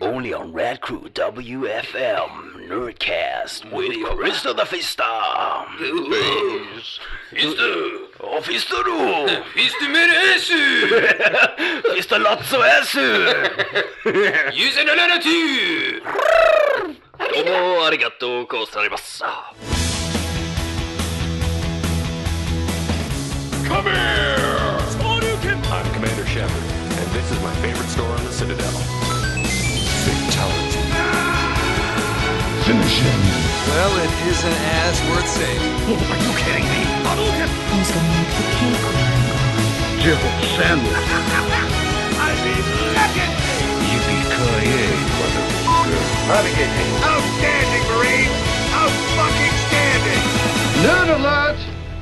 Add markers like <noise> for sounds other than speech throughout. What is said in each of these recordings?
only on Rad Crew WFM Nerdcast with Krista the Fista. Fister og Fisterud. Fistemer Esu! Fister Latso Esu. Yusen eller natur! Domo arigato kosarimassa. Come here! I'm Commander Shepard, and this is my favorite store on the Citadel. Fatality. Finish him. Well, it isn't as worth saving. Who's gonna make the cake?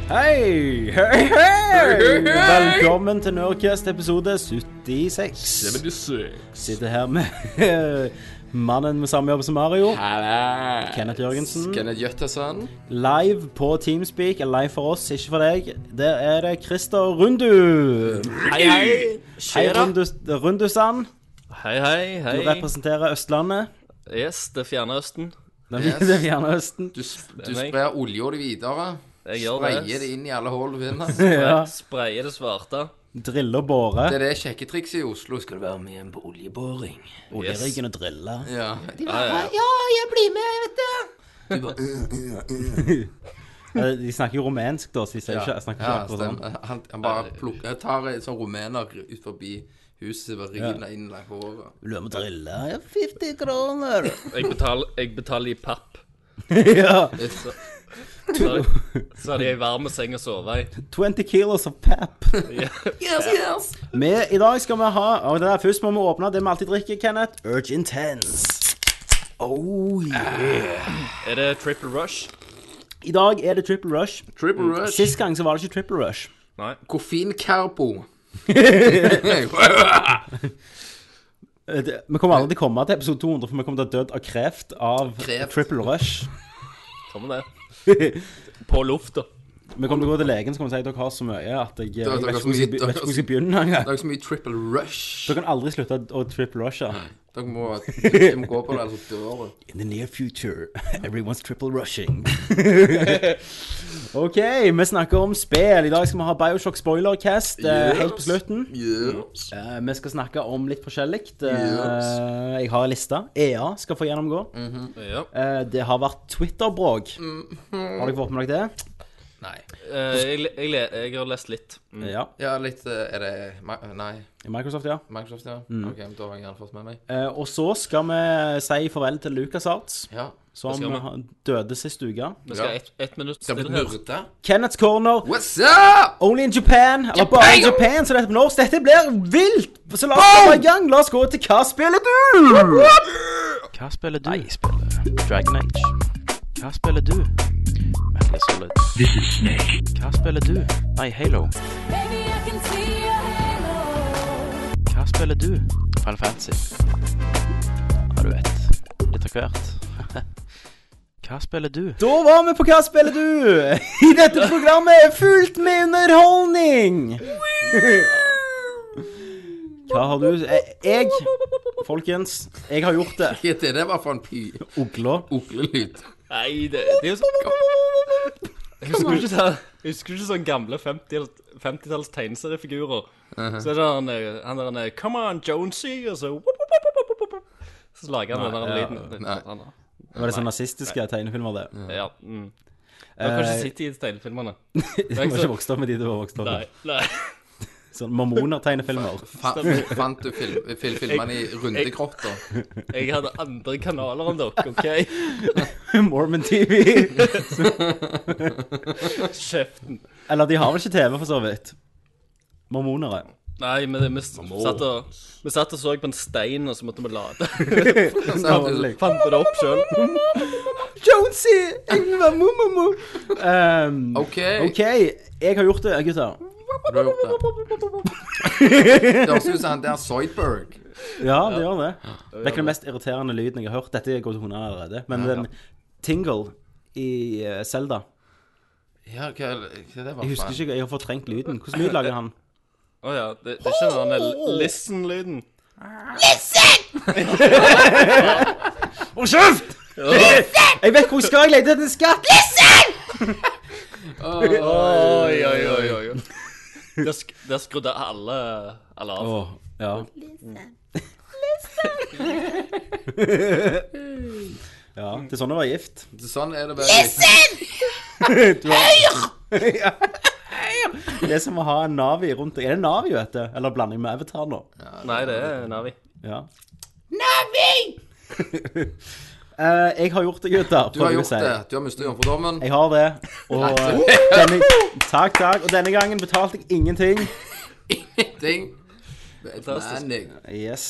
Hei! Hei, hei! Velkommen til Nerdcast episode 76. 76. Sitter her med <laughs> mannen med samme jobb som Mario, Kenneth Jørgensen. Kenneth Jøttesson. Live på Teamspeak, live for oss, ikke for deg. Der er det Christer Rundu. Hei, hei. Hei, Rundus, Rundusan. Hei, hei, Du hei. representerer Østlandet. Yes, det fjerne østen. Den <laughs> Yes. yes. fjerne østen. Du, sp du er meg. sprer olja di videre. Jeg gjør det. Spreier det inn i alle hull du <laughs> finner. Ja. Sprayer det svarte. Drille og båre. Det er det sjekketrikset i Oslo. Skal du være med? Oljeriggen og drille. Ja. Eh, De snakker jo rumensk, da, så de sier ikke, snakker ikke Ja, akkurat sånn. stemmer. Han, han bare plukker, tar en sånn rumener ut forbi huset og river det inn langs håret. Vil du være med og drille? <laughs> Ja, 50 kroner. Jeg betaler, jeg betaler i papp. <laughs> ja. Så, så, hadde jeg- så hadde jeg varm seng å sove i. 20 kilos of <laughs> pap. Vi, I dag skal vi ha og det der, Først må vi åpne det vi alltid drikker, Kenneth. Urge Intense. Oh, yeah. Er det triple rush? I dag er det Triple Rush. Triple rush. Sist gang så var det ikke Triple Rush. Nei. Koffeinkarbo. <laughs> Eh, det- Vi kommer aldri til å komme til episode 200, for vi kommer til å ha dødd av kreft av Kreft. Triple Rush. Kommer det. <laughs> På lufta. Vi kommer til å gå til legen så kommer vi til å si at dere har så mye at jeg, jeg vet ikke Dere- dere hvor jeg har så mye- skal be- vet ikke hvor jeg skal begynne engang. Det er ikke så mye triple rush. Dere kan aldri slutte å Triple Rushe. Dere må, dere må gå på det, altså, ellers dør du. In the near future, <laughs> everyone's triple rushing. <laughs> ok, vi snakker om spill. I dag skal vi ha Bioshock spoilercast eh, helt på slutten. Yes. Eh, vi skal snakke om litt forskjellig. Eh, jeg har en liste. EA skal få gjennomgå. Ja. Eh, det har vært Twitter-bråk. Mm. Har dere fått med dere det? Nei. Eh, Jeg, le- jeg, le- jeg har lest litt. Ja. Ja, litt eh, Er det Ma- Nei. I Microsoft, ja. Microsoft, ja? Ok, men da har jeg gjerne fått med meg. Eh, og så skal vi si farvel til LucasArts, Ja. som skal vi. han døde sist uke. Vi skal Ja. ha ett ett minutt Skal bli stillhet. murda. Kenneth's Corner. What's up? Only in Japan, eller bare i Japan, Japan! så dette på norsk. Dette blir vilt! Så la oss komme i gang. La oss gå til Hva spiller du? Hva spiller du? Jeg spiller Dragon Age. Hva spiller du? Metal Gear Solid. This is Snake. Hva spiller du? Nei, Halo. Baby, I can see your halo. Hva spiller du? Final Fantasy. Ja, du vet. Litt av hvert. <laughs> Hva spiller du? Da var vi på Hva spiller du? <laughs> I dette programmet er fullt med underholdning. Hva har du Eh, Jeg, folkens, jeg har gjort det. Hva er det var for en py Ogla. oglelyd? Nei, det, det er jo sånn Jeg husker ikke, sånn- jeg husker ikke sånn gamle 50 50-talls tegneseriefigurer. Så er det han, eh, han der han, eh, Come on, Jonesy, og så whoop, whoop, whoop, whoop, whoop, whoop. Så lager han den der ja, lyden. nei. Han, Var det sånn nazistiske tegnefilmer, det? ja. Mm. Du har Eh. kanskje sett de tegnefilmene? <laughs> Du var ikke vokst opp med de du var vokst opp Nei. med. nei. Sånn Mormoner-tegnefilmer. <laughs> Fa- Fant du film, fil, filmene i rundegrotta? Jeg hadde andre kanaler enn dere, OK? Mormon TV. Kjeften. Eller de har vel ikke TV, for så vidt. Mormonere. Nei, men det- vi s- satt og, vi satt og så på en stein, og så måtte vi lade. Ordentlig. Fant vi det opp sjøl? <laughs> Jonesy! Jeg vil være mormor! Um, OK, OK, jeg har gjort det, gutter. du har gjort det. Det høres ut som han der Zoidberg. Ja, det gjør det. Det er ikke den mest irriterende lyden jeg har hørt. Dette går til hundene allerede. Men den Tingle i eh, Zelda Ja, hva, hva det var Jeg husker ikke, jeg har fortrengt lyden. Hvordan lyd lager han? Å ja. Det, det er ikke den der listen-lyden. <laughs> Hold kjeft! <laughs> Jeg vet hvor jeg skal. Jeg leter etter en skatt. Oi, oi, oi, oi. Der, sk der skrudde alle, alle av. Åh, ja. <laughs> ja. Det er sånn å være gift. Så Sånn er det bare. Det er som å ha en Navi rundt deg. Er det Navi, vet du? Eller blanding med Avatar nå? Nei, det er Navi. Ja. Navi! <laughs> Eh, jeg har gjort det, gutter. Du har gjort det. Du har mistet jomfrudommen. Jeg har <laughs> det. Og eh, denne, takk, takk. Og denne gangen betalte jeg ingenting. Ting. Det er Fantastisk. planning. Yes.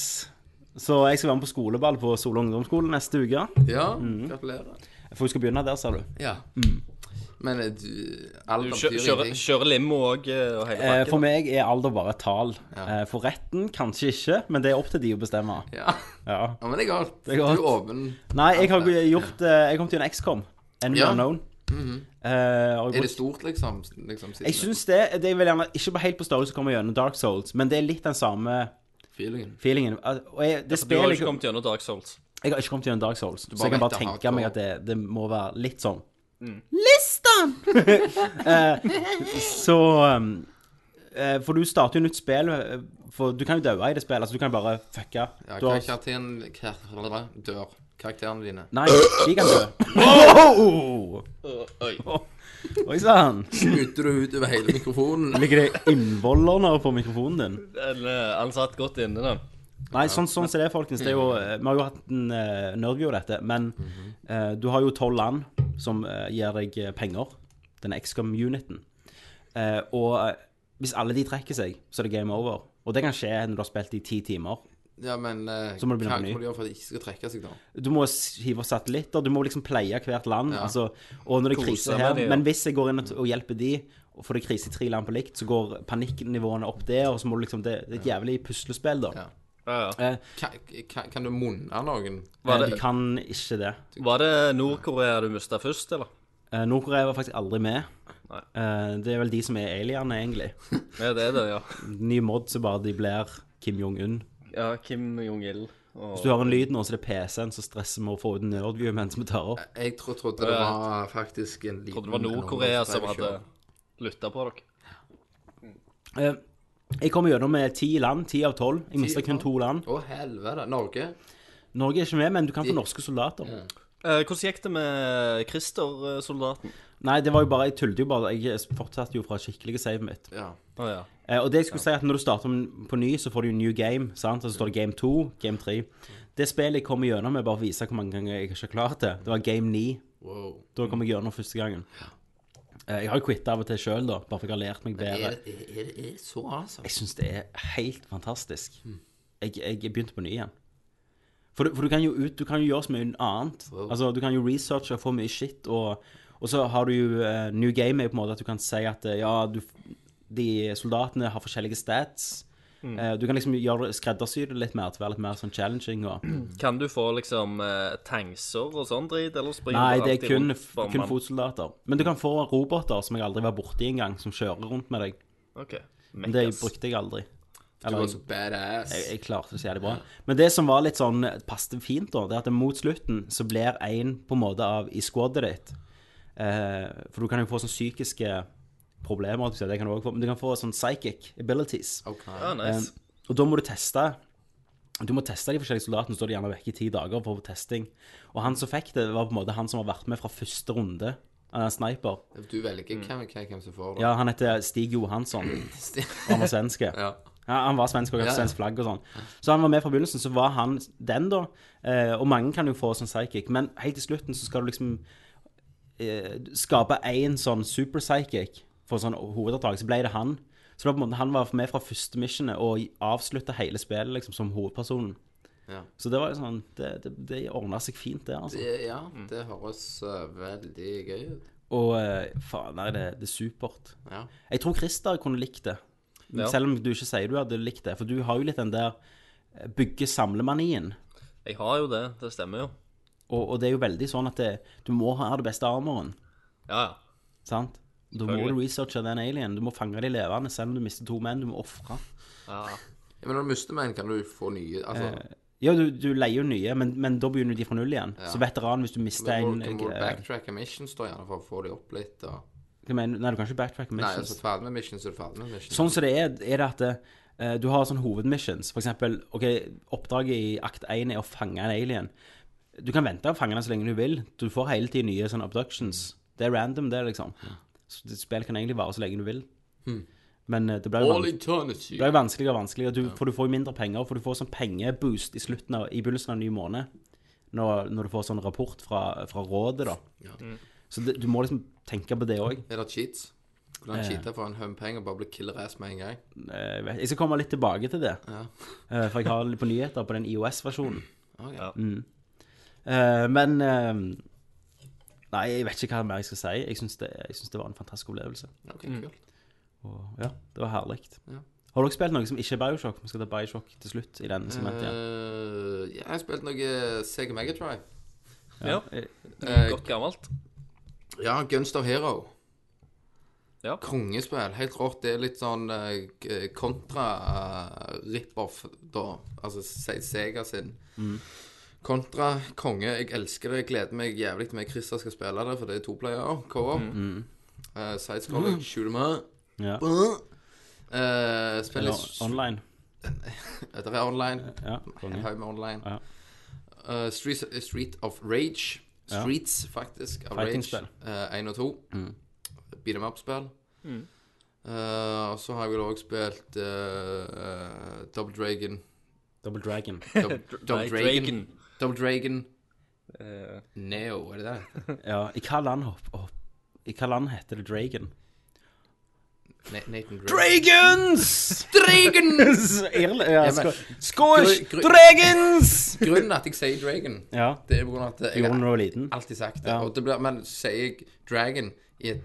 Så jeg skal være med på skoleball på Sola ungdomsskole neste uke. Ja, Mm. gratulerer. For vi skal begynne der, ser du. Ja. Mm. Men eh, du Du Alder kjø- betyr kjører, ingenting. kjører limo og, eh, og hele Eh, pakken. For meg er alder bare et tall. Eh, For retten kanskje ikke, men det er opp til de å bestemme. Ja. Ja. ja, men det er godt. er godt. Du er åpen. Nei, jeg har gjort eh, Jeg kom til en XCOM. En Ja. Mhm. unknown. Eh, og jeg Er det stort, liksom? liksom siden Jeg syns det, det er vel gjerne ikke på helt på størrelse kommer gjennom Dark Souls, men det er litt den samme feelingen. feelingen. At- Og jeg, Du det har jo spillet ikke jeg, kommet gjennom Dark Souls. jeg har ikke kommet gjennom Dark Souls, så jeg vet kan bare det tenke hardcore. meg at det, det må være litt sånn. Listan! så um, eh, For du starter jo nytt spill, eh, for du kan jo dø i det spillet. Altså, du kan bare fucke. Ja, Du har- karakteren kar dør. Karakterene dine. Nei, de kan dø. Wow! Oi. <laughs> Oi sånn. sann. Spytter du ut over hele mikrofonen? Ligger det innvoller på mikrofonen din? Den, eh, Han satt godt inne, da. Nei, sånn, sånn som det er, folkens. Det er jo, eh, vi har jo hatt en uh, nerdview av dette, men Mhm. eh, du har jo tolv land som eh, gir deg eh, penger. Den XCOM-uniten. Eh, og eh, hvis alle de trekker seg, så er det game over. Og det kan skje når du har spilt i ti timer. Ja, men eh, Så må du begynne hva på ny. må du gjøre for at de ikke skal trekke seg, da? Du må s- hive satellitter, du må liksom pleie hvert land. Ja. Altså, og når det er Kose krise med her det, ja. Men hvis jeg går inn og, og hjelper de, og får det krise i tre land på likt, så går panikknivåene opp der, og så må du liksom Det, det er et jævlig puslespill, da. Ja. Ja, ja. Eh, Ka- ka- Kan du munne noen? Var eh, det- Du kan ikke det. Var det Nord-Korea du mista først, eller? Eh, Nord-Korea var faktisk aldri med. Nei. Eh, det er vel de som er alienene, egentlig. Ja, det er det, ja. Ny mod så bare de blir Kim Jong-un. Ja, Kim Jong-il. og- Hvis du hører en lyd nå, så er det PC-en som stresser med å få ut nerdview mens vi tar opp. Jeg tro, trodde det var faktisk en liten Trodde det var Nord-Korea som hadde lytta på dere. Eh, jeg kommer gjennom med ti land. Ti av tolv. Jeg mister kun to land. Å, helvete. Norge? Norge er ikke med, men du kan få norske soldater. Eh, Hvordan gikk det med Christer-soldaten? Nei, det var jo bare, jeg tullet jo bare. Jeg fortsatte jo fra skikkelige savet mitt. Ja. Å ja. Eh, og det jeg skulle si er at Når du starter på ny, så får du jo New Game. sant? Og så står det Game 2, Game 3. Det spillet jeg kom gjennom med, bare viser hvor mange ganger jeg ikke har klart det. Det var Game 9. Wow. Da kom jeg gjennom første gangen. Eh, Jeg har jo quitta av og til sjøl, da, bare for jeg har lært meg bedre. Er det er, det- er det så, altså? Jeg syns det er helt fantastisk. Mm. Jeg, jeg begynte på ny igjen. For, du- for du, kan jo ut, du kan jo gjøre så mye annet. Altså, du kan jo researche og få mye shit, og, og så har du jo eh, New Game er jo på en måte at du kan si at eh, ja, du, de soldatene har forskjellige stats. Mm. Eh, du kan liksom gjøre det- skreddersy det litt mer til å være litt mer sånn challenging. Og, Kan du få liksom eh, tankser og sånn drit, eller springer Nei, du det alltid er kun, rundt for kun mann? fotsoldater. Men du kan få roboter som jeg aldri var borti engang, som kjører rundt med deg. Ok. Men det Mekkas. brukte jeg aldri. Du Eller, var jeg, så badass. jeg, jeg klarte det så jævlig bra. Men det som var litt sånn passet fint, da, det er at mot slutten så blir en på en måte av i squadet ditt. Eh, for du kan jo få sånne psykiske problemer, holdt jeg på å si, det kan du også få, men du kan få sånn psychic abilities. Ok. Ja, nice. Um, og da må du teste Du må teste de forskjellige soldatene, så står de gjerne vekk i ti dager for testing. Og han som fikk det, var på en måte han som har vært med fra første runde. Han er en sniper. Du velger Mm. hvem, hvem, hvem som får det. Ja, han heter Stig Johansson. Og han var svenske. <laughs> Ja. Ja, han var svensk og hadde Ja, ja. svensk flagg og sånn. Så han var med fra begynnelsen, så var han den, da. Eh, og mange kan jo få sånn psychic, men helt til slutten så skal du liksom eh, skape én sånn super psychic for sånn hovedoppdrag. Så ble det han. Så det var på en måte, han var med fra første missionet og avslutta hele spillet liksom som hovedpersonen. Ja. Så det var jo sånn Det, det, det ordna seg fint, det, altså. Det- Ja, det høres eh, veldig gøy ut. Og eh, faen, nei, det, det er supert. Ja. Jeg tror Christer kunne likt det. Ja. Selv om du ikke sier du hadde likt det. For du har jo litt den der eh, bygge-samle-manien. Eh, Jeg har jo det. Det stemmer jo. Og, og det er jo veldig sånn at det, du må ha den beste armoren. Ja, ja. Sant? Da må du researche den alienen. Du må fange de levende, selv om du mister to menn. Du må ofre. ja. Eh, Ja, men når du mister menn, kan du få nye altså, Ja, du, du leier jo nye, men, men da begynner de fra null igjen. Så veteran, hvis du mister Da må en du- da må du eh, backtracke missions da, gjerne, for å få de opp litt. Og... hva mener du? Nei, du kan ikke backtracke Nei, missions. altså ferdig med missions, er du ferdig med missions. Sånn som det er, er det at eh, du har sånn hovedmissions. For eksempel, ok, oppdraget i akt 1 er å fange en alien. Du kan vente å fange den så lenge du vil. Du får hele tiden nye sånne abductions. Det er random, det, liksom. Så det- Spillet kan egentlig vare så lenge du vil. Men eh, det blir jo All van- eternity. det blir jo vanskeligere og vanskeligere, du, for du får jo mindre penger. For du får sånn pengeboost i, slutten av, i begynnelsen av en ny måned, når, når du får sånn rapport fra, fra rådet, da. Mm. Så det, du må liksom tenke på det òg. Er det cheats? Skulle han cheate for en høm penger og bare bli killer-ass med en gang? Eh, Jeg vet- jeg skal komme litt tilbake til det. Ja. Eh, For jeg har litt på nyheter på den IOS-versjonen. Ok. Mm. Eh, Men eh, Nei, jeg vet ikke hva mer jeg skal si. Jeg syns det, jeg synes det var en fantastisk opplevelse. Ok, kult. Og ja, det var herlig. Ja. Har dere spilt noe som ikke er Bioshock? Vi skal ta Bioshock til slutt i denne segmentet igjen. Eh, ja, jeg har spilt noe Sega Megadrive. Ja. eh, Mm, Godt gammelt. Ja, Guns of Hero. Ja. Kongespill. Helt rått. Det er litt sånn eh, kontra-rip-off, da. Altså Se- Sega sin. Kontra konge. Jeg elsker det. Jeg gleder meg jævlig til meg og Christer skal spille det, for det er to player. Co-op. Mm. Uh, Sidescrolling, Mm. shoot 'em up. Ja. Eh, Mm. Eller spiller eh, online. Det er online. Ja, En konge. haug med online. Ja. Eh, Streets, Street of Rage. Ja. Streets, faktisk. Av Fighting-spill. Mm. Rage. Eh, 1 og 2. Beat em up-spill. Eh, og så har jeg vel òg spilt eh, eh, Double Dragon. Double Dragon. Double, Double Nei, Dragon. Dragon. Double Dragon Eh, Neo, er det det? Ja, i hva land hopp, hopp, I hva land heter det Dragon? Na Nathan Drake. Dragons! <laughs> Dragons! Irl <laughs> ja, men- sko Skåsj! Gru- gru- Dragons! Grunnen at jeg sier Dragon, Ja. det er på grunn av at jeg Gjorde du har da du var liten? alltid sagt det. Ja. Og det blir, men sier jeg Dragon i et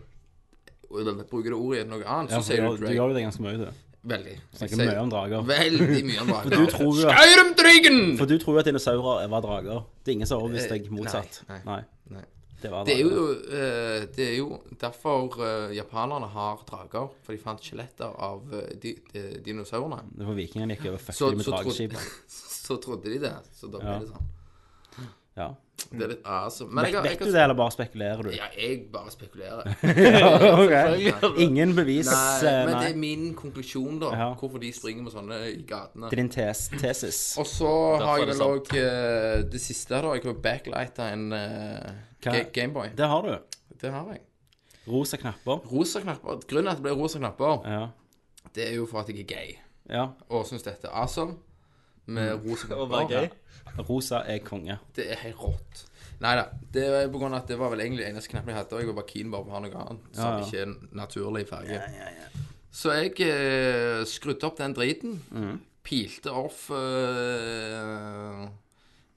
eller Bruker det ordet i noe annet, så Ja, for sier du, du gjør- du gjør Dragon. jo det ganske mye, du. Veldig. Jeg Snakker sier- mye om drager. Veldig mye om For du drager. tror jo at, Skyrim Dragon! for du tror jo at dinosaurer var drager. Det er ingen som har overbevist deg motsatt. Eh, nei, Nei. Nei. Det var Det er, drager. jo, eh, det er jo derfor eh, japanerne har drager. For de fant skjeletter av eh, di, de, dinosaurene. Det var vikingene gikk over Så, fucka med så, trodde, drageskip. så trodde de det. Så da ble Ja. det sånn. Ja. Det er litt awesome. Men Vet, jeg, har- vet du jeg, det, eller bare spekulerer du? har- ja, jeg bare <laughs> spekulerer. Ok. Ingen bevis. Nei, eh, men det Nei. er min konklusjon, da. Ja. Hvorfor de springer med sånne i gatene. Det er din tes tesis. Og så har er jeg det vel òg eh, det siste, da. Jeg har backlighta en eh, Hva- Ga- Gameboy. Det har du. Det har jeg. Rosa knapper. Rosa knapper. Grunnen til at det ble rosa knapper, Ja. det er jo for at jeg er gay. ja. Og syns dette er awesome. Med rosa Mm. <laughs> Å være knapper. gay. Rosa er konge. Det er helt rått. Nei da. Det var på grunn av at det var vel egentlig eneste knappen jeg hadde. Og jeg var bare keen bare på å ha noe annet som Ja, ja. ikke er en naturlig farge. Så jeg eh, skrudde opp den driten. Mhm. Pilte off eh,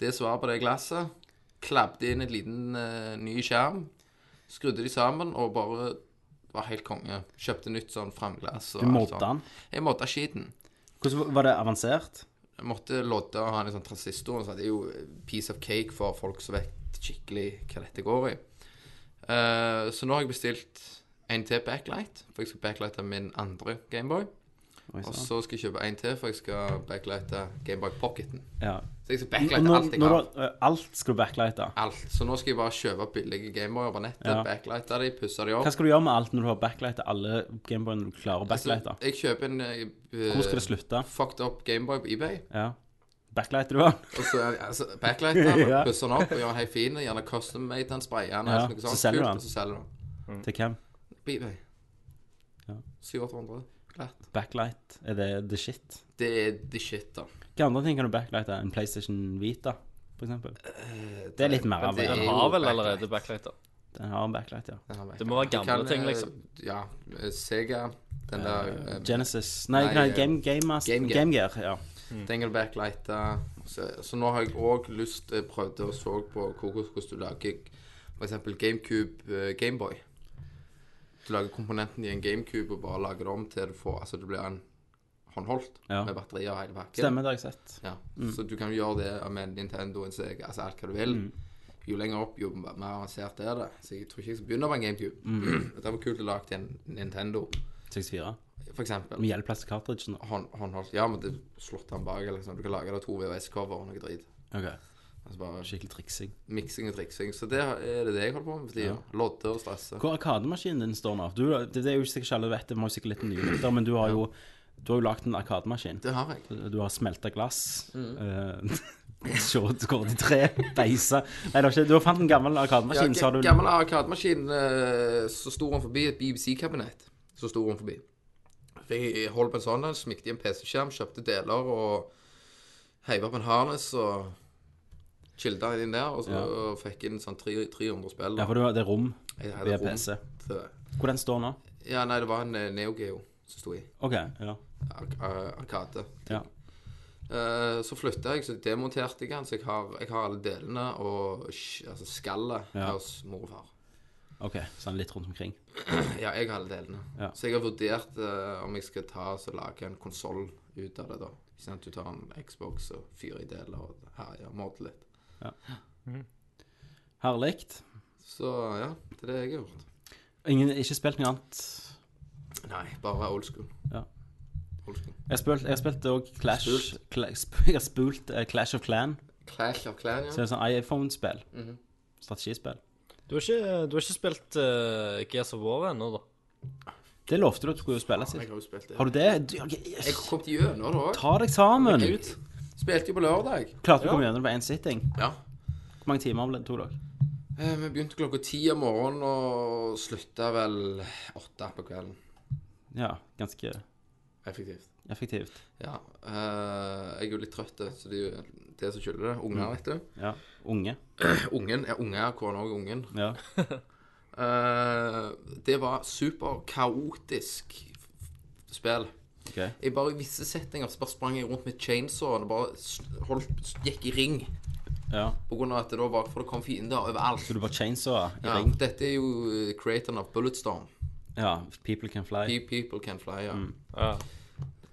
det som var på det glasset. Klabde inn et liten eh, ny skjerm. Skrudde de sammen og bare var helt konge. Kjøpte nytt sånn framglass. og Du alt modda sånt. den. Jeg modda skiten. Hvordan var det avansert? Jeg måtte lodde og ha en sånn transistor. Så det er jo piece of cake for folk som vet skikkelig hva dette går i. Eh, så nå har jeg bestilt en til backlight, for jeg skal backlighte min andre Gameboy. Oi, sånn. Og sann. så skal jeg kjøpe en til, for jeg skal backlighte Gameboy Pocketen. Ja. Så jeg Når, skal backlighte alt jeg når har. du, eh, alt skal du backlighte. Alt. Så nå skal jeg bare kjøpe billige Gameboyer på nettet, Ja. backlighte de, pusse de opp. Hva skal du gjøre med alt når du har backlighta alle Gameboyene du klarer å Altså, backlighte? jeg kjøper en eh, Hvor skal det slutte? fucked up Gameboy på eBay. Ja. Backlighter du, da? Og så altså, backlighter <laughs> han, Ja. pusser han opp og gjør han helt fin. Gjerne custom made han, sprayer han, Ja, eller noe så sånt. selger du kult, han. og Så selger du han. Til hvem? Beatway. Ja. 700-800. Glatt. Backlight, er det the shit? Det er the shit, da. Hvilke andre ting kan du backlighte? En PlayStation Vita, for eksempel? Det er litt mer Eh, men det arbeid. er- Den jo har vel backlight. allerede backlighter. Den har en backlight, ja. Den her Det må være Du gamle kan, ting, eh, liksom. Ja. eh, Sega. Den der eh, Genesis Nei, Nei, nei eh, Game, game, Master, Game game, Gear. Gear. Ja. Mm. Den kan du backlighte. Så, så nå har jeg òg lyst til prøvd å se på hvordan hvordan du lager f.eks. GameCube eh, Gameboy. Du lager komponenten i en GameCube og bare lager det om til du får Altså det blir en håndholdt Ja. med batterier og hele pakken. Stemmer, det har jeg sett. Ja. Så du kan jo gjøre det med Nintendo en Sega, altså alt hva du vil. Jo lenger opp, jo <clears throat> mer avansert er det. Så jeg tror ikke jeg skal begynne på en GameCube. det var kult å lage til en Nintendo. 64. for eksempel. Med hjelp av cartridgen. da. Hånd, håndholdt. Ja, men det slått han bak, liksom. Du kan lage det to VHS-cover og noe drit. Ok, Altså bare Skikkelig triksing. miksing og triksing. Så det er det det jeg holder på med for tida. Lodde og stresse. Hvor arkademaskinen din står nå? Du, det, det er jo ikke sikkert alle vet, det vi har jo sikkert litt nye lytter, men du har jo, du har jo lagt en arkademaskin. Det har jeg. Du har smelta glass. Mm. eh, <laughs> Short kort i tre. Beisa. Nei, det har ikke Du har fant en gammel Ja, arkademaskin, sa du. ga- gammel arkademaskin, eh, så sto han forbi et BBC-kabinett. Så sto han forbi. For Jeg holdt på en sånn, en, smikte i en PC-skjerm, kjøpte deler og heiv opp en harnes og childa inn der, og så og fikk inn sånn tre- 300 spill. Ja, for du har det er rom Jeg hadde via rom PC. til det. Hvor den står nå? Ja, nei, det var en eh, Neo Geo som sto i. OK. ja. Ar ar- arkade. ja. Eh, så flytta jeg, så demonterte jeg den, så jeg har, jeg har alle delene og sk- altså skallet Ja. hos mor og far. OK. Sånn litt rundt omkring. Ja, jeg har alle delene. Ja. Så jeg har vurdert eh, om jeg skal ta og så lage en konsoll ut av det, da. Ikke sant, du tar en Xbox og fyrer i deler og herjer og modder litt. Herlig. Så ja, det er det jeg har gjort. Ingen, ikke spilt noe annet. Nei, bare old school. Ja. Old school. Jeg har spilt, jeg har spilt også Clash Spult. Cla- sp- <laughs> Jeg har spult eh, Clash of Clan. Clash of Clan, Så ja. det er sånn iPhone-spill. Mhm. Strategispill. Du har ikke, du har ikke spilt uh, Gears of War ennå, da? Det lovte du at du skulle spille Jeg sist. har jo spilt det. Har du det? Du, ok, Jeg yes. kom til gjennom det òg. Ta deg sammen! Spilte jo på lørdag. Klarte du å komme gjennom det på én sitting? Ja. Hvor mange timer ble- tok dere? Eh, Vi begynte klokka ti om morgenen og slutta vel åtte på kvelden. Ja, ganske Effektivt. effektivt. Ja. eh, jeg er jo litt trøtt, så det er jo det som skylder det. Mm. Unger, vet du. Ja. Unge. Ungen er unger, kona og ungen. Ja. Eh, det var superkaotisk spill. OK. Jeg bare I visse settinger så bare sprang jeg rundt med chainsawen og bare s- holdt, gikk i ring. Ja. På grunn av at det da var, for det kom fiender overalt. Så du bare chainsawa i Ja, ring? dette er jo eh, creatoren av Bulletstorm. Ja. Mm. People can fly. Pe- People Can Fly, ja. Ja.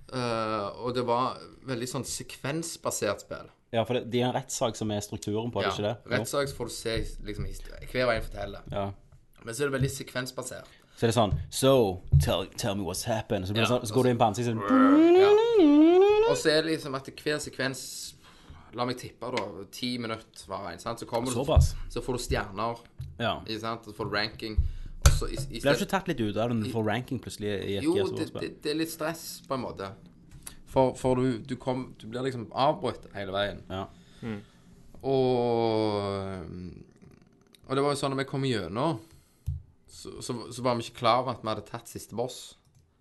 Eh, og det var veldig sånn sekvensbasert spill. Ja, for det, de har en rettssak som er strukturen på, er det ikke det? Jo. Rettssak så får du se liksom, historie, hver vei en forteller. Ja. Men så er det veldig sekvensbasert. Så det er sånn So, tell, tell me what's happened. Så, blir det Ja, sånn, så går du inn på ansiktet og Ja. Og så er det liksom at hver sekvens La meg tippe, da. Ti minutter hver en. Sant? Så kommer du, Såpass. så får du stjerner, Ja. ikke sant? så får du ranking. Og så i, i Blir du ikke altså, tatt litt ut av den for ranking plutselig i et Jo, Gears det, det, War-spill? det er litt stress, på en måte. For, for du, du, kom, du blir liksom avbrutt hele veien. Ja. Og Og det var jo sånn når vi kom gjennom, så, så, så var vi ikke klar over at vi hadde tatt siste boss.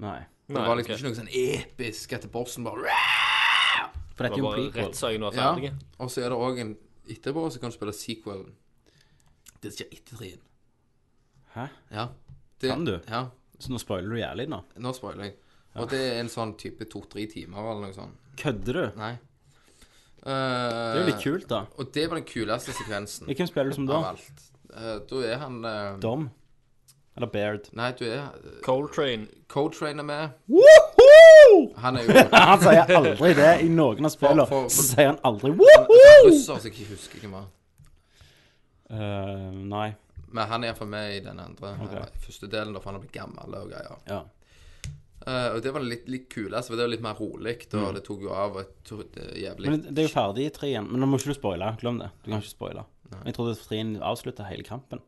Nei. det Nei, var liksom ok. ikke noe sånn episk etter bossen bare For dette Det var er jo en bare prequel. rettssaken var Ja. ferdig. Og så er det òg en etterpå, så kan du spille sequelen. Det skjer etter trien. Hæ? Ja. Det, Kan du? Ja. Så nå spoiler du jævlig nå. Nå spoiler jeg. Og det er en sånn type to-tre timer eller noe sånt. Kødder du? Nei. Eh, Det er jo litt kult, da. Og det var den kuleste sekvensen Ja, Hvem spiller du som da? av alt. Eh, da er han eh, Dom? Eller Baird? Nei, du er Coltrane. Codetrain er med. Woohoo! Han <laughs> er jo en Han sier aldri det i noen av spillene. For- for- Så sier han aldri woohoo! russer som jeg ikke husker hvem var. Eh, nei. Men han er iallfall med i den andre eller, Ok. første delen, da, for han har blitt gammel og greier. Ja. Eh, og det var litt, litt kulest, for det var litt mer rolig, og det tok jo av og to, det er jævlig Mm. Men det er jo ferdig i treen. Men nå må ikke du spoile. Glem det. Du kan ikke spoile. Jeg trodde treen avslutta hele kampen.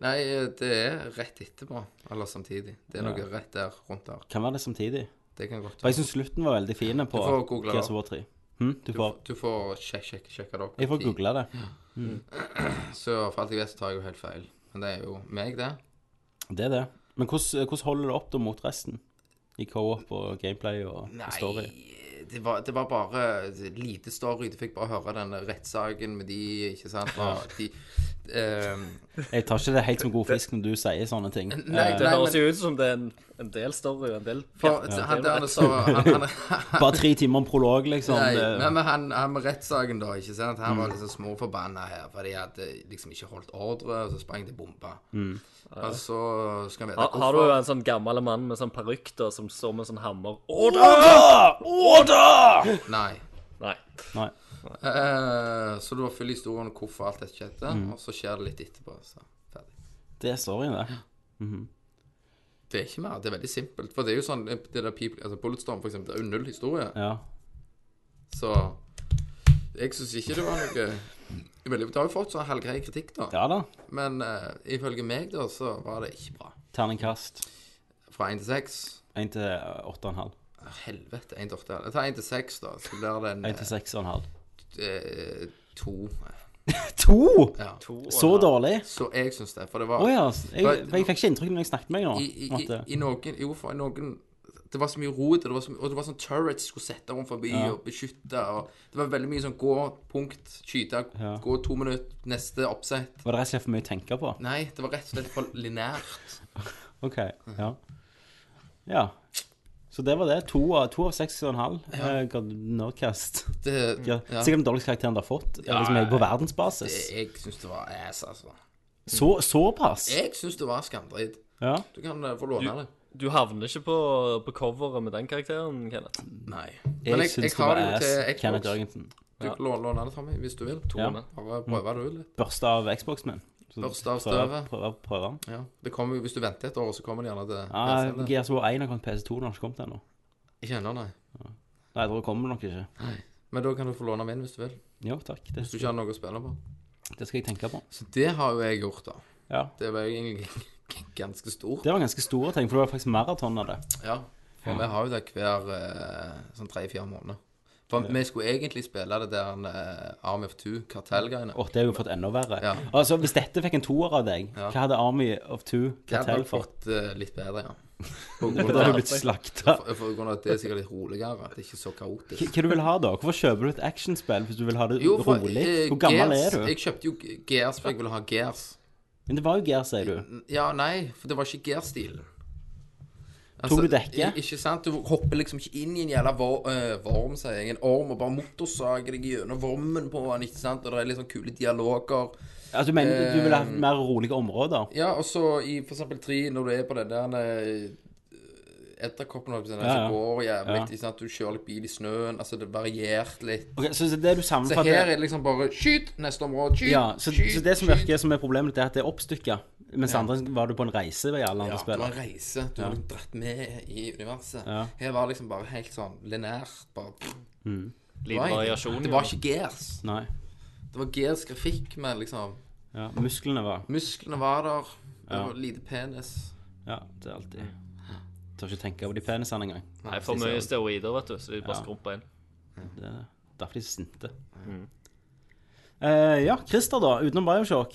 Nei, eh, det er rett etterpå, eller samtidig. Det er noe rett der, rundt der. Kan være det samtidig. Det kan godt For være. jeg syns slutten var veldig fin på får google det. Gears of War 3. Hm? Du får Du får sjek- sjek- sjekke det opp. Jeg får Tid. google det. Så for alt jeg vet, så tar jeg jo helt feil. Men det er jo meg, det. Det er det. Men hvordan, hvordan holder det opp da mot resten? I co-op og gameplay og og story? det var, det var bare lite story. Du fikk bare høre den rettssaken med de, ikke sant. Hva de, ehm, Jeg tar ikke det helt som god fisk når du sier sånne ting. nei, Det nei, høres men jo ut som det er en, en del story og en del for, han der sa han, han, han, Bare tre timer om prolog, liksom. Nei, det- Mm. nei, men han, han med rettssaken, da, ikke sant. Han var liksom småforbanna her, for de hadde liksom ikke holdt ordre, og så sprang det bomba. Mm. Og så skal han vite Har, har du hvorfor. en sånn gammel mann med sånn parykk da, som står med sånn hammer? Å, Nei. nei. Nei. Eh, så du var full i historien om hvorfor alt dette Mm. skjedde, og så skjer det litt etterpå. Så ferdig. Det er storyen, det. Det er ikke mer. Det er veldig simpelt. For det er jo sånn det der people, altså Bulletstorm, for eksempel, det er jo null historie. Ja. Så jeg syns ikke det var noe veldig, Det har jo fått sånn halvgrei kritikk, da. ja da. Men eh, ifølge meg, da, så var det ikke bra. Terningkast Fra én til seks. 1 til eh, 8,5. Helvete, én til åtte. Jeg tar én til seks, da. Så blir det en 1 til 6,5. eh, to. To! Ja. Så dårlig? Så jeg syns det. For det var Å ja. Jeg, for jeg fikk ikke inntrykk når jeg snakket med deg nå. I, i, i, at, eh, i noen Jo, for i noen Det var så mye rot, og det var, så, og det var sånn turrets skulle sette rundt forbi og beskytte. Og det var veldig mye sånn gå, punkt, skyte, Ja. gå to minutter, neste oppsett. Var det rett og slett for mye å tenke på? Nei, det var rett og slett for lineært. OK. Mm. Ja. ja. Så det var det. To av, to av 6,5. Ja. Eh, Nerdcast. Det, Ja. Sikkert den dårligste karakteren du har fått ja, liksom, på verdensbasis. Jeg syns det var ass, altså. Så, såpass? Jeg syns det var skamdritt. Ja. Du kan eh, få låne det. Du havner ikke på, på coveret med den karakteren, Kenneth. Nei. Jeg, Men jeg, jeg, syns det har var det jo ass. til Kenneth Xbox. Jørgensen. Du kan låne låne det, Tommy, hvis du vil. Ja. Bare prøve det ut litt. Børste av Xbox-menn. Så Børste av prøver- støvet. Prøver, prøver. Ja. Det kommer, jo- hvis du venter et år, så kommer det gjerne til Ah, PC-en. Gears of War 1 har kommet PC2, den har ikke kommet ennå. Ikke ennå, nei. Nei, jeg tror det kommer nok ikke. Men da kan du få låne min hvis du vil. Jo, takk. Det, Hvis du ikke har noe å spille på. det skal jeg tenke på. Så det har jo jeg gjort, da. Ja. Det var jo egentlig <laughs> ganske stort. Det var ganske store ting, for det var faktisk maraton av det. Ja. For vi har jo det hver eh, sånn tre-fire måneder. For vi skulle egentlig spille det der eh, Army of Two, kartellgreiene. Åh, det har jo fått enda verre. Ja. Altså, Hvis dette fikk en toer av deg, hva hadde Army of Two Det hadde Cartel nok fått? fått eh, litt bedre, <laughs> ja. På grunn Det har av jo blitt slakta. for- for grunn av at det er sikkert litt roligere. At det er ikke er så kaotisk. Hva du vil ha da? Hvorfor kjøper du et actionspill hvis du vil ha det Jo, for, rolig? eh, Hvor gammel Gears- er du? Jeg kjøpte jo Gears, for jeg ville ha Gears. Men det var jo Gear, sier du. Ja, nei, for det var ikke Gear-stilen. Tok du dekket? i- Ikke sant? Du hopper liksom ikke inn i en jævla vor, eh, vorm, sier jeg. En orm, og bare motorsager deg gjennom vormen på den, ikke sant? Og det er litt sånn kule dialoger. Altså, du mener du Eh, vil ha mer rolige områder? Ja, og så i for eksempel tre, når du er på den der eh, Edderkoppen holdt jeg på å si, Ja, ja. som går jævlig, Ja. ikke sant? Du kjører litt bil i snøen, altså det er variert litt. Ok, Så så det du Så savner fra her er det det liksom bare skyt, neste område, skyt, ja, så, skyt, så det som skyt. virker som er problemet, det er at det er oppstykka. Mens andre var du på en reise ved alle andre Ja, det spill. var en reise. Du har blitt dratt med i universet. Ja. Her var det liksom bare helt sånn lineært. Bare, det, Liten egentlig- variasjon. det var ikke Gears. Nei. Det var Gears grafikk, men liksom Ja, musklene var Musklene var der. Det Ja. var lite penis. Ja, det er alltid Tør ikke tenke over de penisene engang. Nei, for mye sånn. steroider, vet du, så de bare skrumper inn. Det er derfor de er så sinte. Eh, ja, Christer, da. Utenom Bioshock.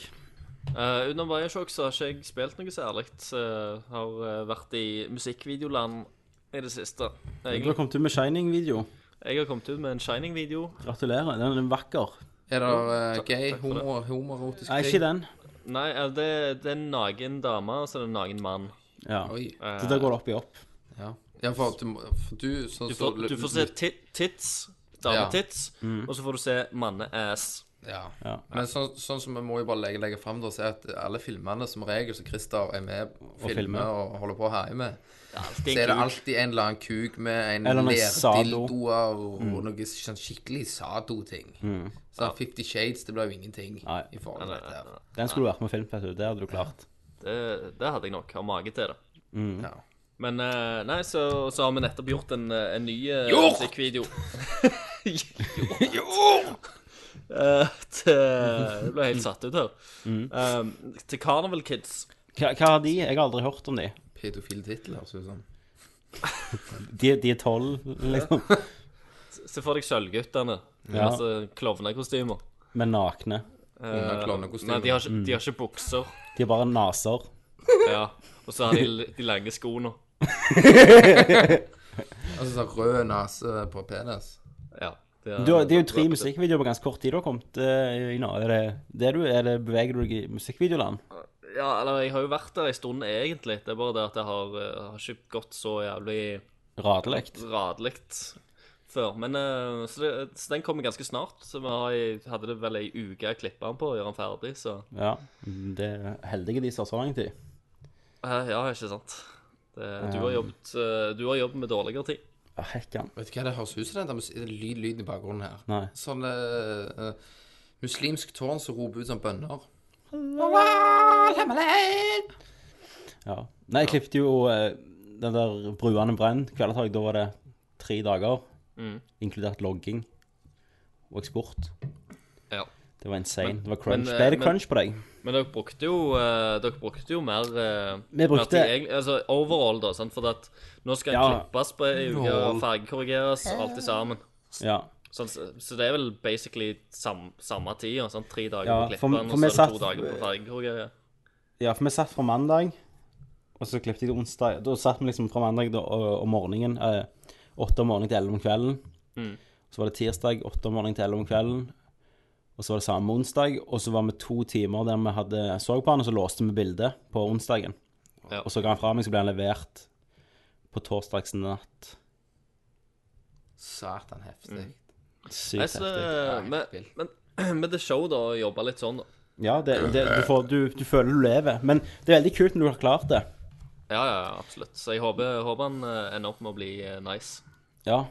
Uh, Under Bioshock så har ikke jeg spilt noe særlig. Eh, har eh, vært i musikkvideoland i det siste. Du har Jeg, kommet ut med Shining-video. jeg har kommet ut med en Shining-video. Gratulerer. Den er vakker. Er det eh, takk- gay, takk for det. homo, homoerotisk Nei, ting? ikke den. Nei, eh, det, det er en naken dame, og så er det en naken mann. Ja. Oi. Så der går det opp i opp. Ja. ja, for du, må- for du så, Du får, du får se ti- tits, dametits, og så får du se manne-ass. Ja. Ja. Men sånn, sånn som vi må jo bare legge, legge fram, da, så er at alle filmene som regel som Christer er med og filmer og, filmer. holder på å herje med, Alltid så er det en kuk. alltid en eller annen kuk med en Eller noe sado. lerdildoer og noe sånn skikkelig sado-ting. Så Fifty Shades, det blir jo ingenting Nei. i forhold til dette. her. Den skulle du vært med i Filmfest. Det hadde du klart. Det, det hadde jeg nok. Har mage til det. Ja. Men eh, nei, så, så har vi nettopp gjort en, eh, en ny eh, Gjort! musikkvideo. <laughs> Oh! Eh, til Jeg ble helt satt ut her. Eh, til Carnival Kids. Hva, hva har de? Jeg har aldri hørt om de. Pedofile titler, ser det ut som. De, de er tolv, liksom. Se for deg Sølvguttene. Ja. Altså klovnekostymer. Men nakne. Under Eh, Nei, de klovnekostymer. har, ikke, de har ikke bukser. De er bare naser. Ja. Og så har de de lange skoene. Altså sånn rød nese på penis. Ja. Du, har- det er jo tre musikkvideoer på ganske kort tid du har kommet eh, i nå. Er det, det du, er det beveger du deg i musikkvideoland? Ja, eller jeg har jo vært der en stund, egentlig. Det er bare det at det har, eh, har ikke gått så jævlig Radløkt. radelig før. Men, eh, så, det, så den kommer ganske snart. Så vi har, i- hadde det vel ei uke å klippe den på og gjøre den ferdig, så Ja. Mm, Det er heldige de som har så lang tid. eh, Ja, ikke sant. Det, du, har jobbet, eh, du har jobbet med dårligere ting. Ja, hekkan. Vet du hva det høres ut som? den der mus- den lyd, lyden i bakgrunnen her. Nei. Sånn eh, eh, muslimsk tårn som roper ut som bønner. Ja. Nei, jeg klippte jo eh, den der Bruene brann kvelertak. Da var det tre dager, Mm. inkludert logging og eksport. Ja. Det var insane. Men- det var crunch. men, eh, Ble det men- crunch på deg? Men dere brukte jo, eh, dere brukte jo mer eh, Vi brukte- mer tid, egentlig. altså overall, da. Sant? For at nå skal den Ja. klippes på ei uke og fargekorrigeres, alt i sammen. Ja. Sånn, så så det er vel basically sam, samme tid. Sånn, tre dager Ja, på for- klipperen, og for vi så er det satt- to dager på fargekorrigering. ja, for vi satt fra mandag, og så klippte jeg onsdag. Da satt vi liksom fra mandag da, og- om morgenen. eh, Åtte om morgenen til elleve om kvelden. Mm. Så var det tirsdag åtte om morgenen til elleve om kvelden. Og så var det samme onsdag. Og så var vi to timer der vi hadde så på han, og så låste vi bildet på onsdagen. Ja. Og så ga han fra meg, så ble han levert på torsdags natt. Satan heftig. Sykt Nei, så, eh, heftig. men, men, men <clears throat> det show, da, jobba litt sånn, da. Ja, det, det, du, får, du, du føler du lever. Men det er veldig kult når du har klart det. Ja, ja, ja, absolutt. Så jeg håper, jeg håper han eh, ender opp med å bli eh, nice. Ja,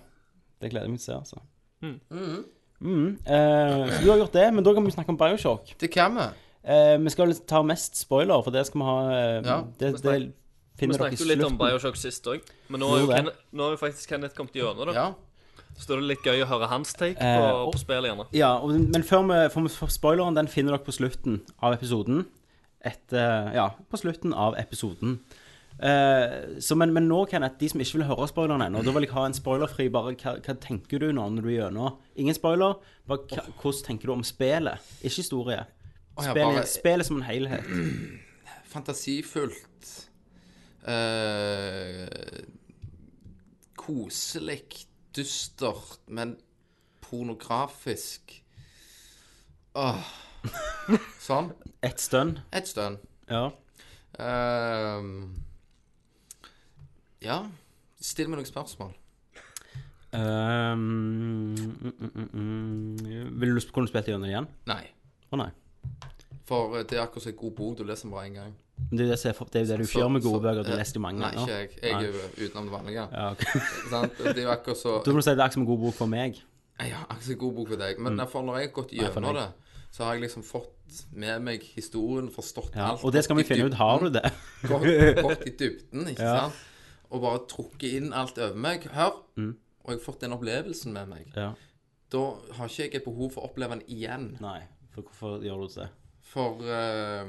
det gleder jeg meg til å se, altså. Mm. Eh, så du har gjort det, men da kan vi snakke om Bioshock. Det kan vi. Eh, vi skal ta mest spoiler, for det skal vi ha eh, Ja, det, vi det snakker- Vi finner dere i snakket jo litt om slutten. Bioshock sist òg, men nå har jo Gjorde det. Kenneth, nå har jo faktisk Kenneth kommet gjennom, da. Ja. Så da er det litt gøy å høre hans take Eh, på, og- på spillet, gjerne. Ja, og, men før vi, for vi- for spoileren den finner dere på slutten av episoden. Etter, ja, på slutten av episoden. Eh, så, men, men nå, Kenneth, de som ikke vil høre spoileren ennå, da vil jeg ha en spoilerfri bare hva, hva tenker du nå når du er gjennom? Ingen spoiler, bare hva, hvordan tenker du om spillet? Ikke historie. Å, jeg Spillet, bare- spillet som en helhet. Fantasifullt. Eh, koselig. Dystert, men pornografisk. Åh. Sånn. Ett stønn. Et stønn. Ja. Ehm, ja. Still meg noen spørsmål. Ehm, mm, mm, mm, mm. Vil du kunne du spilt gjennom det igjen? Nei. Å nei. For eh, det er akkurat som en god bok. Du leser den bare én gang. Men det er jo det, som er- det, er jo det du ikke Så- gjør med gode så- bøker. Du eh, leser jo mange Nei, ganger. ikke jeg. Jeg er jo utenom det vanlige. Ja, ok. <laughs> Sant? Det er jo akkurat så Da må du si det er akkurat som en god bok for meg. Jeg har ikke så god bok for Mm. deg, men derfor når jeg har gått gjennom det, så har jeg liksom fått med meg historien, forstått Ja, alt. Mm. og det skal vi gått i finne ut. dybden, Har du det? Gått, gått i dybden, <laughs> ikke Ja. sant? Og bare trukket inn alt over meg. Hør! Mm. Og jeg har fått den opplevelsen med meg. Ja. Da har ikke jeg et behov for å oppleve den igjen. Nei. For hvorfor gjør du <laughs> det? For eh,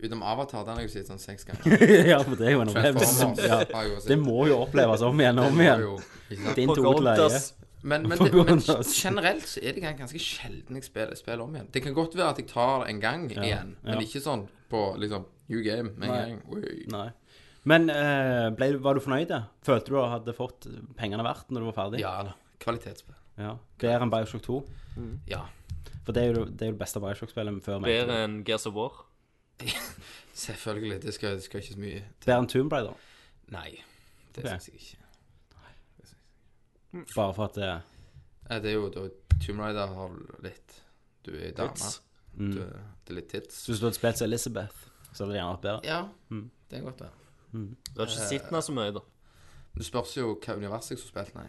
utenom Avatar, den har jeg jo sett sånn seks <laughs> ganger. ja, for det er jo en opplevelse. Transformers Ja. har jeg jo sett. Det må jo oppleves om igjen og om igjen. Jo, ikke sant? Din Pocahontas. togleie. Men, men, På det, grunn men av- generelt så er det gan- ganske sjelden jeg spiller, spiller om igjen. Det kan godt være at jeg tar det en gang igjen, men ja. ikke sånn på liksom New game med en Nei. gang. Oi. Nei. Men eh, ble, var du fornøyd? da? Følte du at du hadde fått pengene verdt når du var ferdig? Ja da. Kvalitetsspill. ja. Bedre enn Bioshock 2? Ja. For det er jo det, er jo det beste Bioshock-spillet før meg. Bedre enn Gears of War. Selvfølgelig. Det skal, det skal ikke så mye Bedre enn Tomb Raider. Nei. Det Ok. syns jeg ikke. Bare for at eh, det Nei, Det er jo da Tomb Raider har litt Du er dame. Du, det er litt mm. tits. Så hvis du Mm. hadde spilt som Elizabeth, så hadde det gjerne vært bedre. Ja. Det er godt, det. Du har ikke sett den så mye, da. Du spørs jo hva univers jeg skulle spilt, nei.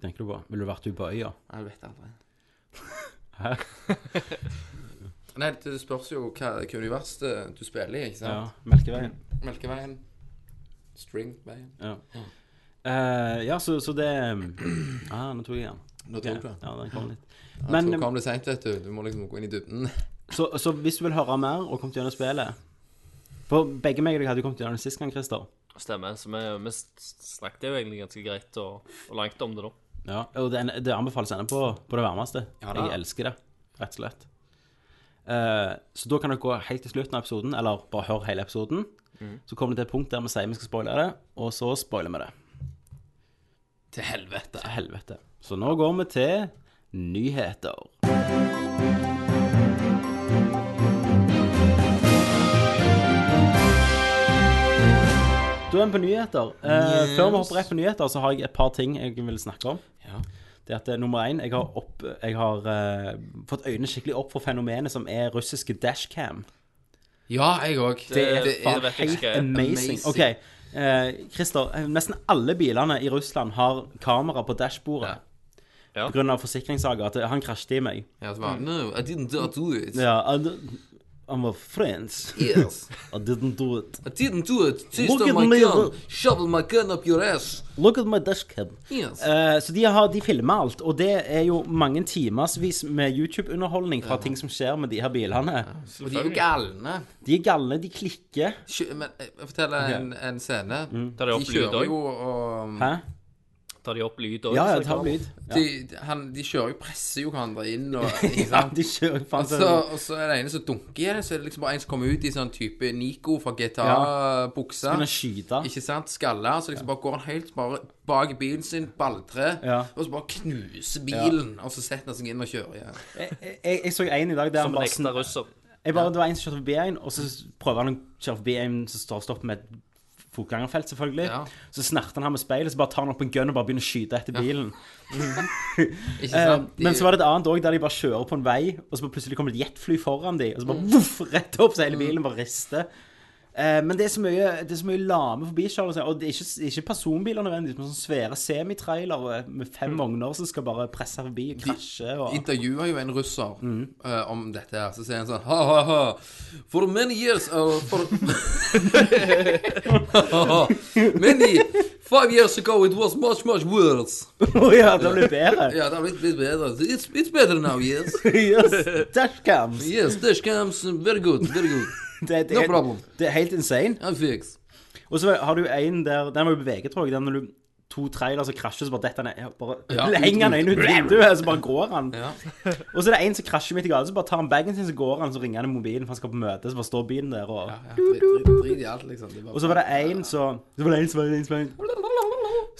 Tenker du på. Ville du vært ute på øya? <laughs> Jeg vet aldri. Hæ? Nei, det spørs jo hva, hva univers det, du spiller i, ikke sant? Ja. Melkeveien. Melkeveien. Stringveien. Ja. Eh, ja, så, så det <clears throat> Ah, nå tok jeg den. Nå tok du den. Ja, den kom litt. Men, Men eh, mm, så kom det seint, vet du. Du må liksom gå inn i dybden. så, så hvis du vil høre mer og kommet gjennom spillet For begge meg og deg hadde jo kommet gjennom det sist gang, Christer. Stemmer. Så vi, vi s- snakket jo egentlig ganske greit og, og langt om det, da. Ja. Og det, det anbefales ennå på, på det varmeste. jeg elsker det, rett og slett. Eh, så da kan dere gå helt til slutten av episoden, eller bare hør hele episoden. Mm. Så kommer det til et punkt der vi sier vi skal spoile det, og så spoiler vi det. Til helvete. Til helvete. Så nå går vi til nyheter. Da er vi på nyheter. Eh, Før vi hopper rett på nyheter, så har jeg et par ting jeg vil snakke om. Det er at eh, nummer én, jeg har, opp, jeg har eh, fått øynene skikkelig opp for fenomenet som er russiske dashcam. <laughs> Ja, jeg òg. Det er, det faen vet jeg helt ikke. amazing. Amazing. OK, eh, Christer. eh, Nesten alle bilene i Russland har kamera på dashbordet. Ja. På grunn av forsikringssaker. At han krasjet i meg. Ja, det var, no, I didn't do it. Ja, eh, d- I'm a friends. Yes. I didn't do it. I didn't do <laughs> it. Taste Look of at my me, gun. look. Shovel my gun up your ass. Look at my dashcam. Yes. Eh, så de, har, de filmer alt, og det er jo mange timersvis med YouTube-underholdning fra ting som skjer med de her bilene. Og de er jo galne. De er galne, de klikker. Kjø- Men eh, jeg forteller en, en scene. Mm. Tar de De opp lyd kjører òg? jo og um, Hæ? Tar de opp lyd òg? Ja, ja, ta lyd. de, han, de kjører jo presser jo hverandre inn <laughs> og ikke Ja, Altså, sant? de kjører faen Og så, og så er det ene som dunker i det, så er det liksom bare en som kommer ut i sånn type Nico fra GTA-buksa. Begynner å skyte. Ikke sant? Skalla. Så liksom bare går han helt bare bak i bilen sin, balltre, Ja. og så bare knuser bilen, og så setter han seg inn og kjører igjen. Jeg, jeg, jeg så en i dag der han Som en bare ekte sn- russer. jeg bare, Det var en som kjørte forbi en, og så prøver han å kjøre forbi en som står stopp med et fotgjengerfelt, selvfølgelig. Ja. Så snerter han her med speilet, så bare tar han opp en gun og bare begynner å skyte etter bilen. Ikke Eh, sant? men så var det et annet òg, der de bare kjører på en vei, og så bare plutselig kommer det et jetfly foran de, og så bare voff, rett opp, så hele bilen bare rister. Eh, men det er så mye, det er så mye lame forbikjørelser, og det er ikke, det er ikke personbiler nødvendigvis, men sånne svære semitrailere med fem vogner som skal bare presse forbi og krasje og intervjuer jo en russer Mm. eh, om dette her, så sier han sånn Ha-ha-ha For many years uh, for... <laughs> Many Five years ago it was much, much worse <laughs> Å ja, det blir bedre. Ja, det har blitt litt bedre It's, it's better now, yes yes, dashcams. Yes, dash cams, very good, very good Det, det, No er- problem. det er helt insane. I'm fixed Og så har du en der Den var jo på VG, tror jeg. Den når du to trailere som krasjer, så bare detter han ned. Bare Ja, henger han ut- inn ut vinduet, og så bare går han. Ja. Og så er det en som krasjer midt i gata, så bare tar han bagen sin, så går han, så ringer han i mobilen, for han skal på møte, så bare står bilen der, og ja, drit, drit, drit i alt liksom Det er bare- Og så var det en som Så var det en som var det en som var en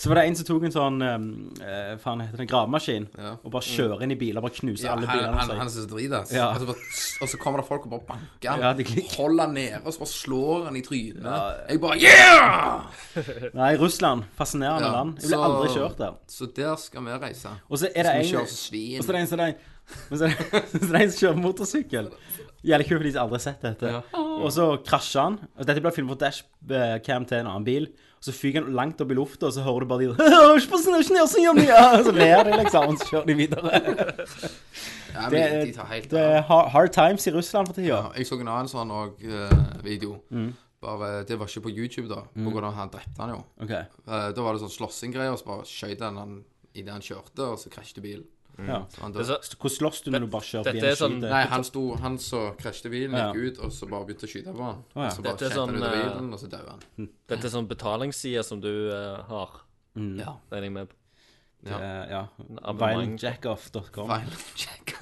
så var det en som tok en sånn eh, faen heter det, en gravemaskin Ja. og bare kjører inn i biler, bare knuser ja, alle han, bilene. han, seg. han synes det er drit, ass Ja. og, så bare, og så kommer det folk og bare banker han Ja, de klikker. Holder han nede og så bare slår han i trynet Ja. Jeg bare, yeah! Nei, Russland. Fascinerende Ja, land. Jeg ville så- aldri kjørt der. Så der skal vi reise Og så er det Skal vi en kjøre som svin? Og så er det en som er men så er det, <laughs> så er det en som kjører motorsykkel. Jævlig kult for de som aldri har sett dette. Og så krasjer han. Og dette blir filmet på dashcam til en annen bil. Og så fyker han langt opp i lufta, og så hører du bare de <laughs> «Åh, ikke på snøsjen, jeg synger mye!» Og Så ler de, liksom, og så kjører de videre. Ja, Det, men de tar er- helt det av. er har- hard times i Russland for tida. Ja, Jeg så en annen sånn og, video. Mm. Bare, Det var ikke på YouTube, da. På grunn av han drepte han jo. Ok. Eh, da var det sånn slåssinggreier, og så bare skjøt han han idet han kjørte, og så krasjet bilen. Ja. Så han Det er døde. så, Så Hvordan slåss du når du bare kjører Dette forbi en er sånn- skyte? Nei, han sto, han så krasjete bilen, Ja. gikk ut, og så bare begynte å skyte på han. ja. Så bare Dette er skjøt han sånn, ut av eh, bilen, og så døde han. dette er sånn betalingsside som du eh, har. Mm. Ja. Regner jeg med. Ja. Eh, ja. Abonnement. Violentjackoff.com. Final <laughs> check.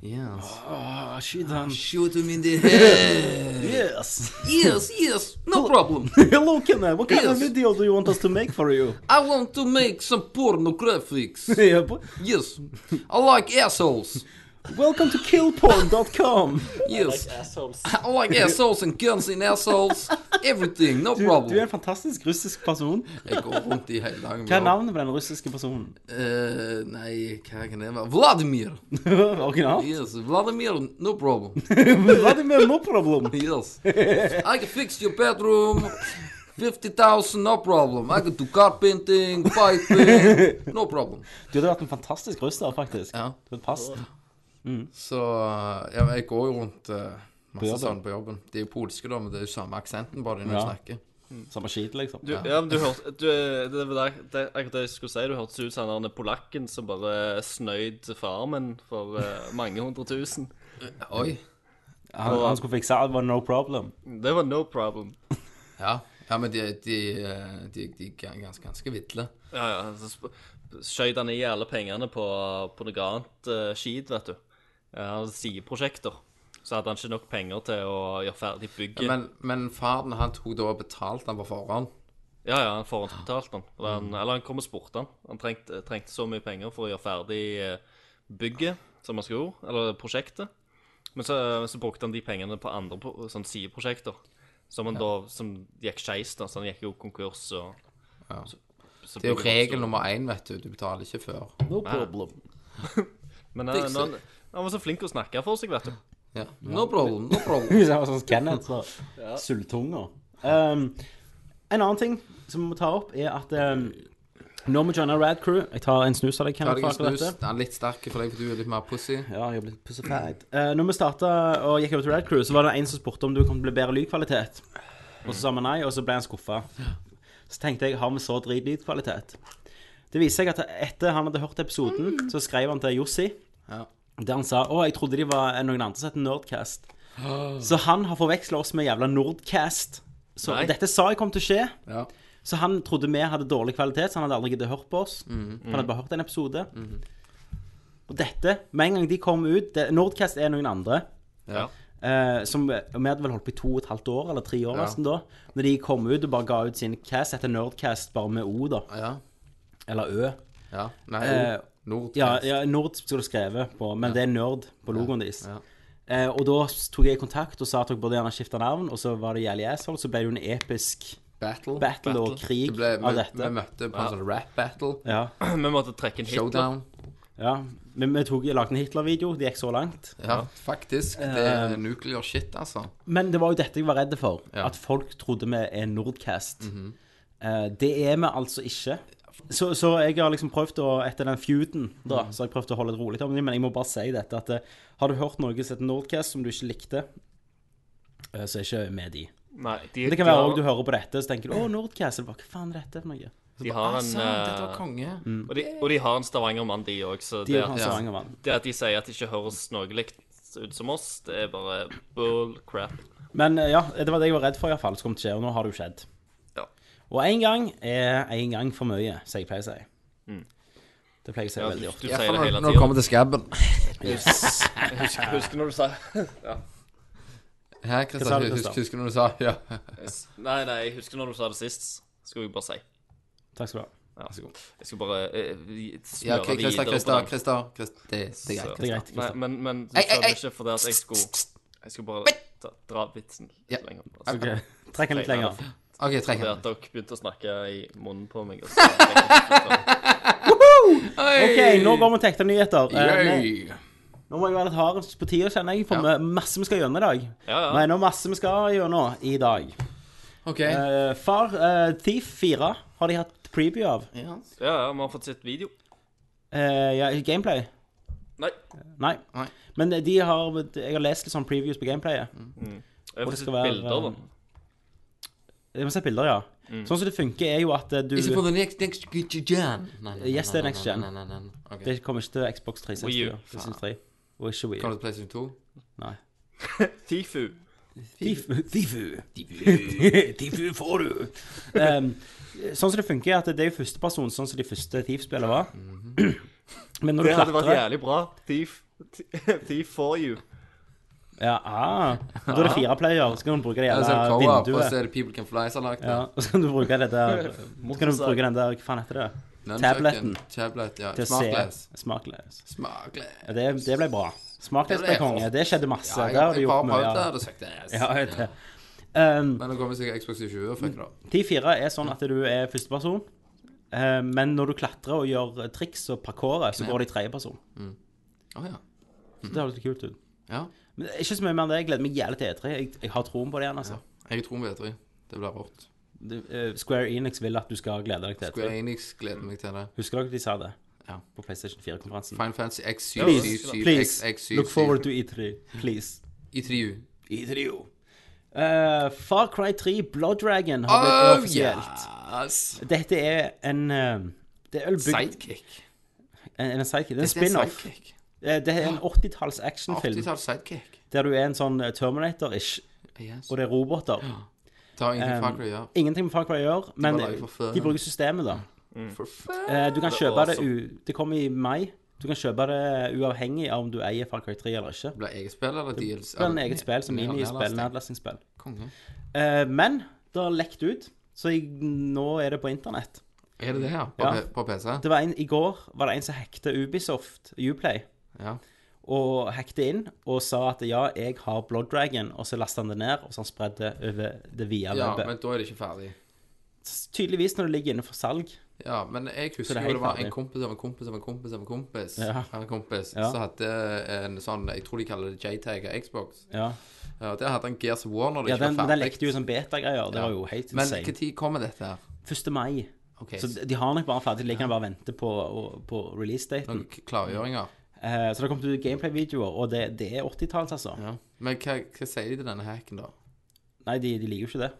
Yes. Åh, Skyt han. Oh, Shoot him in the head. Yes. <laughs> <laughs> Yes, yes, no <laughs> problem. Hello, Kenneth. What kind of Yes. video do you want us to make <laughs> for you? I want to make some pornographics. Yeah, but- Yes. I like assholes. Welcome to killporn.com. Yes. <laughs> I like assholes and guns in assholes. Everything, no Du, problem. du er en fantastisk russisk person. Jeg går rundt i hele dagen. Hva er navnet på den russiske personen? <laughs> Eh, nei, hva kan det være? Vladimir! Originalt? Yes, Vladimir, no problem. Vladimir, no problem. Yes. I can fix your bedroom. 50,000, no problem. I can do carpenting, piping, no problem. Du hadde vært en fantastisk russer, faktisk. Ja. Du hadde passet. Så eh, ja, men jeg går jo rundt eh, masse jobben. sånn på jobben. De er jo polske, da, men det er jo samme aksenten bare Ja. når de snakker. Samme skit, liksom. Du, ja, men du hørte du, eh, det, var der- det, Akkurat det jeg skulle si, du hørtes ut som han der polakken som bare snøyd farmen for eh, mange hundre tusen. Oi. Han, han skulle fikse alt, var no problem. Det var no problem. Ja, ja men de, de, eh, de, de er ganske, ganske vidle. Ja, ja, så sp- skjøt han i alle pengene på, på noe annet eh, skit, vet du. Eh, Han hadde sideprosjekter. Så hadde han ikke nok penger til å gjøre ferdig bygget. Ja, Men, men faren han tok da og betalte han på forhånd. ja, han forhåndsbetalte han. Eller han, eller han kom og spurte han. Han trengte, trengte så mye penger for å gjøre ferdig eh, bygget som han skulle, eller prosjektet. Men så, så brukte han de pengene på andre pro- sånn sideprosjekter, som, han da, som gikk skeis. da, Så han gikk jo konkurs og Ja. så- så Det er bygget jo oppstod. regel nummer én, vet du. Du betaler ikke før. No problem. <laughs> Men eh, Fikser. når han, han var så flink å snakke for seg, vet du. Ja. No problem, no problem. Hvis jeg var sånn som Kenneth, så Sultunger. Um, en annen ting som vi må ta opp, er at um, Nå må vi joine Rad Crew. Jeg tar en snus av deg. Kenneth, Hadde jeg for akkurat snus, dette. den er litt sterk for deg, for du er litt mer pussy. Ja, jeg har blitt pussified. Uh, når vi starta og gikk over til Rad Crew, så var det en som spurte om du kom til å bli bedre lydkvalitet. Og så sa vi nei, og så ble han skuffa. Så tenkte jeg, har vi så drit lydkvalitet? Det viste seg at etter han hadde hørt episoden, så skrev han til Jossi, Ja. der han sa å, jeg trodde de var noen andre som het Nerdcast. Så han har forveksla oss med jævla Nordcast. Så dette sa jeg kom til å skje. Ja. Så han trodde vi hadde dårlig kvalitet, så han hadde aldri giddet å høre på oss. Mhm. Han hadde bare hørt en episode. Og dette, med en gang de kom ut det, Nordcast er noen andre. Ja. Eh, som, og vi hadde vel holdt på i to og et halvt år, eller tre år Ja. nesten da. Når de kom ut og bare ga ut sin cast etter Nerdcast, bare med O, da. Ja. Eller Ø. ja. Nei, Eh, Nord. Ja, ja Nord skulle du skrevet på, men det er Nerd på logoen deres. Ja. Eh, og da tok jeg kontakt og sa at dere burde gjerne skifte navn, og så var det Jævlig Asshole, så ble det jo en episk Battle. battle, og krig Det ble, vi, av dette. vi møtte på en sånn rap battle. Ja. <clears throat> Vi måtte trekke en Hitler. Showdown. Ja, men vi tok, lagde en Hitler-video, det gikk så langt. Ja, faktisk. Det Eh, er nuclear shit, altså. Men det var jo dette jeg var redd for, Ja. Mhm. at folk trodde vi er Nordcast. Eh, det er vi altså ikke. Så, så jeg har liksom prøvd å, etter den feuden, da, Mhm. så har jeg prøvd å holde det rolig om det, men jeg må bare si dette, at eh, har du hørt noe som heter Nordcast som du ikke likte, eh, så er ikke med de. Nei, de, Det kan de være har, også du hører på dette, så tenker du, å, Nordcast, eller hva faen er dette for noe? de har en altså, dette var eh, konge. Mm. og, de, og de har en Stavanger-mann, de òg, så De det er at, hans ja. ja. det at de sier at de ikke høres noe likt ut som oss, det er bare bull crap. Men eh, ja, det var det jeg var redd for i hvert fall, som kom til å skje, og nå har det jo skjedd. Ja. Og én gang er én gang for mye, som jeg pleier å si. Det pleier jeg Mm. Ja, å si du, veldig ofte. du Ja, sier for det når, hele når det tida. kommer til skabben Husker, husker når du sa Hæ, Hva sa Kristian? du, Husker, Kristian? husker du når du sa <laughs> ja? Nei, nei, jeg husker når du sa det sist, skulle jeg bare si. Takk skal du ha. Ja. Jeg skal bare eh, vi- smøre Ja, ok, Christer, videre Christer, på den. Christer. Christer. Det, det Det er er greit. Christer. greit. Nei, men, men du Ei, ei, sa det ei. ikke fordi at jeg skulle Jeg skulle bare ta, dra vitsen Ja. litt lenger. <laughs> Altså, Ok, Trekk den litt lenger. OK, trekk Det den. at dere begynte å snakke i munnen på meg. <laughs> Altså. Ok, Nå går vi til ekte nyheter. Eh, nå- Yay! nå må jeg være litt hard på tida, kjenner jeg, for Ja. vi- masse vi skal gjennom i dag. Ja, ja. Nei, nå masse vi skal gjennom i dag. OK. Eh, far, eh, Thief 4 har de hatt preview av. Ja. Ja, ja, vi har fått sett video. Eh, ja, gameplay. Nei. Nei. Nei. Men de har, jeg har lest litt sånn previews på gameplayet. Jeg har Og det fått skal sett være, bilder, da. eh, Jeg må se bilder, ja. Mm. Sånn som det funker, er jo at eh, du Ikke på the next next gen. Nei, nei, Yes, nei, det er nei, next nei, gen. nei, nei, nei, nei. Ok. Det kommer ikke til Xbox Wii 360 U, og PlayStation 3. Og ikke Wii U. Kommer det til PlayStation 2? Tifu. Thief- Thifu. <laughs> Thifu får du. Ehm, sånn som det funker, er at det er jo førsteperson, sånn som de første Thief-spillene var. Mhm. Men når du Det hadde vært klatrer jævlig bra. Thief. <laughs> Thief for you. ja, ah, Da er det fire player, så kan du bruke det <laughs> Ja, så er det jævla co-op, og så vinduet. er det People Can Fly som har lagt Ja, det. og så kan du bruke det der Så kan du bruke den der Hva faen heter det? Nunchucken. Tabletten. Tablet, ja. Til å Smartglass. se Smartlass. Smartglass. Ja, det, det ble bra. Smartlass Det ble ble- konge. Det skjedde masse. Ja, jeg, der har du jeg bare gjort mye. prøvde det, av- og det søkte ass. <laughs> Ja, jeg vet det. Ehm, Men nå kommer sikkert Xbox 20 og fikk det. da. T4 er sånn at du er førsteperson, eh, men når du klatrer og gjør triks og parkourer, så går det i tredjeperson. Å ja. Så det høres litt kult ut. ja. Men det er ikke så mye mer enn det. Jeg gleder meg jævlig til E3. Jeg, jeg har troen på det igjen, altså. Jeg tror vi vet det. Det blir rått. Du, eh, Square Enix vil at du skal glede deg til Square E3. Enix gleder meg til det. Husker dere de sa det? Ja. På PlayStation 4-konferansen. Final Fantasy X7, Please, 7, please, X7, look forward to E3. <laughs> Please. I trio. Eh, Far Cry 3 Blood Dragon har blitt Oh, offisielt. yes! Dette er en eh, Det er ølbygd Sidekick. En, en sidekick. Det Eh, er en Det er en spin-off. sidekick. Eh, Det er en 80-talls actionfilm 80-talls sidekick. der du er en sånn eh, Terminator-ish, Yes. og det er roboter. Ta ingenting fra Um, hva de gjør. Ingenting med Far Cry å gjøre, men laget for før. de bruker systemet, da. For faen. Eh, Du kan Det er kjøpe det u... awesome. Det kommer i mai. Du kan kjøpe det uavhengig av om du eier Far Cry 3 eller ikke. Ble eget spill, eller deals? Det er en eget spill som Ned- minispill, nedlasting. nedlastingsspill. Konge. Eh, Men det har lekt ut, så jeg, nå er det på internett. Er det det, ja? På, Ja. P- på PC? Det var en, I går var det en som hackte Ubisoft, Uplay, Ja. og hackte inn og sa at ja, jeg har Blood Dragon, og så lasta han det ned, og så han spredde over det via ja, webbet. men da er det ikke ferdig. Tydeligvis når det ligger inne for salg. Ja, men jeg Så husker det er jo helt det var ferdig. en kompis av en kompis av en kompis av en kompis Ja. av en kompis Ja. som hadde en sånn Jeg tror de kaller det JTAG av Xbox. Ja, Ja, der hadde han Gears of War når det ja ikke den, var men den ferdig. lekte jo som beta-greier. Det Ja. var jo helt Men insane. når kommer dette her? 1. mai. Ok, Så de- de har nok bare ferdig, de kan bare vente på, å- på releasedaten. noen klargjøringer. Eh, så det kommer til å bli gameplay-videoer, og det, det er 80-tallet, altså. Ja. Men hva, hva sier de til denne hacken, da? Nei, de, de liker jo ikke det.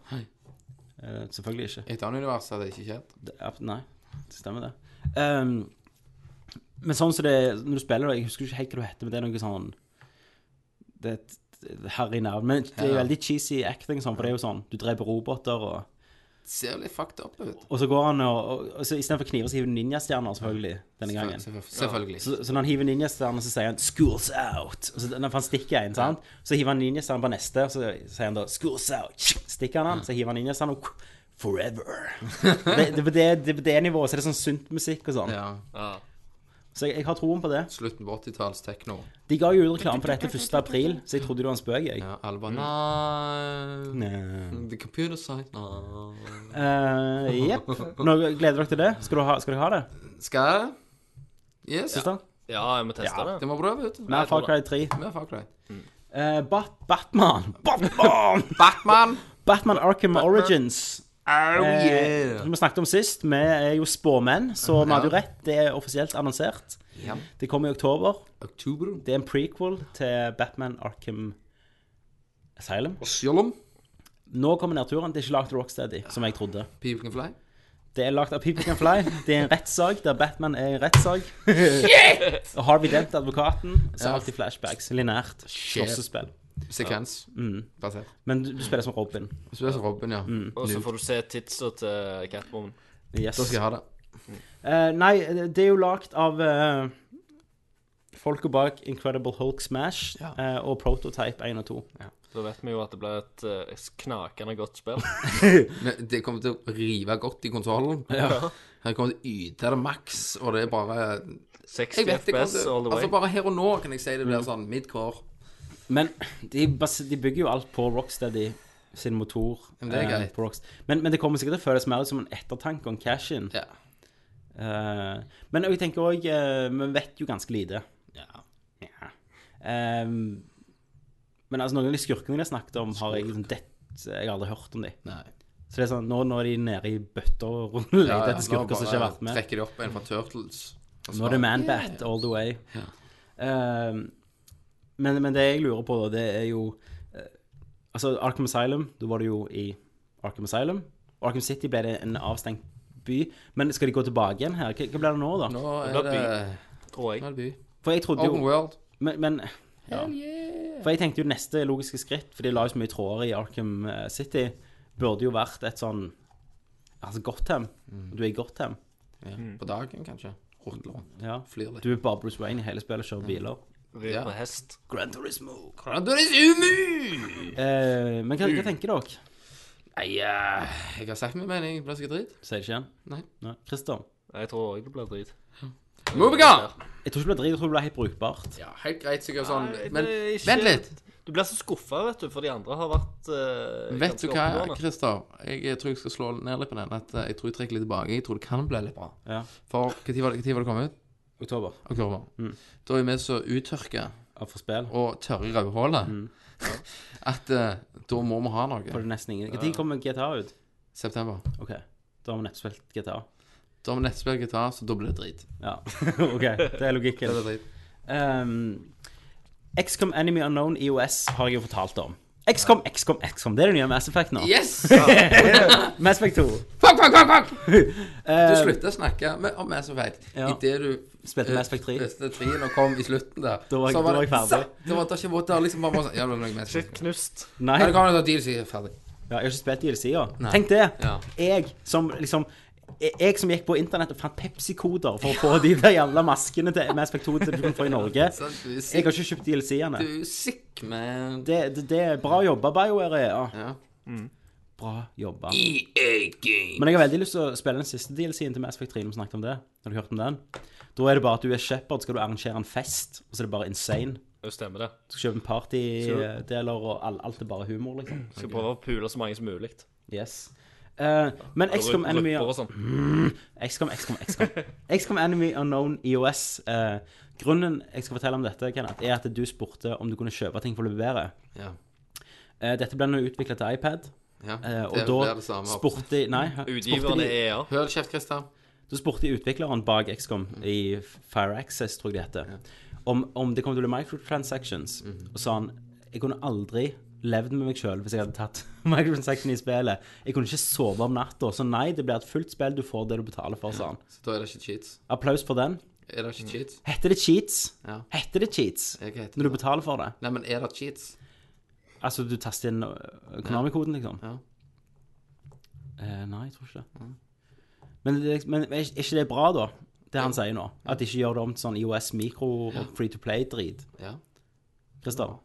Eh, selvfølgelig ikke. I et annet univers hadde det ikke skjedd. Det, ja, nei, det stemmer det. Ehm, men sånn som det Når du spiller det, jeg husker ikke helt hva du heter, men det er noe sånn Det er et et harry navn. Men det er Ja. veldig cheesy acting, sånn, for det er jo sånn Du dreper roboter, og, Det ser jo litt fucked up ut. og så går han og, og, og så Istedenfor kniver, så hiver han ninjastjerner, selvfølgelig, denne gangen. Selvfø- Selvfølgelig. Så, så når han hiver ninjastjernen, så sier han 'School's out'. Og så Når han stikker en, sant? så hiver han ninjastjernen på neste, og så sier han da 'School's out'. Stikker han den, så hiver han ninjastjernen og <laughs> Forever. det, det, på det, det, på det nivået så er det sånn sunt musikk og sånn. Ja. Så jeg, jeg har troen på det. Slutten på 80-talls tekno. De ga jo ut reklame på dette 1. april, så jeg trodde det var en spøk, jeg. Ja, alle bare Nei Nei. The computer side Nei Eh, Jepp. Nå gleder dere dere til det. Skal, du ha, skal dere ha det? Skal jeg? Yes. Syns dere? Ja, jeg må teste det. Det må prøve, vet du. Mer Far Cry 3. Vi har Far Cry. Eh, Bat Batman. Batman! Batman! Batman Arkham Origins. Oh Eh, Som vi snakket om sist, vi er jo spåmenn, så vi hadde jo rett. Det er offisielt annonsert. Ja. Det kommer i oktober. Oktober. Det er en prequel til Batman Arkham Asylum. Sjolom. Nå kommer nedturen. Det er ikke lagd av Rocksteady, som jeg trodde. People can fly. Det er lagd av People Can Fly. Det er en rettssak der Batman er i rettssak. Og Harvey Dent, advokaten, så Ja. alltid flashbacks. Linært. Shit. Slåssespill. Mm. Sekvens. Basert. Mm. Men du, du spiller som Robin. Så det er så Robin, ja. Og så får du se titsa til Catwoman. Yes. Da skal jeg ha det. Eh, nei, det er jo lagd av uh, folka bak Incredible Hulk Smash Ja. eh, og Prototype 1 og 2. Da vet vi jo at det blir et eh, knakende godt <laughs> spill. Men det kommer til å rive godt i konsollen. <laughs> Jeg kommer til å yte det maks, og det er bare 60 Jeg vet ikke FPS all the way. Altså, bare her og nå kan jeg si det blir sånn midcore. Men de, bas- de bygger jo alt på Rocksteady sin motor. Men det er eh, greit. på Rockst- men, men det kommer sikkert til å føles mer ut som en ettertanke om cash-in. Ja. Eh, men jeg tenker òg Vi vet jo ganske lite. Ja. Eh, men altså, noen av de skurkene jeg snakket om, har jeg liksom dett Jeg har aldri hørt om de. Nei. Så det er sånn, nå, nå er de nede i bøtta og ruller Ja, leter ja, etter skurker nå som ikke har bare vært med. Trekker de opp en fra Turtles. Og så Nå er det bare- Manbat all the way. Ja. Ehm, men, men det jeg lurer på, da, det er jo eh, Altså, Arkham Asylum, da var det jo i Arkham Asylum. Arkham City ble det en avstengt by. Men skal de gå tilbake igjen her? Hva, hva blir det nå, da? Nå Det er blir det tror Nå jeg. er det by. For jeg trodde Open jo World. Men, men ja. For jeg tenkte jo neste logiske skritt, for de la jo så mye tråder i Arkham eh, City, burde jo vært et sånn Altså Gotham. Mm. Du er i Gotham. Ja. På dagen, kanskje. Rutler. Ja. Flyr litt. Du er bare Bruce Wayne i hele spillet, kjører biler. Rir Ja. på hest. Gran Turismo. Grandioris Umu! Eh, men hva, hva tenker dere? Nei, eh, jeg har sagt min mening. Det blir sikkert drit. Sier det ikke igjen? Nei. Nei. Christer? Jeg tror òg det blir drit. Moving on! Jeg tror ikke det blir drit, jeg tror det blir helt brukbart. Ja, helt greit, sikkert sånn. Nei, Men det er ikke- vent litt. Du blir så skuffa, vet du, for de andre har vært eh, Vet du ganske hva, oppegående. Christer? Jeg eh, tror jeg skal slå ned litt på den. At eh, jeg tror jeg trekker litt tilbake. Jeg tror det kan bli litt bra. Ja. For når var, det- hva tid var det kommet ut? Oktober. Oktober. Mm. Da er vi så uttørka Ja, For spill. og tørre i rødhålet Mm. <laughs> at eh, da må vi ha For noe. det er nesten ingen Når kommer GTA ut? September. OK. Da har vi nettopp spilt GTA. Da har vi nettspill gitar, så da blir det drit. Ja. <laughs> OK. Det er Det logikken. blir drit. Um, XCOM Enemy Unknown EOS har jeg jo fortalt om. XCOM, XCOM, XCOM. Det er det nye Mass Effect nå. Yes! Fuck, Mass Effect 2. fuck, fuck, fuck! Du Eh, slutter å snakke med, om Mass Effect. Ja. Idet du Spilte Mass Effect 3. Beste trien og kom i slutten der. Da var jeg- så da var det- jeg ferdig. Zapp! Det var det ikke vått der. Liksom bare sånn Ja, det var noe Mass Effect. Knust. nei, Ja, ja, det kommer en deal, sier ferdig. jeg har ikke spilt DLC-er. Tenk det. Ja. Jeg som liksom jeg- jeg som gikk på internett og fant Pepsi-koder for å få de der jævla maskene til Mass Effect 2 til du kunne få i Norge. Sant, du er Jeg sick, har ikke kjøpt DLC-ene. du er sick man. Det, det, det er bra jobba, BioWare. Ja. Ja. Bra jobba. E EA Game. Men jeg har veldig lyst til å spille den siste DLC-en til Mass Effect 3. Når vi snakket om det. Har du hørt om den? Da er det bare at du er shepherd, skal du arrangere en fest, og så er det bare insane. Jo, stemmer det. Du skal kjøpe en partydeler, og all- alt er bare humor, liksom. Skal prøve å pule så mange som mulig. Yes. Eh, men XCOM Grupper Enemy og sånn. XCOM, XCOM, XCOM. XCOM Enemy Unknown EOS. Eh, grunnen jeg skal fortelle om dette, Kenneth, er at du spurte om du kunne kjøpe ting for å levere. Ja. Eh, dette ble nå utvikla til iPad. Ja, Eh, og det blir det da samme. altså. spurte de <laughs> Nei, spurte Utgiveren de, er E EA. Hør kjeft, Christer. da spurte de utvikleren bak XCOM Mm. i Fire Access, tror jeg det heter, om, om det kom til å bli microtransactions. Mm. Og sa han jeg kunne aldri levd med meg sjøl hvis jeg hadde tatt <laughs> microtransaction i spillet. Jeg kunne ikke sove om natta. Så nei, det blir et fullt spill. Du får det du betaler for, sa han. Så da er det ikke cheats. Applaus for den. Er det ikke cheats? Heter det cheats? Ja. Heter det cheats? Jeg heter Når du det. betaler for det? Nei, men er det cheats? Altså, du taster inn øh, Konami-koden, liksom? Ja. Eh, nei, jeg tror ikke det. Men, det- men er ikke- er ikke det bra, da? Det han sier nå? At de ikke gjør det om til sånn IOS mikro og free to play-drit? Ja. Christer?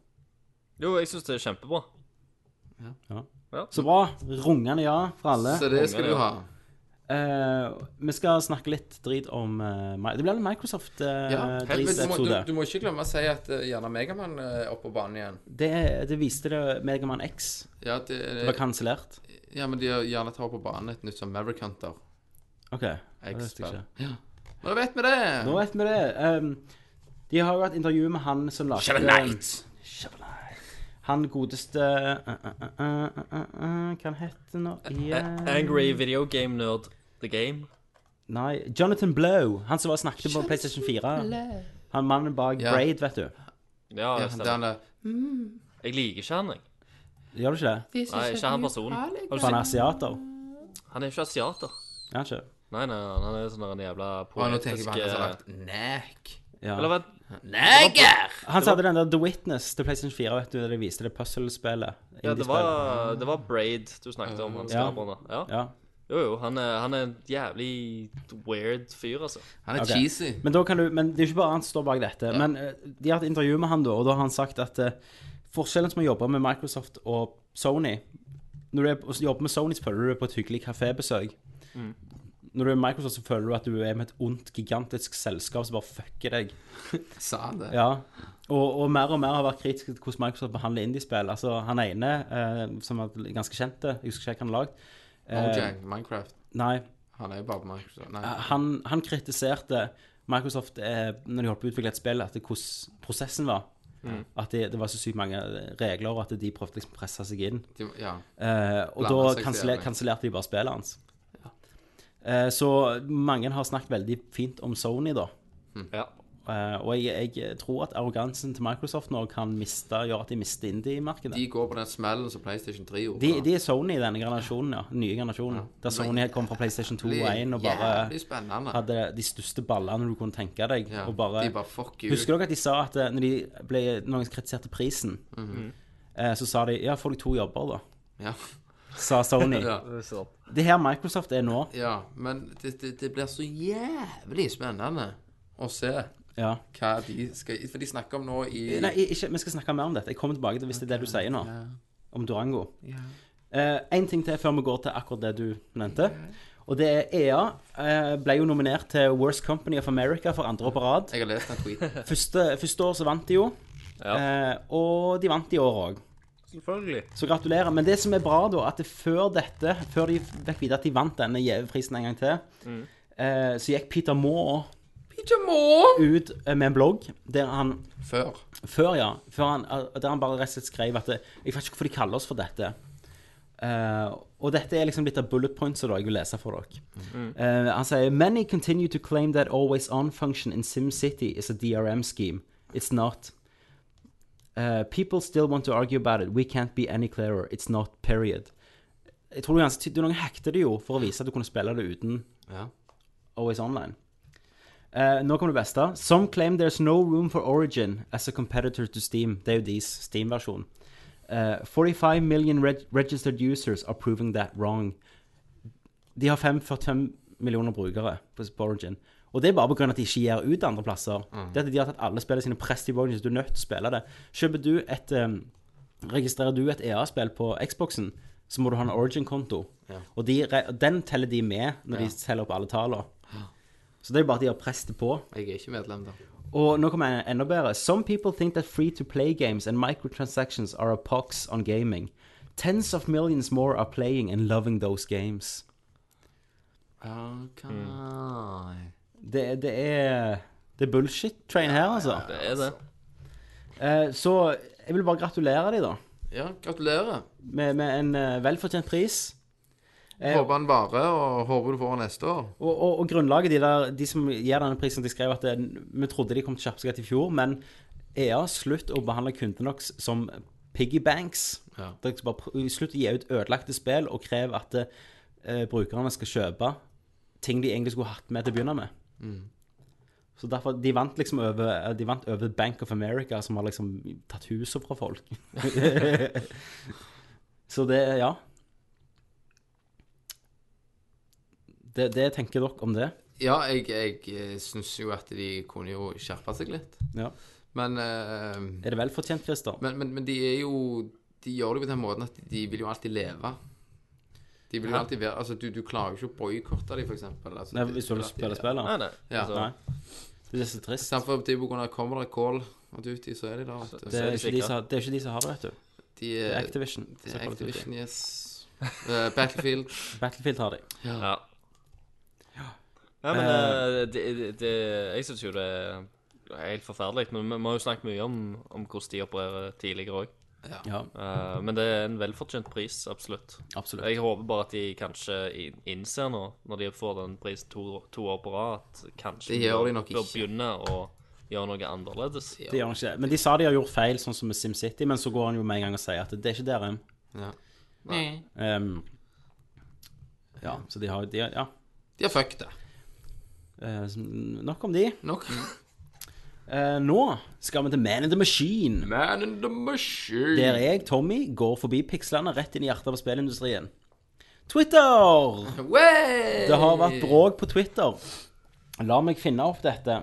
Jo, jeg syns det er kjempebra. Så bra. Rungende ja fra alle. Så det skal du ha. Eh, vi skal snakke litt drit om eh, Mi- Det blir en eh, Ja, helvete, du, må, du, Microsoft-drit-episode. du må ikke glemme å si at uh, gjerne Megaman er oppe på banen igjen. det, det viste det Megaman X. Ja, det, Det var kansellert. ja men de har gjerne tar på banen et nytt som Maverick Hunter. OK. Det visste jeg X-Spill. ikke. Ja. Nå vet vi det! Nå vet vi det. Ehm, de har jo hatt intervju med han som lagde Shovel Knight. Han godeste uh, uh, uh, uh, uh, uh, Hva han heter nå Eh, igjen? A- Angry video game nerd. The game. Nei, Jonathan Blow. Han som var snakket på PlayStation 4. Han mannen bak Ja. Braid, vet du. Ja, jeg ja, det er stemmer. han der. Jeg liker ikke han, jeg. Gjør du ikke det? Nei, ikke han personen. Har du For han sett? er asiater. Han er jo ikke asiater. Er han ikke? Nei, nei, nei, han er sånn der en jævla Og nå tenker jeg poetisk på han som har eh, lagt Næk. Ja. Eller vent, Neger! Han som hadde den der The Witness til PlayStation 4, vet du, der de viste det puzzlespillet. ja, det var, Indiespillet. det var Braid du snakket om, han Ja. skaperen. da. Ja. Ja. Jo, jo, han er, han er en jævlig weird fyr, altså. Han er Ok. cheesy. Men, da kan du, men det er jo ikke bare han som står bak dette. Men eh, de har hatt intervju med han, da, og da har han sagt at eh, forskjellen som å jobbe med Microsoft og Sony Når du er, og jobber med Sony, så føler du deg på et hyggelig kafébesøk. Når du er med Microsoft, så føler du at du er med et ondt, gigantisk selskap som bare fucker deg. Sa han det? Ja, og, og mer og mer har vært kritisk til hvordan Microsoft behandler indiespill. Altså, han ene, eh, som er ganske kjent, jeg husker ikke hva han har lagd eh, Mojang, Minecraft. Nei, Han er jo bare på Microsoft. Nei. Eh, han, han kritiserte Microsoft eh, når de holdt på å utvikle et spill, at det, hvordan prosessen var. Mm. At det, det var så sykt mange regler, og at de prøvde liksom å presse seg inn. De, ja. Eh, og da Blanda seg kanselle- til, ja. kansellerte de bare spillet hans. Eh, så mange har snakket veldig fint om Sony, da. Ja. Eh, og jeg, jeg tror at arrogansen til Microsoft nå kan miste, gjøre at de mister indie-markedet. De går på den smellen som PlayStation 3 gjorde. De, de er Sony i denne generasjonen, ja. Den nye generasjonen. Der Sony kom fra PlayStation 2 og 1 og bare Jævlig spennende. hadde de største ballene du kunne tenke deg. Ja, Og bare, de bare, fuck you. Husker dere at de sa at eh, når de ble, noen kritiserte prisen, Mhm. eh, så sa de ja, får du to jobber, da? Ja. Sa Sony. <laughs> Ja. Det her Microsoft er nå. ja, men det, det, det blir så jævlig spennende å se Ja. hva de skal For de snakker om nå i Nei, ikke, vi skal snakke mer om dette. Jeg kommer tilbake til hvis det er det du sier nå. Om Durango. Én ting til før vi går til akkurat det du nevnte. Og det er EA eh, ble jo nominert til Worst Company of America for andre år på rad. Jeg har lest den tweeten. Første, første år så vant de jo. Eh, og de vant i år òg. Selvfølgelig. Så gratulerer. Men det som er bra, da, at det før dette, før de fikk vite at de vant denne prisen en gang til, eh, så gikk Peter Moore ut eh, med en blogg der han Før. før, ja. Før han, eh, der han bare rett og slett skrev at det, Jeg vet ikke hvorfor de kaller oss for dette. Eh, og dette er liksom litt av bullet points da jeg vil lese for dere. Eh, han sier Many continue to claim that always on function in SimCity is a DRM scheme. It's not. Eh, people still want to argue about it. We can't be any clearer. It's not. Period. Jeg tror det er ganske tydelig, Noen hackte det jo for å vise at du kunne spille det uten Ja. Always Online. Eh, nå kommer det beste. Some claim there's no room for Origin as a competitor to Steam. Det er jo deres Steam-versjon. Eh, 45 million reg registered users are proving that wrong. De har 545 millioner brukere på på Origin. Og det er bare pga. at de ikke gir ut andre plasser. Det at De har tatt alle spillene sine press i Origin, så du er nødt til å spille det. Kjøper du et eh, Registrerer du et EA-spill på Xboxen, så må du ha en Origin-konto. Og de, re- den teller de med når de teller opp alle tallene. Så det er jo bare at de har presset det på. Jeg er ikke medlem, da. Og nå kommer en enda bedre. Some people think that free-to-play games and microtransactions are a pox on gaming. Tens of millions more are playing and loving those games. Ok. Det, det er Det er bullshit-train her, altså. Det er det. Eh, så jeg vil bare gratulere de da. Ja, gratulerer. med, med en eh, velfortjent pris. Håper han varer, og håper du får den neste år. Og, og, og grunnlaget, de, der, de som gir denne prisen, de skrev at det, vi trodde de kom til å skjerpe seg etter i fjor, men EA, slutt å behandle kundene deres som piggy banks. Ja. Dere skal bare, pr- slutt å gi ut ødelagte spill, og krev at eh, brukerne skal kjøpe ting de egentlig skulle hatt med til å begynne med. Så derfor, De vant liksom over, de vant over Bank of America, som har liksom tatt huset fra folk. <laughs> Så det, ja. Det, det tenker dere om det. Ja, jeg, jeg syns jo at de kunne jo skjerpe seg litt. Ja. Men, eh, Er det vel fortjent, Christer? men, men, men de er jo De gjør det jo på den måten at de vil jo alltid leve. De vil jo alltid være Altså, du, du klarer jo ikke å boikotte dem, for eksempel. Altså, Nei, de- hvis du vil at de- spille spill, da? Nei, nei. Ja. Altså, Det er så trist. Samt for på grunn av kommer det kål og duty, så er de der. vet du. Det er, de ikke de sikre. som, har- det er ikke de som har det, vet du. De Det er er Activision. Eh, det Så er Call of Duty. Activision, yes. Eh, <laughs> Battlefield. Battlefield har de. ja. Nei, men eh, det, det, det, jeg syns jo det er helt forferdelig. Men Vi vi har jo snakket mye om, om hvordan de opererer tidligere òg. Ja, Eh, men det er en velfortjent pris, absolutt. absolutt. Jeg håper bare at de kanskje in- innser nå, når de får den prisen to, to år på rad, at kanskje Det gjør bør- de nok bør ikke. begynne å gjøre noe annerledes. Det gjør han ikke. Men de sa de har gjort feil, sånn som med SimCity, men så går han jo med en gang og sier at det er ikke der en. Ja. Um, ja, så de har de, har- Ja. De har fucked det. Eh, så nok om de. Nok. Eh, nå skal vi til Man in the Machine. Man in the machine. Der jeg, Tommy, går forbi pikslene rett inn i hjertet av spillindustrien. Twitter! Wey! Det har vært bråk på Twitter. La meg finne opp dette.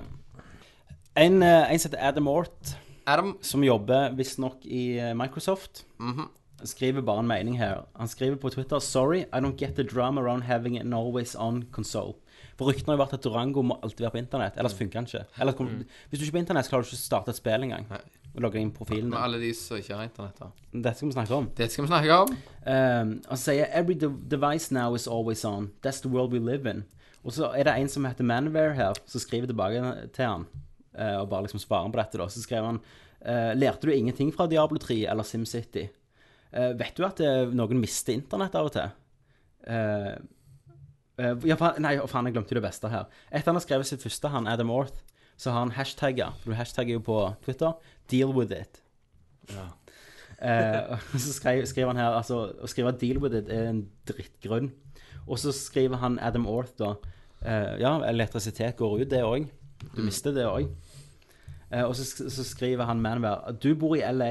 En, eh, en som heter Adam Ort, Adam som jobber visstnok i eh, Microsoft. Han skriver bare en mening her. Han skriver på Twitter Sorry, I don't get the drama around having an always on console. For ryktene har jo vært at Durango må alltid være på internett, ellers funker han ikke. Ellers kommer, Hvis du ikke er på internett, så klarer du ikke å starte et spill engang. Og logge inn profilen med din. alle de som ikke har internett. da. Dette skal vi snakke om. Det skal vi snakke om. Um, han sier Every de device now is always on. That's the world we live in. Og så er det en som heter Manware her, som skriver tilbake til han. eh, og bare liksom svarer på dette, da. Så skrev han eh, Lærte du ingenting fra Diablo 3 eller SimCity? Eh, vet du at eh, noen mister internett av og til? Eh, eh, ja, faen, nei, å faen, jeg glemte jo det beste her. Etter han har skrevet sitt første, han Adam Orth, så har han hashtagga, for du hashtagger jo på Twitter, 'deal with it'. Eh, og så skrev, skriver han her altså, Å skrive 'deal with it' er en drittgrunn. Og så skriver han Adam Orth, da. eh, ja, elektrisitet går ut, det òg. Du mister det òg. Eh, og så, sk- så skriver han Manware Du bor i LA.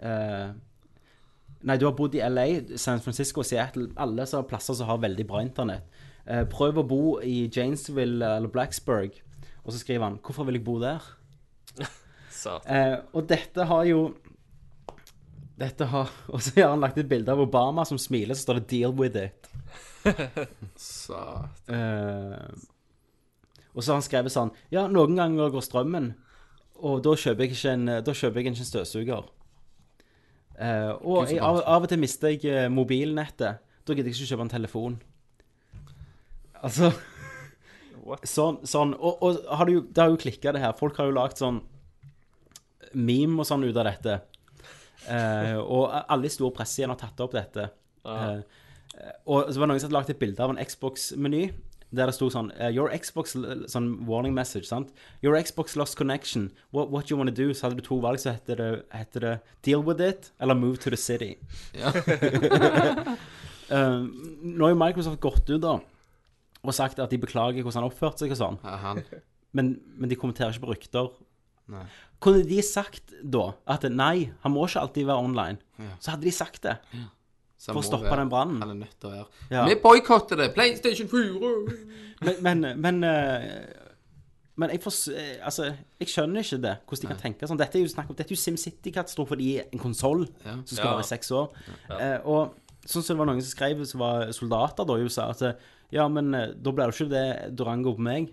eh, nei, du har bodd i LA, San Francisco, Seattle. Alle som har plasser som har veldig bra internett. Eh, prøv å bo i Janesville eller Blacksburg. Og så skriver han 'Hvorfor vil jeg bo der?' Satan. Eh, og dette har jo Dette har <laughs> Og så har han lagt et bilde av Obama som smiler, så står det 'deal with it'. Så Eh, og så har han skrevet sånn Ja, noen ganger går strømmen, og da kjøper jeg ikke en, da kjøper jeg ikke en støvsuger. Eh, og jeg, av, av og til mister jeg eh, mobilnettet. Da gidder jeg ikke kjøpe en telefon. Altså <laughs> Sånn. sånn og og har det, jo, det har jo klikka, det her. Folk har jo lagd sånn meme og sånn ut av dette. Eh, og alle i stor presse igjen har tatt opp dette. Eh, og så var det noen som hadde lagt et bilde av en Xbox-meny. Der det sto sånn eh, Your Xbox l- Sånn warning message, sant? Your Xbox lost connection. What, what you wanna do? Så hadde du to valg, så heter det, heter det Deal with it eller Move to the city. <laughs> Eh, nå har jo Microsoft gått ut da og sagt at de beklager hvordan han oppførte seg og sånn. er han Men, men de kommenterer ikke på rykter. Kunne de sagt da at nei, han må ikke alltid være online, så hadde de sagt det. så For å må stoppe være- den brannen. Han er nødt til å være Ja. Vi boikotter det! PlayStation 4! Men Men, men, eh, men jeg, fors- eh, altså, jeg skjønner ikke det, hvordan de kan tenke sånn. Dette er jo snakk om, dette er jo SimCity-katastrofe i en konsoll som skal Ja. vare i seks år. Eh, og sånn som det var noen som skrev, som var soldater da i USA, at eh, ja, men eh, da blir det ikke det Durango på meg.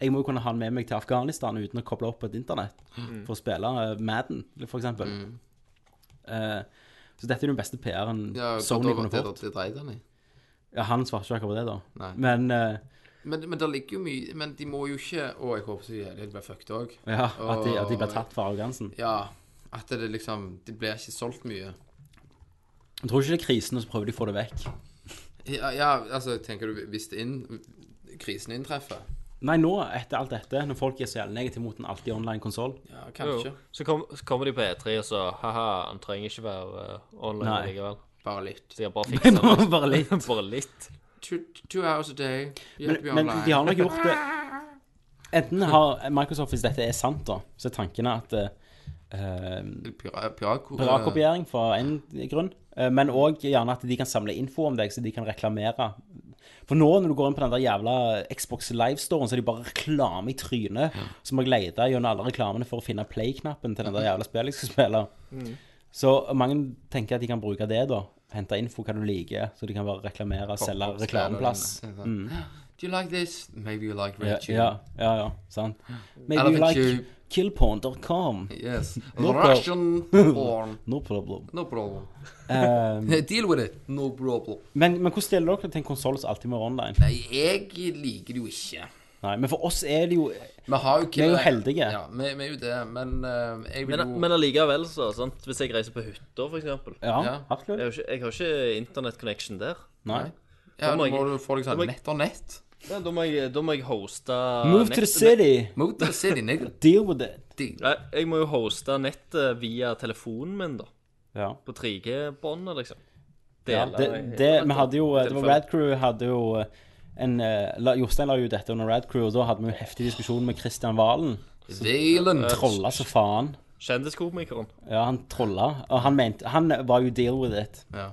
Jeg må jo kunne ha den med meg til Afghanistan uten å koble opp på et internett Mm. for å spille eh, Madden, for eksempel. Eh, så dette er jo den beste PR-en Ja, <laughs> Sony kunne det, fått. det dreide han i. Ja, han svarte ikke akkurat på det, da. Nei. Men eh, Men, men det ligger jo mye Men de må jo ikke Å, jeg håper så jævlig det blir fucked òg. ja, at de, at de ble tatt for arrogansen. Ja. At det liksom Det blir ikke solgt mye. Jeg tror ikke det er krisen, og så prøver de å få det vekk. Ja, ja, altså, tenker du hvis det inn, krisen inntreffer? Nei, nå, etter alt dette, når folk er så jævlig negative mot en alltid online konsoll Ja, Jo. kanskje. Så, kom, så kommer de på E3 og så Haha, han trenger ikke være eh, online Nei. likevel. Bare litt. Så de har bare fiksa det. Bare litt. <laughs> Bare litt. Two, two hours a day. You have to be Men, men online. de har nok gjort det Enten har Microsoft, hvis dette er sant, da, så er tanken at eh, eh, Pira- piratko- Piratkopiering for en grunn, eh, men òg gjerne at de kan samle info om deg, så de kan reklamere. For nå når du går inn på den der jævla Xbox Live-storen, så er det bare reklame i trynet. Så må jeg lete gjennom alle reklamene for å finne play-knappen til den der jævla spillet jeg skal spille. Så mange tenker at de kan bruke det, da. Hente info hva du liker, så de kan bare reklamere, selge Pop-up-steder reklameplass. og sånn. Do you like this? Maybe you like Mm. Ja, red tube. ja, ja, ja, sant. Maybe you Elephant like tube. killporn.com. <laughs> Yes. problem. Russian porn. No <laughs> problem. No problem. Eh, Deal with it. No problem. men, men hvordan stiller dere til en konsoll som alltid må være online? Nei, jeg liker det jo ikke. Nei, men for oss er det jo Vi Vi er har jo jo killer- heldige. Ja, vi, vi er jo det, men eh, jeg vil Men, jo men allikevel, så. Sant? Hvis jeg reiser på hytta, for eksempel. Jeg, Ja, Ja. absolutt. har jo ikke- jeg har ikke internettconnection der. Nei. Ja, da må nå jeg- må du få deg sånn da må jeg- nett og nett. Ja, da, må jeg, da må jeg hoste Move to the nettet- city! Move to the city, <laughs> nigga. Deal with it. Deal. Nei, jeg må jo hoste nettet via telefonen min, da. Ja. På 3G-båndet, liksom. ja Dele- det, det, vi hadde jo eh, Det var Rad Crew hadde jo en, eh, la- Jostein la jo dette under Rad Crew, og da hadde vi jo heftig diskusjon med Christian Valen. Dealen. Trolla så faen. Kjendiskomikeren. Ja, han trolla. Og han mente Han var jo deal with it. Ja.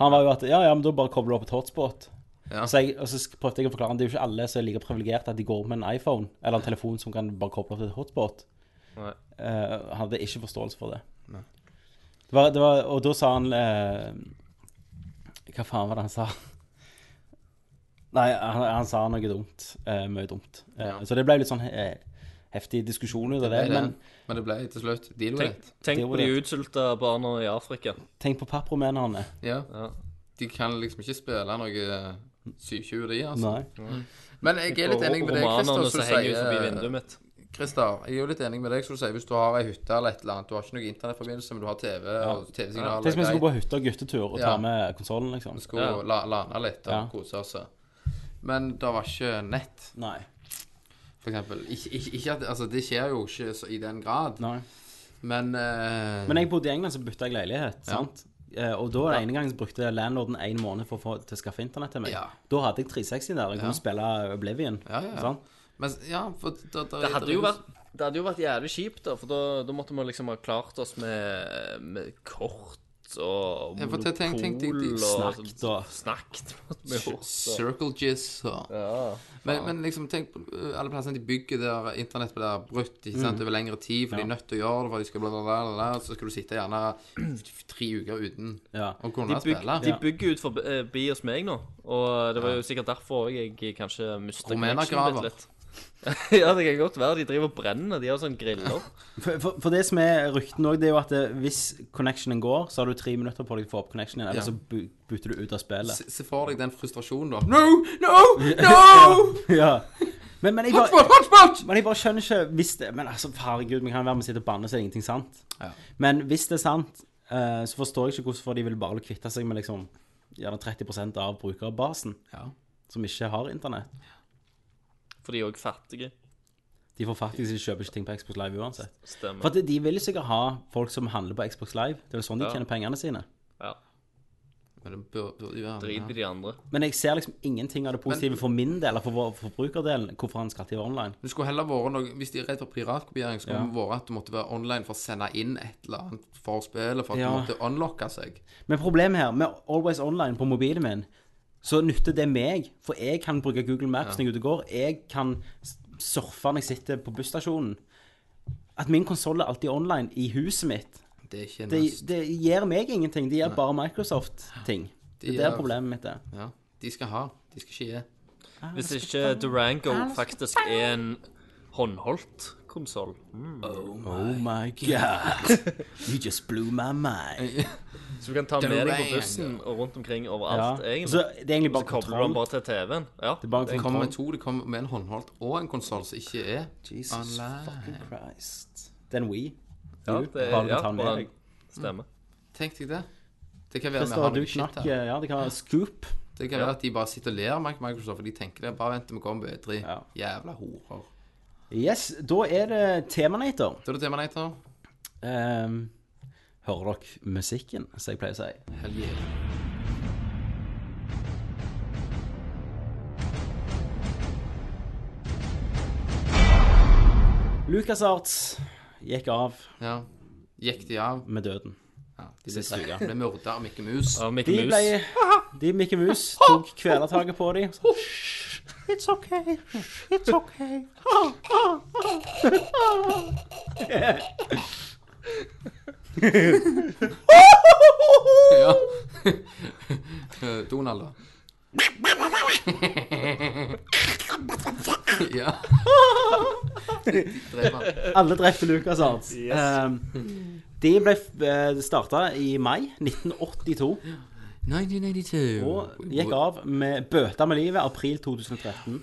Han var jo at Ja, ja, men da bare kobler du opp et hotspot. Ja. Så jeg, og så sk- prøvde jeg å forklare han, Det er jo ikke alle som er like privilegerte at de går med en iPhone eller en telefon som kan bare koble opp til et hotspot. Nei. Eh, Han hadde ikke forståelse for det. det, var, det var, og da sa han eh, Hva faen var det han sa? Nei, han, han sa noe dumt. eh, mye dumt. Eh, Så det ble litt sånn eh, heftig diskusjon ut av det. Nei, det- Men men det ble til slutt deal with Tenk, it. tenk Det på var de det. utsulta barna i Afrika. tenk på pappromenerne. Ja. Ja. De kan liksom ikke spille noe 720, de, altså. Nei. Men jeg er litt Og enig med deg, Christer, romanene som som eh, henger ut forbi vinduet sier mitt. Christer, jeg er jo litt enig med deg, som du sier, hvis du har ei hytte eller et eller annet, du har ikke noe internettforbindelse, men du har TV og TV-signaler Tenk om vi skulle greit. på hytte og guttetur og ta Ja. med konsollen, liksom. Vi skulle Ja. la, lande litt og Ja. kose oss. Men det var ikke nett, Nei. for eksempel. Ikke, ikke, ikke at, altså, det skjer jo ikke så, i den grad, Nei. men eh, Men jeg bodde i England, så bytta jeg leilighet. sant? Eh, Og da den ene gangen så brukte landlorden en måned for å få, til å skaffe internett til meg. Ja. Da hadde jeg 360 der. Jeg kunne Ja. spille Oblivion. Ja, ja. sant? men, ja, for da, da, Det hadde jo vært det hadde jo vært jævlig kjipt, da, for da, da måtte vi liksom ha klart oss med, med kort og Ja, for tenk- tenk- tenk- tenk- monopol Snakket og- Snakket måtte vi gjort. og- Circle Jizz og men, men liksom, tenk på uh, alle plassene de bygger der internett blir brutt ikke sant, over lengre tid, for de er nødt til å gjøre det, for de skal bla, bla, bla, bla, bla, så skal du sitte gjerne <clears throat> tre uker uten Ja. å kunne De, byg, spille. de bygger ut forbi eh, hos meg nå, og det var jo sikkert derfor jeg eh, kanskje mista Rumenergraver. litt. <laughs> ja, det kan godt være. De driver og brenner. De har sånn griller. For, for, for det som er rykten òg, det er jo at eh, hvis connectionen går, så har du tre minutter på deg til å få opp connectionen, eller Ja. så bu- bytter du ut av spillet. Se, se for deg den frustrasjonen, da. No! No! No! <laughs> ja. Men, men, jeg bare, Hotspot! Hotspot! men jeg bare skjønner ikke hvis det Men altså, herregud, vi kan være med og sitte og banne, så er det ingenting sant. Ja. Men hvis det er sant, eh, så forstår jeg ikke hvorfor de vil bare kvitte seg med liksom gjerne 30 av brukerbasen Ja. som ikke har internett. For de er òg fattige. De får faktisk de kjøper ikke ting på Xbox Live uansett. For Stemmer. at de vil sikkert ha folk som handler på Xbox Live. Det er vel sånn de tjener pengene sine. Ja. Men det bør, bør jo være Drit i de andre. Men jeg ser liksom ingenting av det positive for min del, eller for vår- for forbrukerdelen, hvorfor han skal til online. Det skulle heller vært noe Hvis de er redd for piratkopiering, skulle Ja. det vært at du måtte være online for å sende inn et eller annet for spillet, for at Ja. du måtte unlocke seg. Men problemet her, med Always Online på mobilen min, så nytter det meg, for jeg kan bruke Google Maps når jeg er ute og går, jeg kan s- surfe når jeg sitter på busstasjonen. At min konsoll er alltid online i huset mitt, Det er ikke en det, mest- det gir meg ingenting, det gir bare Microsoft-ting. Det er De der gjør- problemet mitt er. Ja. De skal ha. De skal ikke gi. Hvis ikke Durango faktisk er en håndholdt konsoll Oh my god. <laughs> You just blew my mind. Så du kan ta med deg på Durango. bussen og rundt omkring Ja. overalt, Så egentlig. det er egentlig Og så bare kobler du den kontroll. bare til TV-en. Ja. Det er bare Det kommer kontroll. med to. Det kommer med en håndholdt og en konsoll som ikke er Jesus Online. fucking Christ. Det er en Wii. Ja, Du, det bare du ja, tar den med bare- deg. Mm. Stemmer. Tenk deg det. Det Det kan være vi Christer, har du noe shit knakk her. Ja, det kan være scoop. Det kan være at de bare sitter og ler av Mike Microsoft, for de tenker det. Bare vent til vi kommer på E3. Ja. Jævla horer. Yes, da er det Temanator. Da er det tema, Nater. Ehm, hører dere musikken, som jeg pleier å si? Hell yeah. LucasArts gikk av Ja. Gikk de av? med døden. Ja, de ble Sist uke. drept. Ble myrda av Mikke Mus. Av Mikke De Mus. ble De Mikke Mus tok kvelertaket på dem. It's okay. It's okay. <laughs> Ja. <laughs> Donald, da. <laughs> ja. Drev han. Alle drepte LucasArts. Ehm, de ble uh, starta i mai 1982 og 1992. gikk av med bøter med livet april 2013.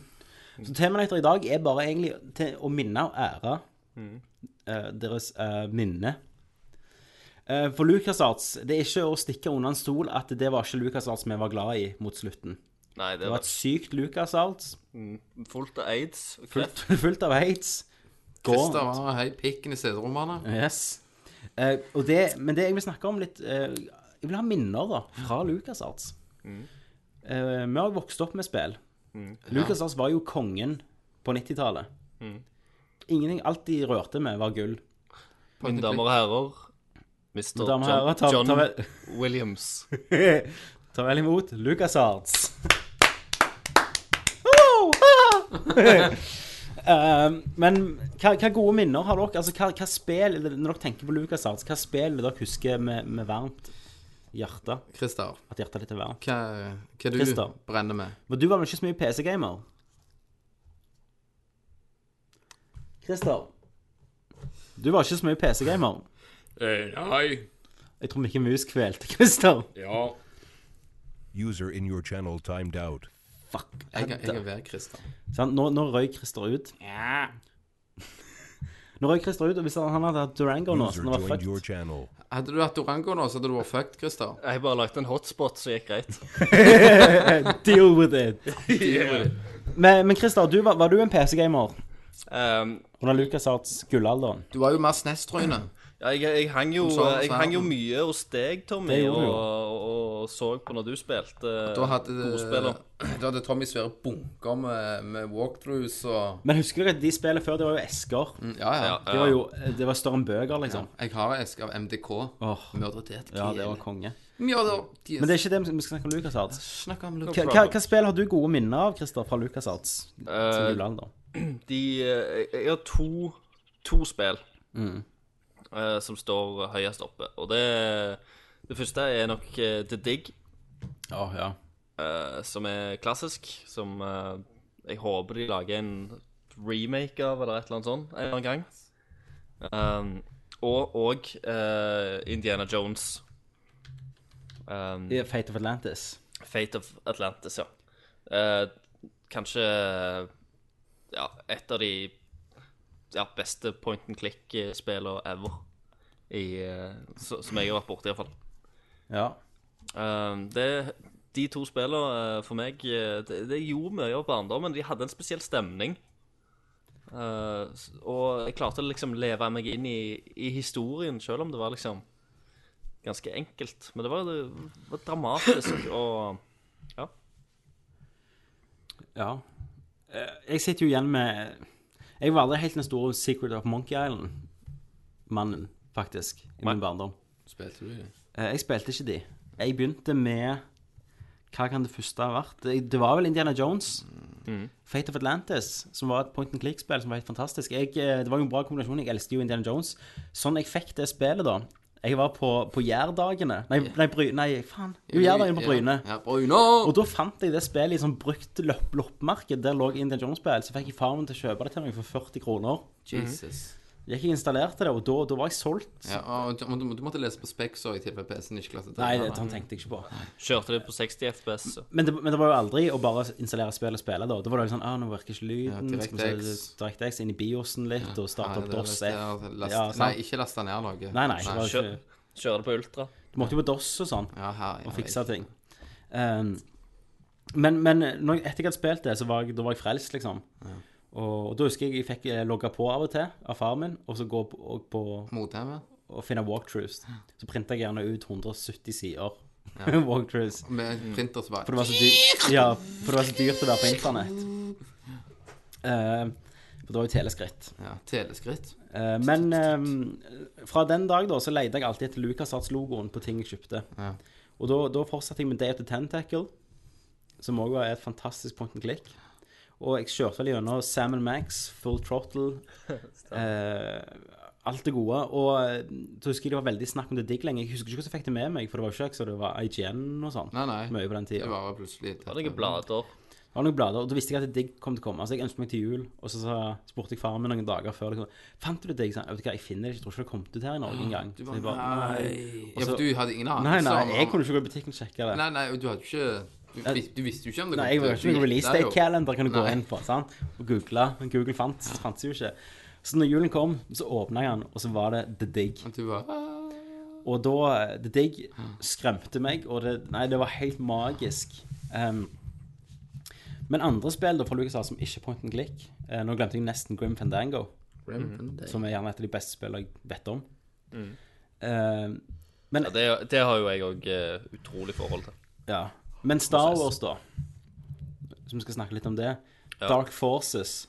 Så Terminator i dag er bare egentlig til å minne og ære eh, deres eh, minne. Eh, for LucasArts, det er ikke å stikke under en stol at det var ikke LucasArts vi var glad i mot slutten. Nei, det Det var var et sykt LucasArts, fullt av aids. og kreft. fullt, fullt av aids. Christer var hei pikken i CD-rommene. Yes. Eh, og det, men det jeg vil snakke om litt eh, Jeg vil ha minner da, fra LucasArts. Eh, vi har jo vokst opp med spill. LucasArts var jo kongen på 90-tallet. Ingenting, Alt de rørte med, var gull. Mine damer og herrer, Mr. Damer og herrer, ta, John, John ta, vel, Williams. ta vel imot LucasArts. <laughs> Eh, men hva, hva gode minner har dere? Altså, hva, hva spill, eller Når dere tenker på LucasArts, hva spill dere husker med, med varmt hjerte? Christer, At hjertet ditt er varmt? hva, hva du Christer. brenner med? Men du var vel ikke så mye PC-gamer? Christer. Du var ikke så mye PC-gamer. Eh, nei. Jeg tror Mikke Mus kvelte Christer. Ja. User in your channel timed out. Fuck. Jeg, jeg er ved Christer. Sant? Nå, nå røy Christer ut. <laughs> Nå røy Christer ut, og hvis han han hadde hatt Durango nå, så han var fucked. channel. Hadde du hatt Orango nå, så hadde du vært fucked, Christer. <laughs> Jeg bare lagde en hotspot, så gikk greit. <laughs> Deal with it. <laughs> Men, men Christer, du, var, var du en PC-gamer Um, under LucasArts gullalderen? Du var jo mer snestryne. Mm. ja, jeg, jeg, hang jo, Som sa han jeg sa. hang jo mye hos deg, Tommy, Det og, gjorde du jo. og, og så på når du spilte eh, Da hadde, ordspiller. <clears throat> da hadde Tommy svære bunker med, med walkthroughs og Mm, Men husker dere at de spillene før, det var jo esker. Ja, ja. Det var jo, eh, det var større enn bøker, liksom. Jeg har en eske av MDK. Åh. Mørdet til et Ja, kjel. det var konge. Mjøder. De Men det er ikke det vi skal snakke om LucasArts. snakker om Hva, hva, hva spill har du gode minner av, Christer, fra LucasArts? Som gullalder? De eh, Jeg har to, to spill eh, som står høyest oppe. Og det, det første er nok eh, The Dig, Å, ja. eh, som er klassisk. Som eh, jeg håper de lager en remake av, eller et eller annet sånt, en eller annen gang. Um, og og eh, Indiana Jones. Um, I Fate of Atlantis. Fate of Atlantis, ja. Eh, kanskje ja, et av de ja, beste point and click-spillene ever. I, eh, så, som jeg har vært borti, iallfall. Ja. Um, det, de to spillene eh, for meg eh, det, det gjorde mye av barndommen. De hadde en spesiell stemning. Eh, s- og jeg klarte å liksom leve meg inn i, i historien, selv om det var liksom ganske enkelt. Men det var, det var dramatisk og ja. Eh, Jeg sitter jo igjen med Jeg var aldri helt den store Secret of Monkey Island-mannen, faktisk, i min barndom. Spilte du det? Eh, Jeg spilte ikke de. Jeg begynte med Hva kan det første ha vært? Det- Det var vel Indiana Jones. Mm. Fate of Atlantis, som var et point and click-spill som var helt fantastisk. Jeg, eh, det var jo en bra kombinasjon. Jeg elsket jo Indiana Jones. Sånn jeg fikk det spillet, da Jeg var på, på Jærdagene Nei, nei, Bry, nei faen. Jo, Jærdagene på Bryne. Ja, Bryne! Og da fant jeg det spillet i sånn brukt lopp- loppemarked. Der lå Indiana Jones-spill. Så fikk jeg faren min til å kjøpe det til meg for 40 kroner. Jesus. Gikk jeg og installerte det, og da, da var jeg solgt. Ja, og du, du, du måtte lese på Spek, så i tilfelle PC-en ikke klarte det. Nei, det, han tenkte jeg ikke på. Kjørte det på 60 FPS. så. Men det, men det var jo aldri å bare installere spill og spille, da. Da var det jo sånn ah, nå virker ikke lyden. Ja, skal vi se, DirectX. DirectX inn i biosen litt, og starte opp DOS F. Last, Ja, nei, sant. ikke laste ned noe. Nei, nei. det var Kjør, ikke... kjøre det på ultra. Du måtte jo på DOS og sånn Ja, her, ja, og fikse ting. Um, men men når, jeg- etter jeg hadde spilt det, så var jeg, da var jeg frelst, liksom. Og, og da husker jeg jeg fikk eh, logge på av og til av faren min, og så gå på, og, på, Motemet. og finne walkthroughs. Så printa jeg gjerne ut 170 sider <laughs> walkthroughs. Med printer som Mm. For bare det var så dyrt, ja, for det var så dyrt å være på internett. Eh, for det var jo teleskritt. ja, Teleskritt. Eh, men eh, fra den dag da, så leide jeg alltid etter LucasArts-logoen på ting jeg kjøpte. Ja. Og da, da fortsatte jeg med Day of the Tentacle, som også var et fantastisk point and click. Og jeg kjørte vel gjennom Sam Max, Full <laughs> Trottle, eh, alt det gode. Og eh, så husker jeg det var veldig snakk om det digg lenge. Jeg husker ikke hva som fikk det med meg, for det var jo ikke jeg, så det var IGN og sånn. Nei, nei. Mye på den Det tida. var jo plutselig Det er noen blader. Det var noen blader, og da visste jeg at digg kom til å komme. Så jeg ønsket meg til jul, og så sa- spurte jeg faren min noen dager før. Liksom, Fant du det digg? Så han, Vet du hva, jeg finner det ikke. Jeg tror ikke det kom ut her i Norge engang. Ah, Du Så jeg bare, nei. Ja, for du hadde ingen Altså- Nei, anelse nei, om- jeg kunne ikke gå i butikken og sjekke det. Nei, nei, og du hadde ikke Du, vis, du visste jo ikke om det Nei, jeg var til- ikke noen du release gjettet jo. day-calendar kan du gå Nei. inn på, sant? Og google. Men Google fant, fantes jo ikke. Så når julen kom, så åpna jeg den, og så var det The Digg. Du bare Og da The Digg skremte meg, og det, nei, det var helt magisk. Um, men andre spill da fra LucasArts som ikke er point and click eh, Nå glemte jeg nesten Grim Fandango. Som er gjerne et av de beste spillene jeg vet om. Eh, men, Mm. Ja, det, det har jo jeg òg utrolig forhold til. ja. men Star Wars, da, som vi skal snakke litt om det Dark Forces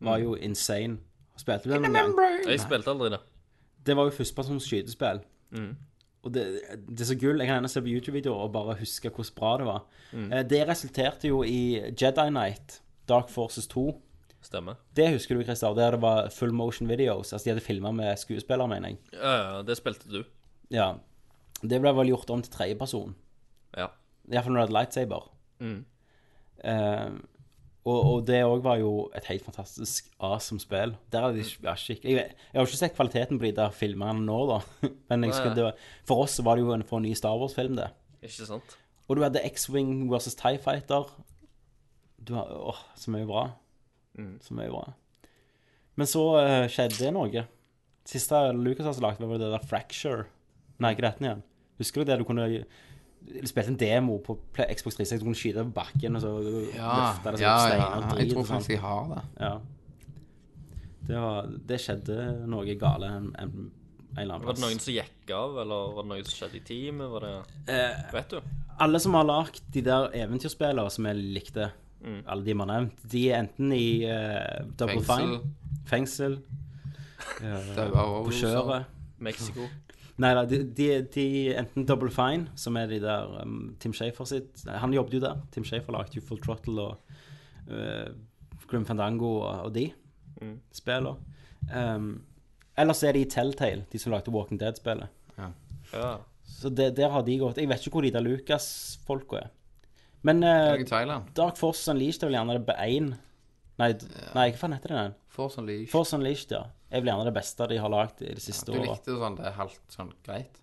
var jo insane. Spilte du den noen gang? Jeg spilte aldri det. Det var jo førstepersons skytespill. Og det, det er så gull. Jeg kan gjerne se på YouTube-videoer og bare huske hvordan bra det var. Eh, Det resulterte jo i Jedi Knight, Dark Forces 2. Stemmer. Det husker du, Christer, der det var full motion videos. Altså, de hadde filma med skuespillere, mener jeg. Ja, ja, det spilte du. Ja. Det ble vel gjort om til tredjeperson. Ja. Iallfall når du hadde lightsaber. Eh, og, og det òg var jo et helt fantastisk awesome spill. Der hadde de ja, skikk... Jeg, vet- jeg har jo ikke sett kvaliteten på de der filmene nå, da. <laughs> Men jeg husker, det var, for oss så var det jo en for en ny Star Wars-film, det. Ikke sant? Og du hadde X-Wing versus Tie Fighter. Du har, åh, så mye bra. Mm. Så mye bra. Men så eh, skjedde det noe. Siste Lucas har lagd, var vel det der Fracture. Nei, ikke dette igjen. Husker du det? Du kunne eh, spilte en demo på Play- Xbox 360, du kunne skyte på bakken, og så Ja, løfte det som ja, ja, steiner og jeg drit. tror og sånn. faktisk jeg har det. Ja. Det, var, det skjedde noe gale en, en, en eller annen Var det noen som gikk av, eller var det noe som skjedde i teamet? Var det... Vet du? alle som har lagd de der eventyrspillene som jeg likte, alle de man har nevnt, de er enten i eh, Double Fengsel. Fine, fengsel, Det var på kjøret Mexico. Nei da, de, de, de er enten Double Fine, som er de der um, Tim Shafer sitt Han jobbet jo der. Tim Shafer lagde jo Full Trottle og eh, Grim Fandango og, og de spillene. Um, eller så er de i Telltale, de som lagde Walking Dead-spillet. Ja. Så det, der har de gått. Jeg vet ikke hvor de der Lucas-folka er. Men eh, Jeg er i Thailand. Dark Force Unleashed er vel gjerne det be- en Nei, d- nei, hva faen heter det den? Force Unleashed. Force Unleashed, ja. Er vel gjerne det beste de har lagd i det siste sånn Du året. likte sånn det er halvt sånn greit.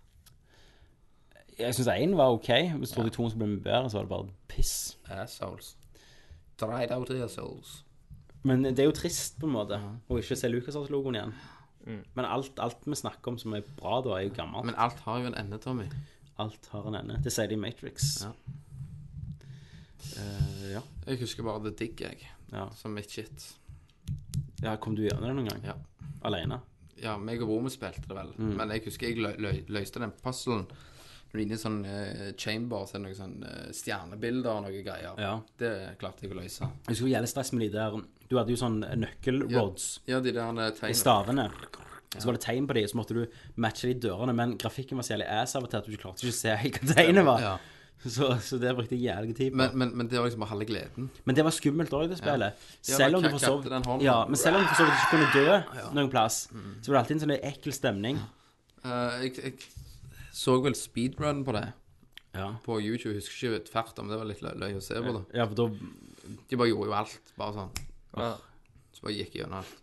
Jeg syns én var OK. Hvis ja. de to som ble mye bedre, så var det bare piss. Assholes. Dried out assholes. Men det er jo trist, på en måte, å ikke se LucasArts-logoen igjen. Men alt, alt vi snakker om som er bra da, er jo gammelt. Mm. Men alt har jo en ende, Tommy. Alt har en ende. Det sier de i Matrix. Ja. Eh, ja. Jeg husker bare The Digg, jeg. Ja. Som mitt shit. ja. Kom du gjennom det noen gang? Ja. Alene? Ja, meg og broren min spilte det vel. Mm. Men jeg husker jeg lø lø løste den puzzlen. Du er inne i en sånn eh, chamber, så er det noen sånn eh, stjernebilder og noen greier. Ja. Det klarte jeg å løse. Jeg husker det var jævlig stress med de der Du hadde jo sånn nøkkel-rods. Ja, de der eh, i tegnene. stavene. Så var det tegn på dem, så måtte du matche de dørene. Men grafikken var så jævlig ass av og til at du ikke klarte ikke å se helt hva tegnet var. Ja. <laughs> Så, så det brukte jeg jævlig tid på. Men, Men, men, men det var liksom bare halve gleden. det var skummelt òg, det spillet. Ja, Selv da om du kak- for så vidt kakte den hånden. Mm. ja, men selv om du for så vidt ikke kunne dø noen plass, så var det alltid en sånn ekkel stemning. Eh, jeg, jeg så vel speedrun på det Ja. på YouTube. Jeg husker ikke tvert om det var litt lø- løy å se på. det ja, for da De bare gjorde jo alt. Bare sånn. ja. Så bare gikk jeg gjennom alt.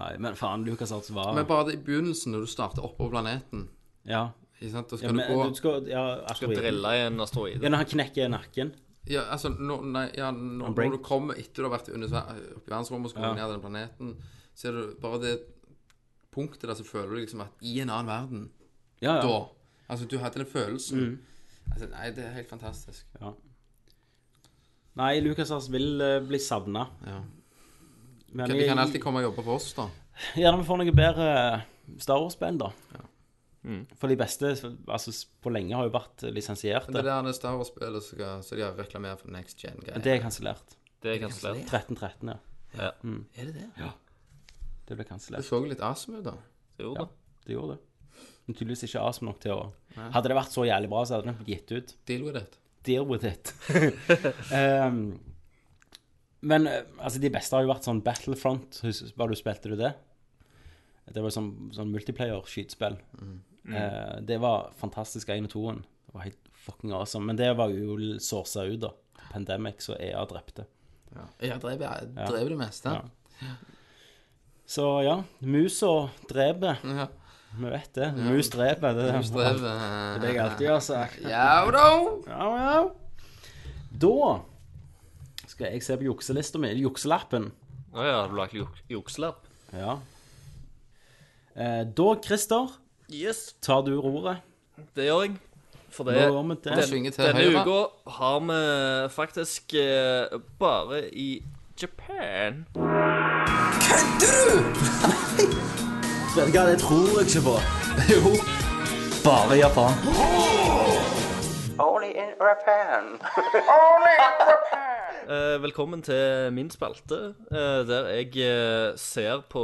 Nei, men faen, Lucas Arts var Men bare det i begynnelsen, når du starter oppå planeten Ja. ikke sant? Da ja skal men, du gå du skal Ja, asteroiden. Drilla i en asteroide. Ja, når han knekker nakken. Ja, altså, når, nei, ja, når, break. når du kommer etter du har vært under, eh, oppe i verdensrommet og skal gå ned til den planeten, så er det bare det punktet der så føler du liksom at i en annen verden, Ja, Mm. ja. da Altså, du hadde den følelsen. Altså, nei, det er helt fantastisk. Nei, LucasArts vil eh, bli savna. Ja. Men De jeg- kan alltid komme og jobbe for oss, da. Gjerne vi får noe bedre eh, Star Wars-spill, da. For de beste altså, på lenge har jo vært eh, lisensierte. Det Det, der er Star Wars-spillet som skal- så de har reklamert for Next Gen-greier. det er kansellert. Det er kansellert. 1313, ja. Mm. Er det det? Det ble Det kansellert. så litt awesome ut, da. Jo da. Det gjorde det. Men tydeligvis ikke awesome nok til å Hadde det vært så jævlig bra, så hadde den blitt gitt ut. Deal with it. Deal with it. <laughs> Ehm, men eh, altså, de beste har jo vært sånn Battlefront. Hus- Var du spilte du det? Det var jo sånn, sånn multiplayer-skytespill. Eh, det var fantastisk, 1 og 2-en. Det var helt fucking awesome. Men det var jo l- sourca ut, da. Pandemic, så EA drepte. Jeg drev, jeg drev det meste. Ja. Så ja, musa dreper. Ja. Vi vet det. Mus dreper. Det, Hun det, Drev, eh, det jeg alltid har sagt. Ja da! Ja, ja. Da skal jeg se på jukselista mi, eller jukselappen. Å ja, har du lagd juk- jukselapp? Ja. Eh, da, Christer, Yes, tar du roret. det gjør jeg. For Nå det går vi Den til svinger til Denne høyre. uka har vi faktisk eh, bare i Japan. Vet du hva, det tror jeg ikke på. Jo. Bare Japan. Eh, velkommen til min spalte, eh, der jeg eh, ser på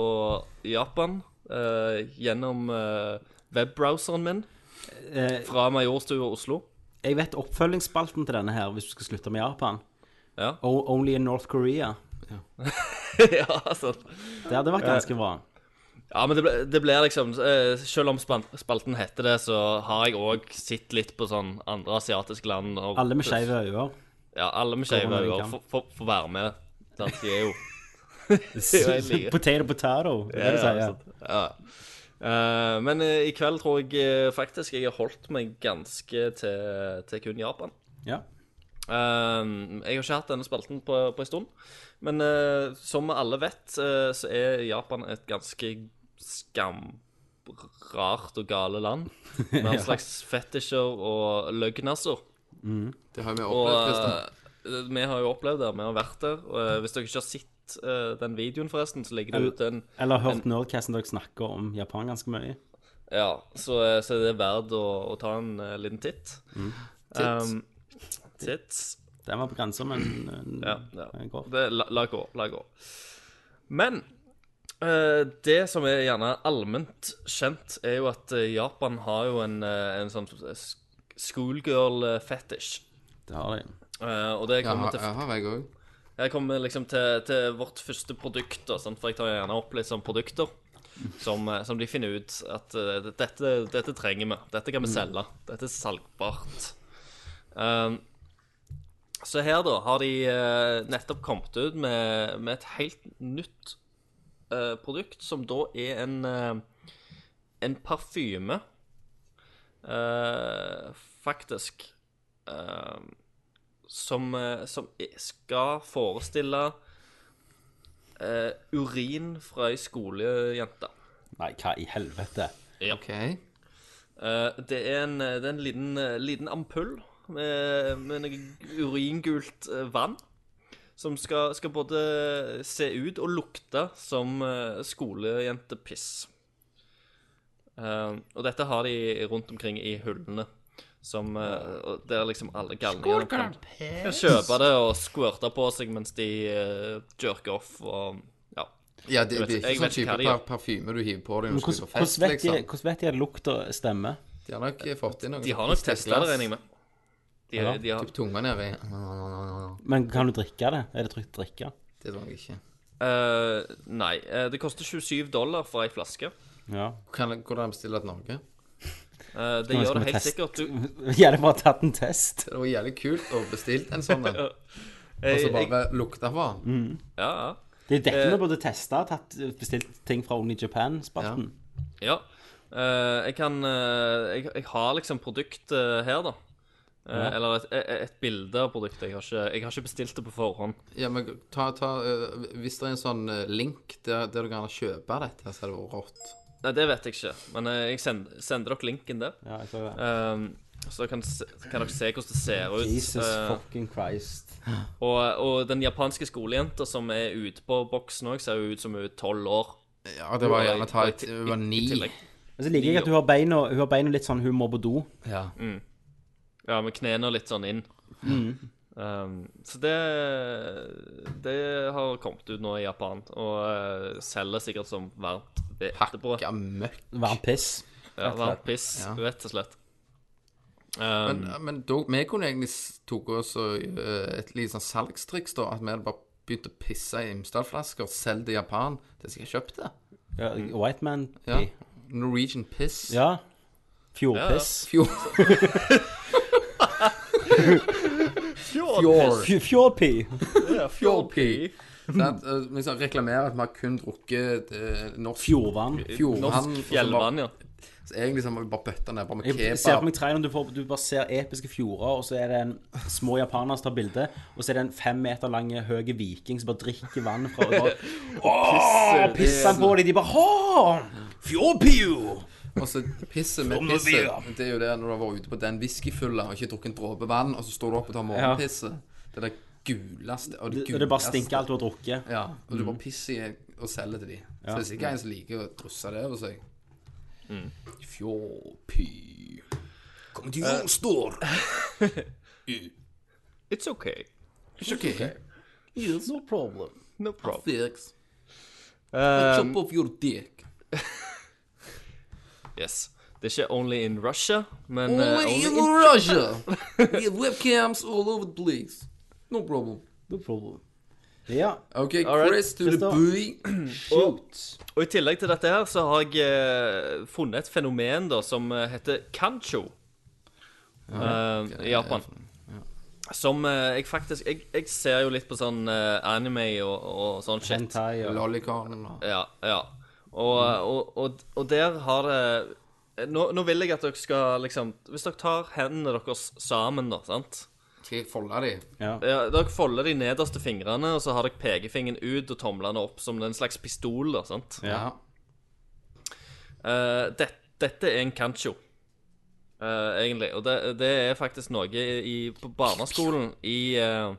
Japan eh, gjennom eh, webbrowseren min Eh, fra Majorstua Oslo. Jeg vet oppfølgingsspalten til denne her, hvis du skal slutte med Japan. Ja. O- Only in North Korea. <laughs> ja, sant. Det hadde vært ganske bra. ja, men det, ble, det blir liksom eh, Selv om span- spalten heter det, så har jeg òg sett litt på sånn andre asiatiske land. og- Alle med skeive øyne. <laughs> Ja, alle med Kommer skeive når de øyne kan. får- får får være med. sant? De er jo jeg <laughs> liker. Potato potato, det er <laughs> det du Ja, sier. sant. Ja. Eh, men eh, i kveld tror jeg eh, faktisk jeg har holdt meg ganske til, til kun Japan. Ja. Eh, jeg har ikke hatt denne spalten på, på en stund, men eh, som alle vet, eh, så er Japan et ganske skamrart og gale land. Med <laughs> all slags fetisjer og løgnasser. Det har vi Og opplevd, Christian. eh, vi har jo opplevd det, vi har vært der. Og, eh, hvis dere ikke har sett eh, den videoen, forresten, så ligger det ute en Eller hørt Nerdcasten dere snakker om Japan ganske mye. Ja, så, eh, så er det verdt å, å ta en eh, liten titt. Mm. Titt. Um, tits. Den var på grensa, men eh, Ja, ja. den går. Det, la, la gå, la gå. Men eh, det som er gjerne allment kjent, er jo at eh, Japan har jo en, eh, en sånn s- schoolgirl eh, fetish. Det har de. Eh, og det Ja, kommer, til, jeg har jeg òg. jeg kommer liksom til, til vårt første produkt, da, sant? for jeg tar gjerne opp litt sånn produkter som, eh, som de finner ut at eh, dette, dette trenger vi. Dette kan vi selge. Dette er salgbart. Um, så her, da, har de eh, nettopp kommet ut med, med et helt nytt eh, produkt, som da er en, eh, en parfyme, eh, faktisk, eh, som, eh, som i- skal forestille eh, urin fra ei skolejente. Nei, hva i helvete? OK. Eh, det er en, det er en liten, eh, liten ampull med, med noe uringult eh, vann. Som skal, skal både se ut og lukte som eh, skolejentepiss. Eh, og dette har de rundt omkring i hullene. Som eh, og Der liksom alle galningene kan, kan kjøpe det og squirte på seg mens de eh, jerker off og Ja. Ja, det, Jeg vet- det jeg er ikke sånn vet ikke type hva de gjør. par parfyme du hiver på deg når du skal Hvordan på hvordan fest, vet, de- liksom. hvordan vet de at lukta stemmer? De har nok fått inn noe De har nok testa det, regner jeg med. De, Ja. de har, Typ tunga nedi. Men kan du drikke det? Er det trygt å drikke? Det tror jeg ikke. Eh, nei, eh, det koster 27 dollar for ei flaske. <laughs> Ja. Kan, går det an å bestille et Norge? Eh, det Nå skal gjør det vi helt teste. sikkert. Du, Gjerne bare tatt en test. Det var jævlig kult å bestille en <laughs> sånn en, og jeg, så jeg, bare lukta på den. Mm. ja, ja. Det er dette Eh. vi burde teste. Tatt, bestilt ting fra Only Japan-spalten. ja. Eh, jeg kan eh, jeg, jeg har liksom produktet her, da. Eh, Ja. Eller et, et, et bilde av produktet. Jeg har, ikke, jeg har ikke bestilt det på forhånd. Ja, men ta, ta eh, Hvis det er en sånn eh, link der, der du kan kjøpe dette, så er det vært rått. Nei, det vet jeg ikke, men eh, jeg send, sender dere linken der. Ja, jeg tror det. Ehm, så kan, se- kan dere se hvordan det ser ut. Jesus Eh, fucking Christ. og, og den japanske skolejenta som er ute på boksen òg, ser jo ut som hun er tolv år. Ja, det var gjerne ta et Det var ni. I tillegg. Men så liker jeg at hun har beina, hun har beina litt sånn hun må på do. Ja. Mm, Ja, med knærne litt sånn inn. Mm. Um, så det Det har kommet ut nå i Japan, og eh, selger sikkert som varmt hvetebrød. Hakka møkk. Varm piss. Ja, varmt piss, Ja. rett og slett. Um, Men, men da, vi kunne egentlig s- tok oss og, eh, et lite sånn salgstriks, da. At vi hadde bare begynt å pisse i Imsdal-flasker, selge til Japan. Det skal jeg kjøpe det. Ja, Mm. white man. Ja. Ja. Norwegian piss. ja. Fjordpiss. Fjord. <laughs> Fjord. Fj- Fjordpi. Fjordpi. Sant? Eh, Vi skal reklamere at vi har kun drukket eh, norsk Fjordvann. fjordvann. norsk fjellvann, ja. og så bare- så Egentlig så må vi bare bøtte ned bare med Jeg ser på kebab. meg traileren, du, får, du bare ser episke fjorder, og så er det en små japaner som tar bilde, og så er det en fem meter lang høy viking som bare drikker vann <laughs> fra og bare, Åh, pisser han på dem! De bare Hå! Fjordpio! Og så pisset med Som når vi pisset. er. Det er jo det når du har vært ute på den whiskyfylla og ikke drukket en dråpe vann, og så står du opp og tar morgenpisset. Det er det guleste og det Og guleste. det bare stinker alt du har drukket. Ja, og du bare pisser i og selger til de. Så det er sikkert en som liker å drusse det over seg. Fjordpy. Kom til Jonstor. It's okay. Ikke ok. No problem. No problem. Felix. Um, I chop off your dick. Yes. Det er ikke only in Russia, men eh, Only only in in Russia. We have webcams all over the place. No problem. No problem. Ja. Okay, All right, Chris to the Christophe. booty. Og i tillegg til dette her, så har jeg eh, funnet et fenomen da, som eh, heter kancho. eh, I Japan. Som eh, jeg faktisk jeg, jeg ser jo litt på sånn eh, anime og, og sånn shit. Hentai og Lollicorn. Ja, ja. Og, eh, og, og, og der har det eh, nå, nå vil jeg at dere skal liksom Hvis dere tar hendene deres sammen, da, sant Skal jeg folde de? ja, Dere folder de nederste fingrene, og så har dere pekefingeren ut og tomlene opp som en slags pistol, da, sant? Ja. Eh, det, dette er en kancho, eh, egentlig. Og det, det er faktisk noe i, på barneskolen i eh,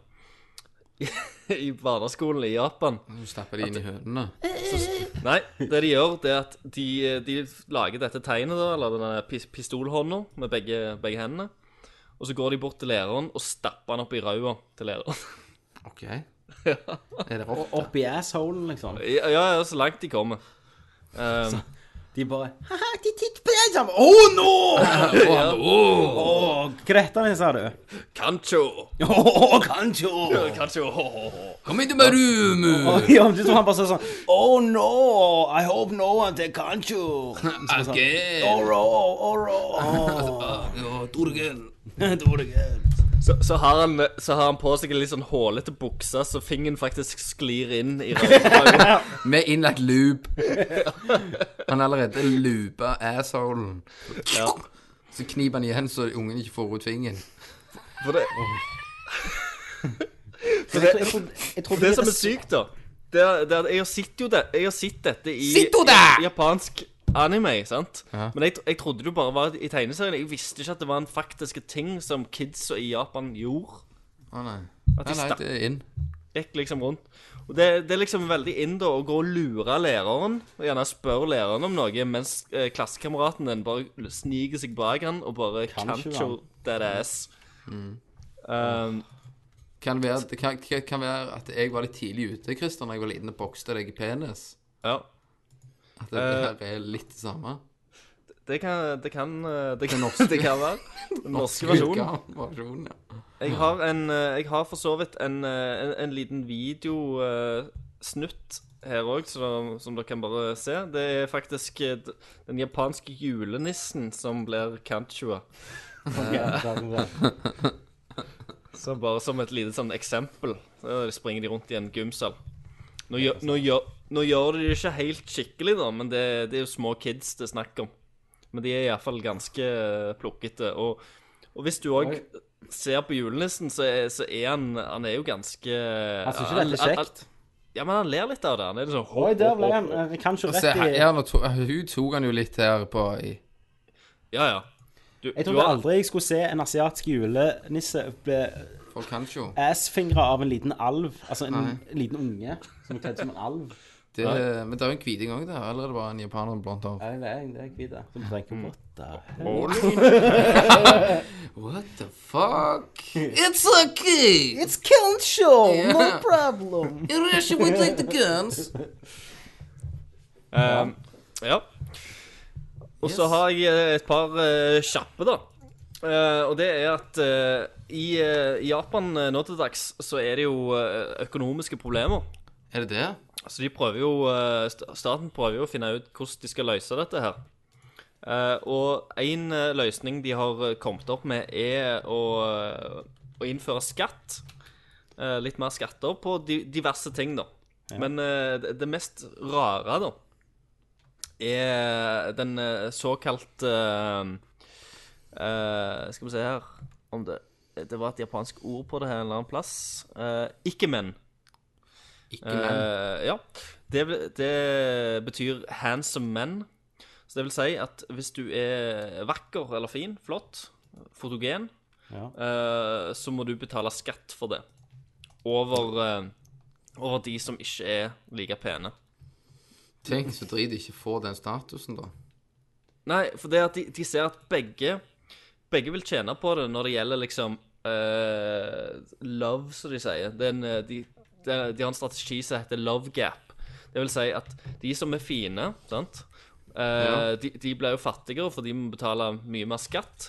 <laughs> I barneskolen i Japan. Du stapper de inn i hønene. Nei, det de gjør, det er at de, de lager dette tegnet, da, eller denne pis- pistolhånda med begge, begge hendene. Og så går de bort til læreren og stapper han opp i ræva til læreren. <laughs> Ok. Er det rått? Opp i assholen, liksom. Ja, ja, ja, så langt de kommer. Um, De bare Haha, de titt på deg! Sånn, Oh no! <laughs> Åh, Hva heter han, sa du? kancho! Åh, kanskje! Kancho! ho, ho, ho. Kom inn med rumu! Åh, Ja, men du tror han bare sa sånn Oh no, I hope no one take <laughs> kancho sånn, Okay. Oro, <laughs> oro Ja, <laughs> Torgen. Så, så, har han, så har han på seg en litt sånn hålete bukse, så fingeren faktisk sklir inn i ræva. Med innlagt loop. Han har allerede loopa assholen. Så kniper han igjen så ungen ikke får ut fingeren. <laughs> For det, Jeg trodde- jeg trodde det som er sykt, da det er, det er, jeg, har sett jo det, jeg har sett dette i, Sitto i da! japansk anime, sant? Men jeg, jeg trodde det bare var i tegneserien. Jeg visste ikke at det var en faktiske ting som kidsa i Japan gjorde. Å nei. At de Nei, nei, stakk det er inn. gikk liksom rundt. Og det, det er liksom veldig inn da å gå og lure læreren, og gjerne spørre læreren om noe, mens eh, klassekameraten din bare sniker seg bak han og bare Kanskje, kancho that ass. Mm. Um, Kan være, det kan, kan- kan være at jeg var litt tidlig ute, Christer, når jeg var liten og bokste deg i penis. ja. At det Eh. her er litt det samme. Det kan Det kan, eh, det kan, norske. <laughs> det kan være. Den norske versjonen. Utgaven, versjonen, ja. Jeg har, en, eh, jeg har for så vidt en, eh, en, en liten videosnutt her òg, som, som dere kan bare se. Det er faktisk eh, d- den japanske julenissen som blir kanchua. Så bare som et lite sånn eksempel, så springer de rundt i en gymsal. Nå gjør, nå gjør, nå gjør de det ikke helt skikkelig, da, men det, det er jo små kids det er snakk om. Men de er iallfall ganske eh, plukkete. Og, og hvis du òg ser på julenissen, så er, så er han Han er jo ganske Han synes ikke det er veldig han- han- kjekt. Ja, men han ler litt av det. Han er litt sånn <laughs> Oi, der ble han. eh, Kanskje Se, rett her, i her, nå to, hun tok han jo litt her på i Ja, ja. Du, Jeg du trodde har- aldri jeg skulle se en asiatisk julenisse bli For Kancho. assfingra av en liten alv. Altså en liten unge som er kledd som en alv. Det, men det er jo en hviting òg der, eller er det bare en japaner med blondt hår? Nei, det er det Mm. er jeg hvit, da. Som tenker what the hell? <laughs> What the fuck? It's okay! It's Kensho! no problem! <laughs> In Russia we take the guns. Ehm, ja. Og så Yes. har jeg eh, et par eh, kjappe, da. Eh, og det er at eh, i eh, i Japan eh, nå til dags så er det jo eh, økonomiske problemer. Er det det? Så Altså, de prøver jo eh, st- Staten prøver jo å finne ut hvordan de skal løse dette her. Eh, og én løsning de har eh, kommet opp med, er å, eh, å innføre skatt. Eh, litt mer skatter på di diverse ting, da. Men eh, det, det mest rare, da, er den eh, såkalt eh, eh, Skal vi se her om det det var et japansk ord på det her en eller annen plass. Uh, ikke menn. Ikke menn. Eh, ja. Det, vil- det betyr 'handsome men'. Så det vil si at hvis du er vakker eller fin, flott, fotogen, Ja. eh, så må du betale skatt for det. Over, eh, over de som ikke er like pene. Tenk så drit ikke får den statusen, da. Nei, for det at de, de ser at begge Begge vil tjene på det når det gjelder liksom eh, love, som de sier. Det er en, eh, de, de, de har en strategi som heter love gap. Det vil si at de som er fine, sant eh, de, de blir jo fattigere, for de må betale mye mer skatt.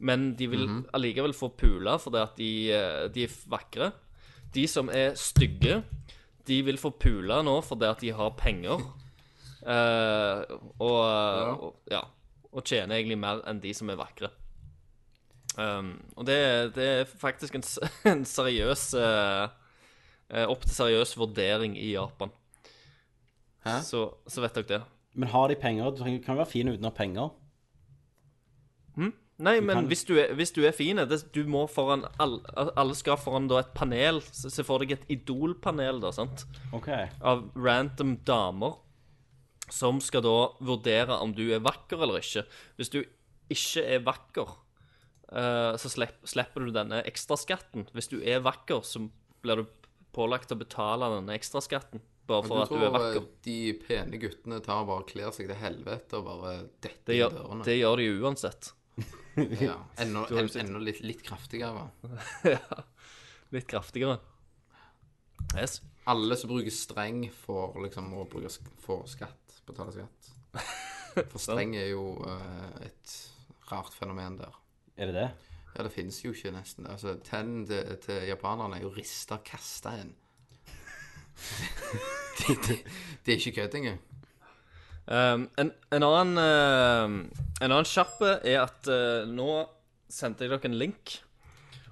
Men de vil allikevel få pula fordi at de, eh, de er vakre. De som er stygge, de vil få pula nå fordi at de har penger. Eh, og, og ja. Og tjener egentlig mer enn de som er vakre. Um, og det, det er faktisk en, s- <laughs> en seriøs eh, eh, Opp til seriøs vurdering i Japan. Hæ? Så, så vet dere det. Men har de penger? Du trenger- kan jo være fin uten å ha penger. Nei, men kan- hvis, du er, hvis du er fin det, Du må foran all, Alle skal foran da et panel. Se se for deg et idolpanel, da, sant? OK. av random damer som skal da vurdere om du er vakker eller ikke. Hvis du ikke er vakker, eh, så slipp, slipper du denne ekstraskatten. Hvis du er vakker, så blir du pålagt å betale denne ekstraskatten bare Men for du at du er tror eh, vakker. de pene guttene tar og bare kler seg til helvete og bare detter Det i gjør, dørene? det gjør de jo uansett. <laughs> Ja. Enda, en, enda litt, litt kraftigere. Ja, Litt kraftigere. Yes. Alle som bruker streng, får liksom må bruke sk- får skatt. Betale <laughs> skatt. For streng er jo eh, et rart fenomen der. Er det det? Ja, det finnes jo ikke nesten. Altså, Tennene til, til japanerne er jo rista og kasta inn. <laughs> det, det, det er ikke kødd engang. Um, en, en annen uh, En annen kjappe er at eh, nå sendte jeg dere en link.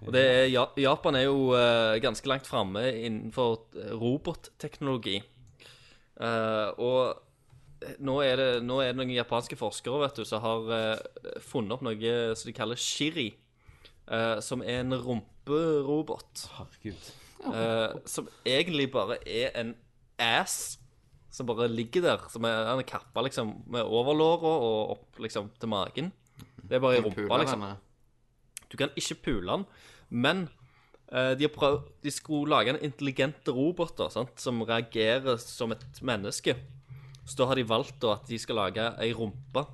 Og det er, Ja- Japan er jo eh, ganske langt framme innenfor eh, robotteknologi. Eh, og eh, nå er, det, nå er det noen japanske forskere vet du, som har eh, funnet opp noe som de kaller shiri. eh, som er en rumperobot. Herregud. eh, som egentlig bare er en ass som bare ligger der. Som er, han er kappa liksom, med overlåra og opp liksom, til magen. Det er bare i rumpa, liksom. Pulerne. Du kan ikke pule den, men eh, de, har prøv, de skulle lage en intelligent robot da, sant? som reagerer som et menneske. Så da har de valgt da, at de skal lage ei rumpe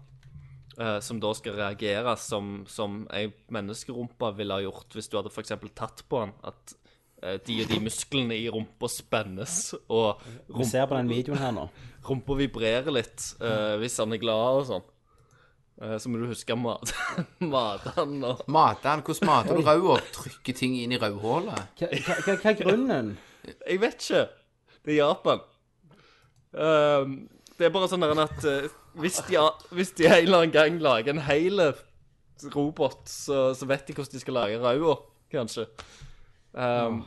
eh, som da skal reagere som, som ei menneskerumpe ville ha gjort hvis du hadde f.eks. tatt på den. At eh, de og de musklene i rumpa spennes, og Vi rumpa ser på den videoen her nå. rumpa vibrerer litt eh, hvis han er glad og sånn. Eh, så må du huske å mate <laughs> mate han og Mater han, Hvordan mater du rauda? Trykker ting inn i rødhålet? Hva- Hva hva- hva er grunnen? Jeg vet ikke. Det er Japan. Ehm, det er bare sånn der at eh, hvis, de, har- hvis de en eller annen gang lager en hel robot, så, så vet de hvordan de skal lage rauda, kanskje. Ehm,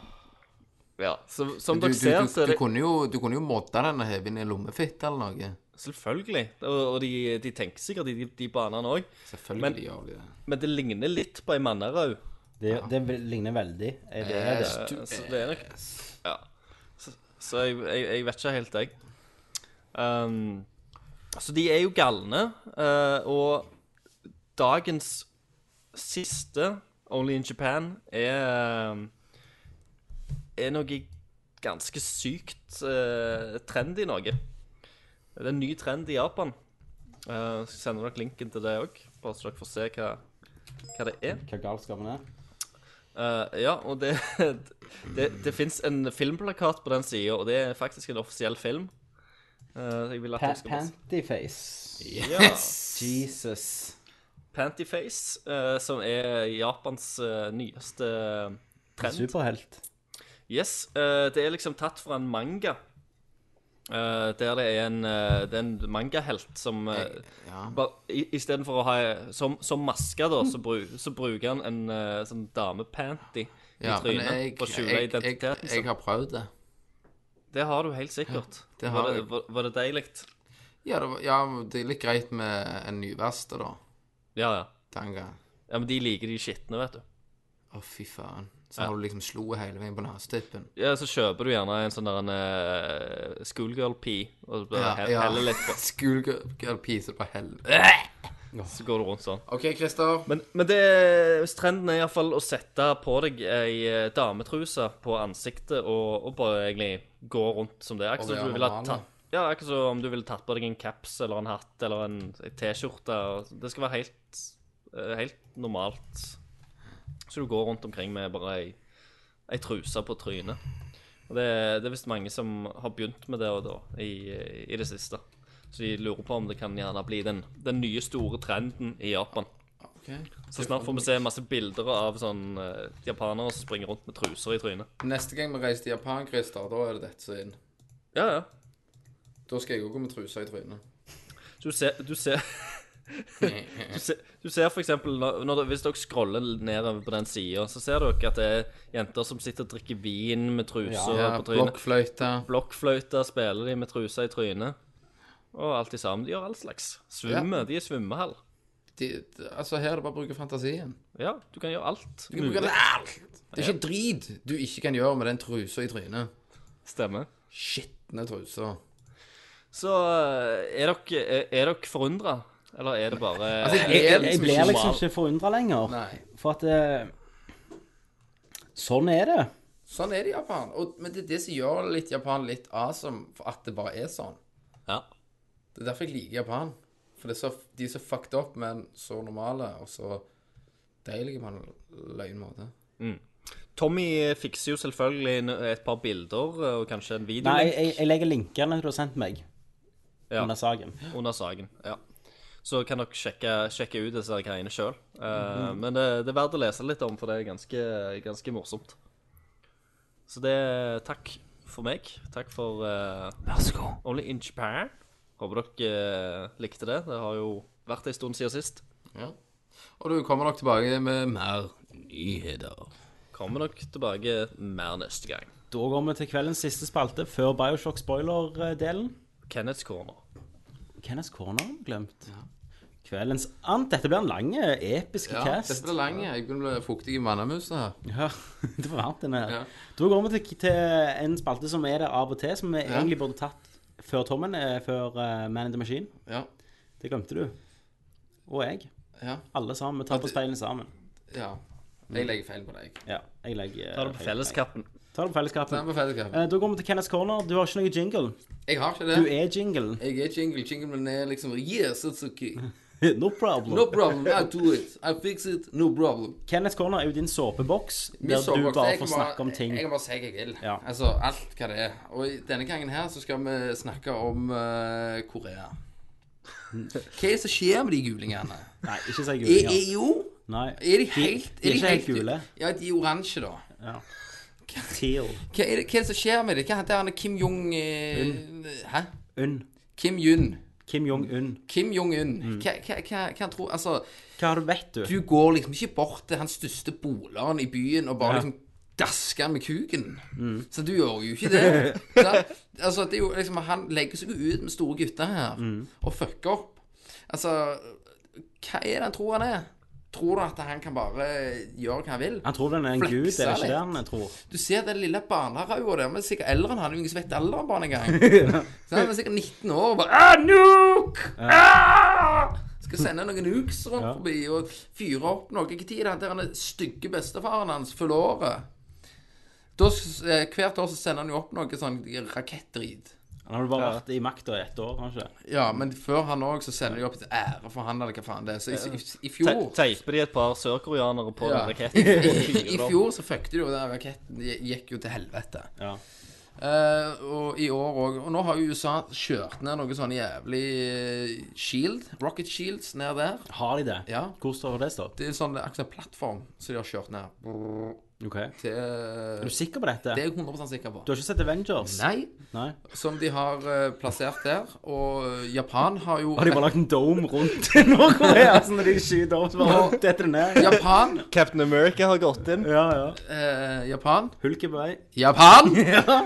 ja, så, som Du, dere du, du, ser, du, så er det kunne jo, du kunne jo modda den og heve inn i lommefitte eller noe. Selvfølgelig. Og, og de, de tenker sikkert i de, de banene òg. Men- Selvfølgelig gjør de det. Men det ligner litt på ei mannerau. altså, Det, det ligner veldig. Er det det? Så det er nok Ja. Så, Så jeg, jeg, jeg vet ikke helt, jeg. Ehm, så de er jo galne. eh, og dagens siste Only in Japan er eh, Er noe ganske sykt eh, trend i Norge. Det er en ny trend i Japan. Eh, skal sende dere linken til det òg, bare så dere får se hva, hva det er. Hva galskapen er? Eh, ja, og det, <laughs> det, det fins en filmplakat på den sida, og det er faktisk en offisiell film. Eh, jeg vil at dere Pa- skal bare se- Pantyface. Jesus. Pantyface, eh, som er Japans eh, nyeste trend. Superhelt. Yes, eh, det er liksom tatt fra en manga. eh, der det er en, eh, det er en mangahelt som uh, ja. Istedenfor å ha eh, som, som maske, da, så, bru, så bruker han en eh, sånn damepanty i Ja, men trynet jeg, for å jeg, skjule jeg, jeg, identiteten. sin. jeg har prøvd det. Det har du helt sikkert. det har var, jeg. det, var, var det deilig? Ja, det, var- ja, det er litt greit med en nyverste, da. Ja, ja. Tanga. Ja, Men de liker de skitne, vet du. Å, fy faen. Så har du liksom slo hele veien på nesetippen. Ja, Så kjøper du gjerne en sånn der en eh, schoolgirl pee og bare he- heller litt <laughs> på, Schoolgirl piece på helvete. så går du rundt sånn. OK, Christer. Men, men det, hvis trenden er iallfall å sette på deg ei eh, dametruse på ansiktet og, og bare egentlig gå rundt som det. Akkurat Og som være du ville normal, tatt ja, akkurat som om du ville tatt på deg en caps eller en hatt eller en ei T-skjorte. og Det skal være helt, eh, helt normalt. Så du går rundt omkring med bare ei, ei truse på trynet. Og det, det er visst mange som har begynt med det og da, i, i det siste. Så de lurer på om det kan gjerne bli den, den nye store trenden i Japan. Så snart får vi se masse bilder av sånn eh, japanere som springer rundt med truser i trynet. Neste gang vi reiser til Japan, Christer, da er det dette som er inn. Ja, ja. Da skal jeg òg gå med trusa <laughs> i trynet. Du ser Du ser, <laughs> du ser, du ser for eksempel når, når, det- Hvis dere scroller nedover på den sida, så ser dere at det er jenter som sitter og drikker vin med truser Ja, på trynet. Blokkfløyte. Blokkfløyte spiller de med truser i trynet. Og alt i sammen. De gjør all slags. Svømmer. De er svømmehall. De, de- altså, her er det bare å bruke fantasien. Ja, du kan gjøre alt. Du kan bruke det alt. Det er ikke drit du ikke kan gjøre med den trusa i trynet. Stemmer. Skitne truser. Så eh, er dere, er- er dere forundra? Eller er det bare Jeg, liksom jeg ikke blir liksom normal. ikke forundra lenger. Nei. For at eh, Sånn er det. Sånn er det i Japan. Og, men det er det som gjør litt Japan litt awesome, for at det bare er sånn. Ja. Det er derfor jeg liker Japan. For det er så, de er så fucked up, men så normale, og så deilige på en løgn måte. Tommy fikser jo selvfølgelig en- et par bilder eh, og kanskje en video Nei, jeg, jeg legger linkene du har sendt meg Ja. under saken. under saken. Ja. Så kan dere sjekke, sjekke ut disse greiene sjøl. Mhm. Men det, det er verdt å lese litt om, for det er ganske, ganske morsomt. Så det Takk for meg. Takk for eh, Vær så god. Only in Japan. Håper dere eh, likte det. Det har jo vært en stund siden sist. Og du kommer nok tilbake med mer nyheter. Kommer nok tilbake mer neste gang. Da går vi til kveldens siste spalte, før Bioshock eh, spoiler-delen. Kenneths corner. Kenneth Corner har vi glemt. Kveldens ant. Dette blir en lang, eh, episk Ja, cast. dette blir lang. Jeg begynner å bli fuktig i mannamusa her. Ja, <laughs> det var varmt inne her. Ja. Da går vi til, til en spalte som er der av og til, som vi egentlig burde tatt før Tommen, eh, før eh, Man in the Machine. Ja. Det glemte du. Og jeg. Ja. Alle sammen. Vi tar på speilene sammen. ja. Jeg legger feil på deg. Ja, jeg legger eh, Tar det på felleskappen. Ta det på Det er fellesskapen. på feil kaffe. Eh, Da går vi til Kenneths Corner. Du har ikke noe jingle. Jeg har ikke Du det. er jinglen. <laughs> Jeg er jingle. Jingle men er liksom Yes, it's okay. No problem. No problem. I do it. I fix it. No problem. Kenneths Corner er jo din såpeboks, Min der du soveboks, bare jeg får kan bare- snakke om ting. Jeg kan bare si hva jeg vil. Ja. Altså alt hva det er. Og i denne gangen her så skal vi snakke om eh, Korea. <laughs> Hva er det som skjer med de gulingene? Nei, ikke si Er, gulinger. er jo Nei. Er de helt de er ikke helt helt- gule. Ja, de er oransje, da. Teal. Hva er det, hva er det som skjer med dem? Hva heter han Kim Jong eh, Hæ? Un. Kim Jun. Kim Jong-un. Kim Jong-un. Mm. Hva, hva, hva, hva han tror Altså Hva har du vet du? du går liksom ikke bort til hans største boleren i byen og bare liksom dasker han med kuken. Så du gjør jo ikke det. Sant? altså, det er jo liksom, han legger seg jo ut med store gutter her og fucker opp. Altså, hva er det han tror han er? tror du at han kan bare gjøre hva han vil? Han tror den er en Flexa gud, er det ikke litt. det han tror? Du ser den lille barneraua der. Men sikkert eldre enn han. det er jo Ingen som vet alderen på han engang. Så han er sikkert 19 år og bare ah, Nuke! Ah! Skal sende noen nukes rundt Ja. forbi og fyre opp noe. Hvilken tid er det han der han stygge bestefaren hans fyller året? Da, s- eh, hvert år så sender han jo opp noe sånn rakettdrit. Han har vel bare vært i makta i ett år, har han ikke? det? Ja, men før han òg, så sender de opp til ære for han eller hva faen det er. Så i, i, i fjor Teiper de et par sørkoreanere på <laughs> Ja. den raketten? og <laughs> I, fyrer I dem. fjor så fuckte de jo den raketten. De gikk jo til helvete. Ja. Eh, og i år òg. Og nå har jo USA kjørt ned noe sånn jævlig eh, shield, rocket shields, ned der. Har de det? Ja. Hvor står det stått? Det er en sånn akkurat en plattform som de har kjørt ned. Brrr, Ok. Er Til, du sikker på dette? det er jeg 100 Du sikker på. har ikke sett Avengers? Nei, Nei. som de har eh, plassert der. Og eh, Japan har jo Har de bare lagt en dome rundt Nord-Korea, sånn at de skyter opp så bare detter det ned? <laughs> Japan, Captain America har gått inn. Ja, ja. eh, Japan Hulk er på vei. Japan!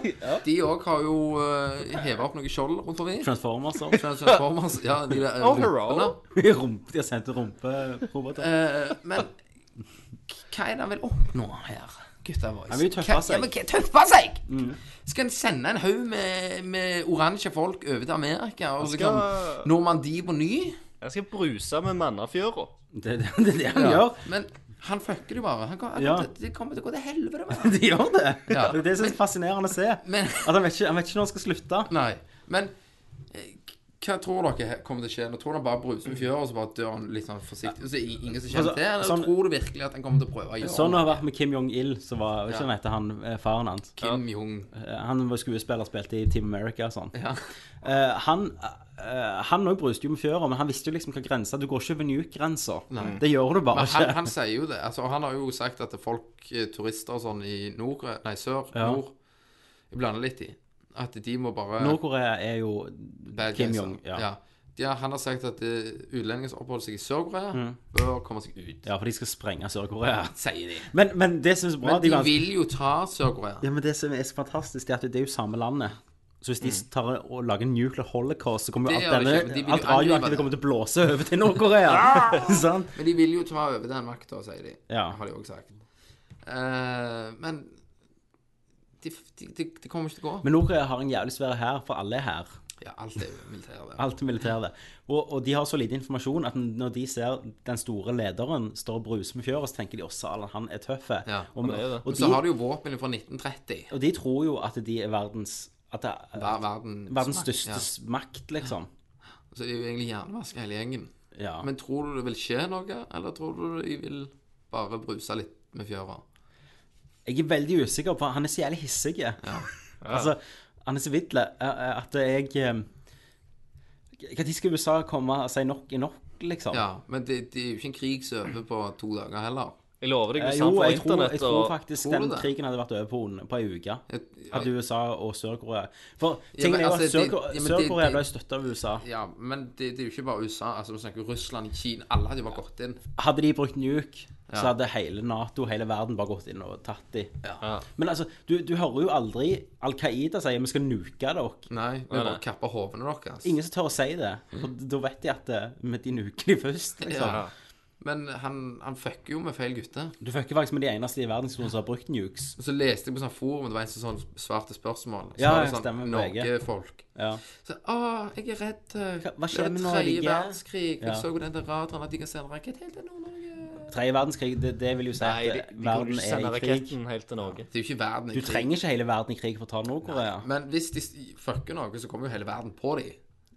<laughs> De òg har jo uh, heva opp noe skjold rundt forbi. Transformers og <laughs> Transformers. Ja, de der eh, rumpene. Rump- De har sendt rumperoboter. Eh, men hva er det han vil oppnå her? Gutta boys. Han vil tøffe Hva- seg. Mm. Ja, men hva- tøffe seg! Skal en sende en haug med, med oransje folk over til Amerika, og så kan Normandie på ny? Jeg skal bruse med mannafjøra. Det er det, det, er det han gjør. Men han fucker det jo bare. Han, kan- Ja. det, det kommer til å gå til helvete med <laughs> han. De gjør det. Ja. Det er det som er så fascinerende å se. Men- At han vet ikke, han vet ikke når han skal slutte. Nei. Men eh, hva tror dere kommer til å skje? Nå tror han bare bruser med fjøret, og så bare dør han litt sånn forsiktig. Og så er ingen som kjenner Altså, til Eller sånn- tror du virkelig at han kommer til å prøve å gjøre Sånn noe? har det vært med Kim Jong-il, som var ikke han heter han eh, faren hans. Kim Jong Eh, Han var skuespiller, spilte i Team America og sånn. ja. Eh, han eh, Han òg bruste jo med fjøra, men han visste jo liksom hva grensa Du går ikke ved nuke-grensa. Det gjør du bare Men han, ikke. han sier jo det. Altså, og han har jo sagt at folk, eh, turister og sånn i nord, nei, sør, Ja. nord Jeg blander litt i. At de må bare Nord-Korea er jo bad Kim guys, Jong. Ja. Ja. De har- han har sagt at eh, utlendinger som oppholder seg i Sør-Korea, Mm. bør komme seg ut. ja, for de skal sprenge Sør-Korea. Sier de. Men, men det som er så bra Men de kan- vil jo ta Sør-Korea. Ja, men det som er så fantastisk, det er at det er jo samme landet. Så hvis de tar og lager en nuclear holocaust, så kommer jo Mm. Det alt, gjør denne, det ikke, men de vil jo alt angripe radioaktive det. kommer til å blåse over til Nord-Korea. <laughs> Sant? Men de vil jo ta over den makta, sier de. Ja. Har de òg sagt. Eh, men det de, de, de kommer ikke til å gå. Men Nord-Korea har en jævlig svær hær, for alle er her. Ja, alt er jo militæret. der. Alt er militære. Og, og de har så lite informasjon at når de ser den store lederen står og bruser med fjøret, så tenker de også at han er tøff. Ja, og, er det. og, Så har de- de jo våpen fra 1930. og de tror jo at de er verdens at det er Ver- Verden, verdens makt, største ja. makt, liksom. Så det er jo egentlig hjernevask hele gjengen. Ja. Men tror du det vil skje noe, eller tror du de vil bare bruse litt med fjøra? Jeg er veldig usikker, for han er så jævlig hissig. <laughs> altså, han er så vidle eh, at jeg Når skal USA komme og si nok er nok, liksom? Ja, men det, det er jo ikke en krig som over på to dager heller. Jeg lover deg, Eh, hvis jo, han får jeg tror, jeg internett tror og faktisk Tror du den det? krigen hadde vært over på en- på ei uke. Jeg- Hadde USA og Sør-Korea For Ja, men tingen er jo at altså, det- Sør-Korea ja, men det- Sør-Korea det- ble støtta av USA. Ja, men det, det er jo ikke bare USA. altså Vi snakker jo Russland, Kina Alle hadde jo bare gått inn. Hadde de brukt nuke, så Ja. hadde hele Nato, hele verden, bare gått inn og tatt de. Ja. Men altså, du, du hører jo aldri Al Qaida sier vi skal nuke dere. Nei, vi bare kapper hodene deres. Ingen som tør å si det. For da vet de at eh, men de nuker de først, liksom. Ja. Men han, han fucker jo med feil gutter. Du fucker faktisk med de eneste i verdenshistorien som har brukt nukes. Og så leste jeg på sånn forum, det var en som sånn svarte spørsmål. Så Ja, var det ja, sånn stemmer, VG. Norge-folk. Ja. Så, Å, jeg er redd eh, Hva- hva skjer det er med Tredje Norge?» verdenskrig. Ja. Jeg så jo den der radaren at de kan sende rakett helt til Nord-Norge. Tredje verdenskrig, det, det vil jo si at Nei, de, eh, de kunne verden ikke sende er i krig. raketten helt til Norge. Det er jo ikke verden i Du krig. trenger ikke hele verden i krig for å ta Nord-Korea. Men hvis de s- fucker noe, så kommer jo hele verden på de.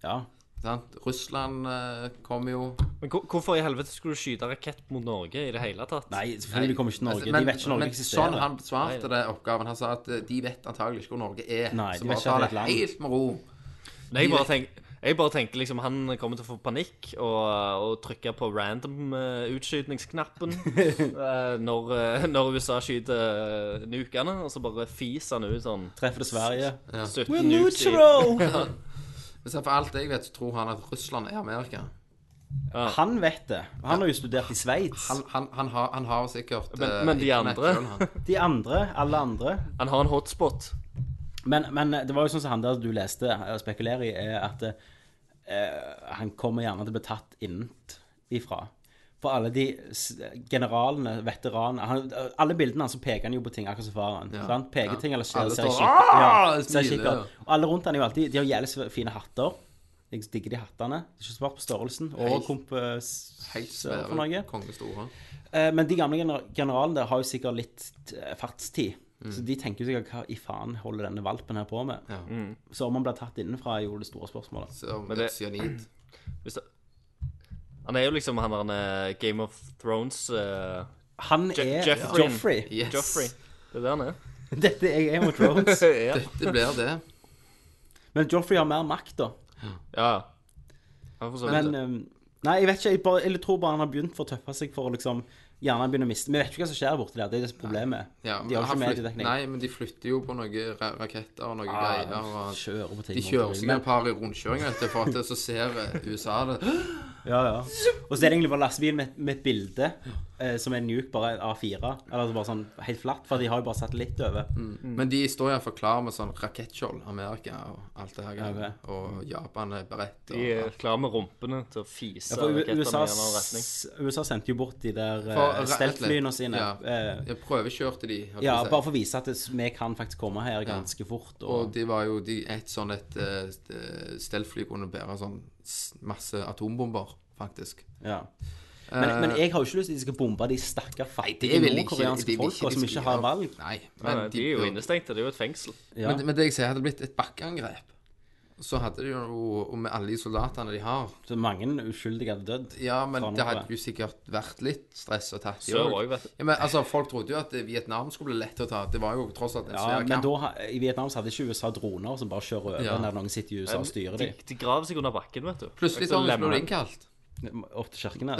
Ja. Sant? Russland eh, kommer jo Men hvor- hvorfor i helvete skulle du skyte rakett mot Norge i det hele tatt? Nei, selvfølgelig kommer ikke til Norge. Altså, men- de vet ikke Norge Men sånn eksisterer. han besvarte det oppgaven. Han sa at eh, de vet antagelig ikke hvor Norge er. Nei, så de vet bare ikke at det ta er det et land. helt med ro. Nei, jeg bare tenker jeg bare tenker liksom han kommer til å få panikk og, og trykke på random eh, <laughs> utskytningsknappen eh, når, eh, når USA skyter nukene, og så bare fiser han ut sånn Treffer det Sverige. 17 We're nukes i neutral! Men så for alt jeg vet, så tror han at Russland er Amerika. Han vet det. Han har jo studert i Sveits. Han, han, han, har, han har sikkert Men- eh, men de internett andre? selv, han. De andre, alle andre. Han har en hotspot. Men, men det var jo sånn som han der du leste og spekulerer eh, i, er at eh, han kommer gjerne til å bli tatt innenfra. For alle de s- generalene, veteranene han, Alle bildene hans så peker han jo på ting, akkurat som faren. Ja, sant? Peker ting eller ser Alle ser står, kikk «Ah!» ja, ser smiler, kikk ut. Og alle rundt han er jo alltid De har jævlig fine hatter. Jeg digger de hattene. Det er ikke så smart på størrelsen. Og Helt- kompis <laughs> Helt for svære noe. kongestore. Eh, Men de gamle gener- generalene der har jo sikkert litt eh, fartstid. Så de tenker jo sikkert hva i faen holder denne valpen her på med? Mm. Ja. Så om han blir tatt innenfra, er jo det store spørsmålet. Som Men et det- cyanid. Hvis det, han er jo liksom han der eh, Game of Thrones eh, Han Je- er Jeffrey. Joffrey. Yes. Joffrey. Det er det han er. <laughs> Dette er Game of Thrones. ja. <laughs> Det blir det. Men Joffrey har mer makt, da. ja. Han får så vidt Men det. eh, Nei, jeg vet ikke. Jeg, bare, jeg tror bare han har begynt for å tøffe seg for å liksom Gjerne begynne å miste Vi vet ikke hva som skjer borti der. Det er det som er problemet. Ja, de har jo ikke han flyt- medieteknikk. Nei, men de flytter jo på noen ra raketter og Ah, noen greier. de Og kjører på ting. de rundt kjører omkring, seg men- et par i rundkjøring, vet du, for at det så ser eh, USA det. Ja, ja. Og så er det egentlig bare lastebilen med, med et bilde eh, som er nuke, bare A4. Eller altså bare sånn helt flatt, for de har jo bare satellitt over. Mm. Men de står iallfall klar med sånn rakettskjold, Amerika og alt det her greiene. Ja, Og Japan er beredt. De Og, er klare med rumpene til å fise Ja, for U- rakettene i en USA, annen retning. USA sendte jo bort de der For- uh, steltflyene sine. Ja. eh, jeg prøvekjørte de. holdt ja, jeg på å si. bare for å vise at det, vi kan faktisk komme her ganske fort. Og Og, de var jo de, et sånn et eh, st- eh, stelfly kunne bære sånn s- masse atombomber, faktisk. ja. men, Eh, men jeg har jo ikke lyst til at de skal bombe de stakkar fattige nordkoreanske folka som ikke har valg. liksom Nei, Nei, men nei, de er jo innestengte. Det er jo et fengsel. Ja. Men, men det jeg sier, hadde det blitt et bakkeangrep, så hadde det jo Og med alle de soldatene de har Så mange uskyldige hadde dødd. Ja, men Faen, det bra. hadde jo sikkert vært litt stress og tatt i Sør år. også, vet du. Ja, men altså, folk trodde jo at Vietnam skulle bli lett å ta. Det var jo tross alt en Ja, svær men kamp. da, ha- I Vietnam så hadde ikke USA droner som bare kjører over Ja. når noen sitter i USA og styrer De, dem. de graver seg under bakken, vet du. Plutselig Og så så ble lemmer det de. innkalt <laughs> Opp til kirkene.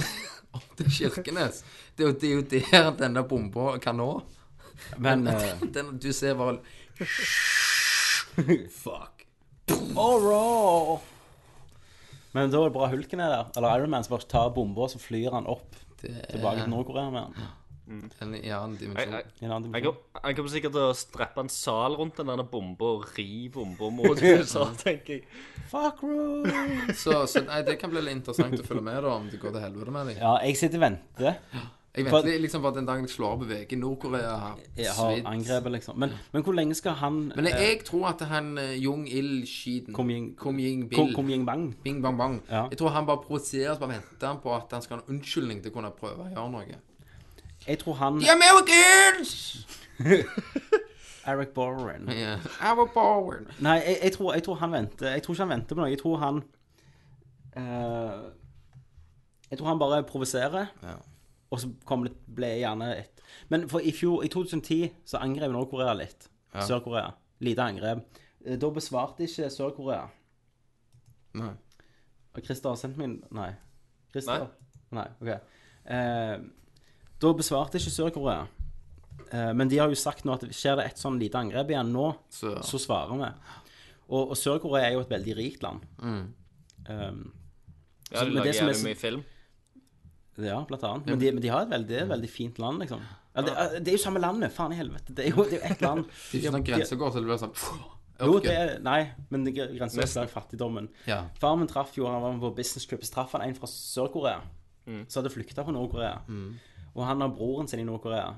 opp til Kirkenes. Det er jo, det er jo der denne bomba kan nå. <laughs> Men eh, Den, du ser bare Fuck. Men da er det bra hulken er der. Eller Iron Man som bare tar bomba, så flyr han opp Det tilbake er til Nord-Korea med han. en i annen dimensjon. Jeg- jeg- I en annen Han dimensjon. kom- han kommer sikkert til å streppe en sal rundt den der bomba og ri bomba <laughs> mot USA, tenker jeg. Fuck room! Så, så nei, det kan bli litt interessant å følge med da, om det går til helvete med dem. Ja, jeg sitter og venter. Jeg for- venter li- liksom på at den dagen jeg slår på VG Nord-Korea har Jeg har svidd. angrepet, liksom. Men, men hvor lenge skal han Men jeg, jeg tror at han eh, Jung Il Shiden Kom Ying- Kom Ying Kom Bil kom Ying Bang? Bing Bang Bang. Ja. Jeg tror han bare provoserer og bare venter han på at han skal ha en unnskyldning til å kunne prøve å gjøre noe. Jeg tror han The Americans! Eric Borren Yeah. Our power. Nei, jeg, jeg, tror, jeg tror han venter. Jeg tror ikke han venter på noe. Jeg tror han eh, Jeg tror han bare provoserer. Ja. Og så kommer det ble gjerne et Men for i fjor, i 2010, så angrep Nord-Korea litt. Sør-Korea. Lite angrep. Eh, Da besvarte ikke Sør-Korea. Nei. Og Christer har sendt min Nei. Nei. Christer? Nei. OK. Eh, da besvarte ikke Sør-Korea. Eh, men de har jo sagt nå at skjer det et sånn lite angrep igjen nå, Så, så svarer vi. Og, og Sør-Korea er jo et veldig rikt land. Eh, Ja, de Men lager det som er jævlig så- mye film. ja, blant annet. Men de, men de har et veldig, det er et veldig fint land, liksom. Ja, det, er- det er jo samme landet, faen i helvete. Det er jo, det er jo ett land. det er ikke sånn grensegård, så det blir sånn pff, Jo, ørken. det er, nei, men det grenser til fattigdommen. Ja. Far min traff jo, han var på business trip, så traff han en fra Sør-Korea. Som hadde flykta fra Nord-Korea. Og han har broren sin i Nord-Korea.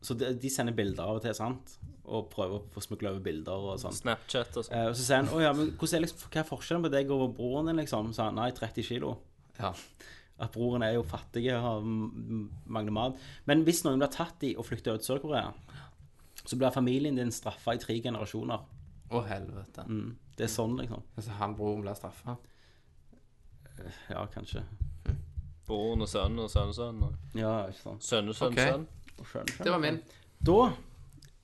Så de, de sender bilder av og til, sant? Og prøver å få smugla over bilder og sånn. Snapchat og sånn. Eh, og så sier han å ja, men hvordan er liksom, hva er forskjellen på deg og broren din, liksom? Så han nei, 30 kilo. Ja. At broren er jo fattig og har m- mangler mat. Men hvis noen blir tatt i og flykter ut til Sør-Korea, så blir familien din straffa i tre generasjoner. Å, helvete. Det er sånn, liksom. Altså, han broren blir straffa. Ja, kanskje. Broren og sønnen og sønnesønnen. og Ja, ikke sant. Sønnesønn, Ok. sønn. Skjønner, skjønner. Det var min. Da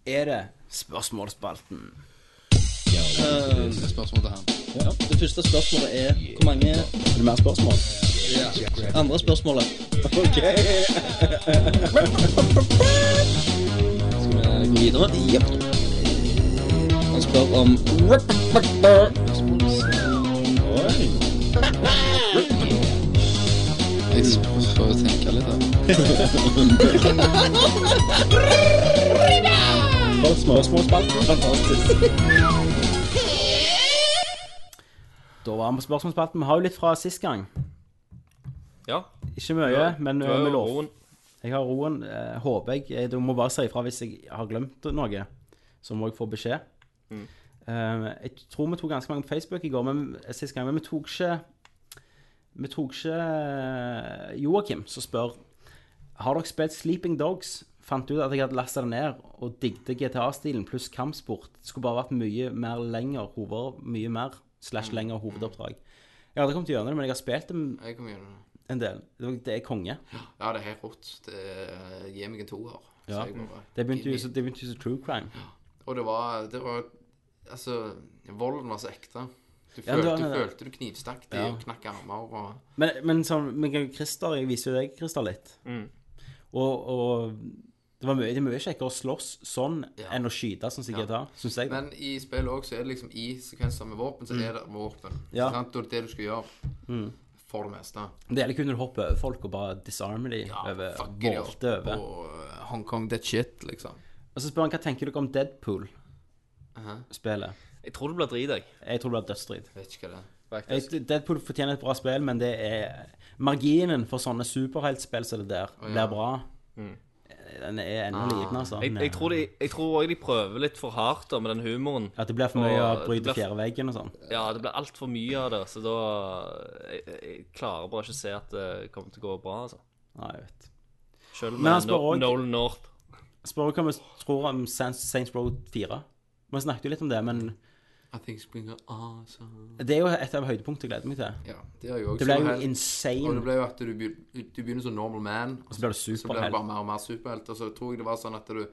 er det spørsmålsspalten. Spørsmål til han. Det første spørsmålet er hvor mange Er det mer spørsmål? andre spørsmålet? Ok. Skal vi gå videre? Jepp. Han spør om Jeg får jo tenke litt, da. Spørsmålsspalten. Fantastisk. Da var vi på spørsmålsspalten. Vi har jo litt fra sist gang. Ja. Ikke mye, men Du eh, har vi jo lover. roen. Jeg har roen, eh, håper jeg. Eh, Du må bare si ifra hvis jeg har glemt noe, så må jeg få beskjed. Eh, jeg tror vi tok ganske mange på Facebook i går, men sist gang, men vi tok ikke Vi tok ikke eh, Joakim, som spør Har dere spilt Sleeping Dogs? Fant ut at jeg hadde lasta det ned og digget GTA-stilen pluss kampsport. Det skulle bare vært mye mer lenger hoved, mye mer slash lenger hovedoppdrag. Jeg hadde kommet gjennom det, men jeg har spilt det Jeg kommer gjennom det. en del. Det det er konge. Ja, det er helt rått. Det er, gi meg en toer. så Ja. Mm. jeg bare- Det begynte jo så- det begynte jo som true crime. Og det var, det var Altså, volden var så ekte. Du Ja, det følte, var du, det. følte du knivstakk de Ja. og knakk armer og Men, men sånn, men Christer, jeg viser jo deg, Christer, litt. Mm. Og, og det, var mye, det er mye kjekkere å slåss sånn enn å skyte, sånn som GTA, syns jeg. Men i spillet òg så er det liksom i sekvenser med våpen, så er det våpen. Mm. Ja. Mm. Sant? Og det er det du skal gjøre. For det meste. det gjelder kun når du hopper over folk og bare disarmer dem. over, fucker de volte over. Og uh, Hong Kong that shit, liksom. Og så spør han hva tenker dere om Deadpool-spelet. Jeg tror det blir drit, jeg. Jeg tror det blir dødsstrid. Vet ikke hva det er. Faktisk. Jeg- Deadpool fortjener et bra spill, men det er Marginen for sånne superheltspill som det der blir bra. Den er ennå liten, altså. Mm. Jeg, jeg tror de- jeg tror òg de prøver litt for hardt da, med den humoren. At det blir for mye å Og det blir- bryte fjerde veggen og sånn. Ja, det blir altfor mye av det, så da jeg, jeg klarer bare ikke å se at det kommer til å gå bra, altså. Nei, jeg vet. Selv Men han med spør no også- Nolan North. Spør hva vi tror om Saints, Saints Row 4. Vi snakket jo litt om det, men I think Springer awesome. det er jo et av høydepunktene jeg gleder meg til. ah, Ja, det er jo også Det ble jo helt- Og det insane. ble jo at du, be- du begynner som normal man, og blir du så blir superhelt. du bare mer og mer superhelt. Og så tror jeg det var sånn at du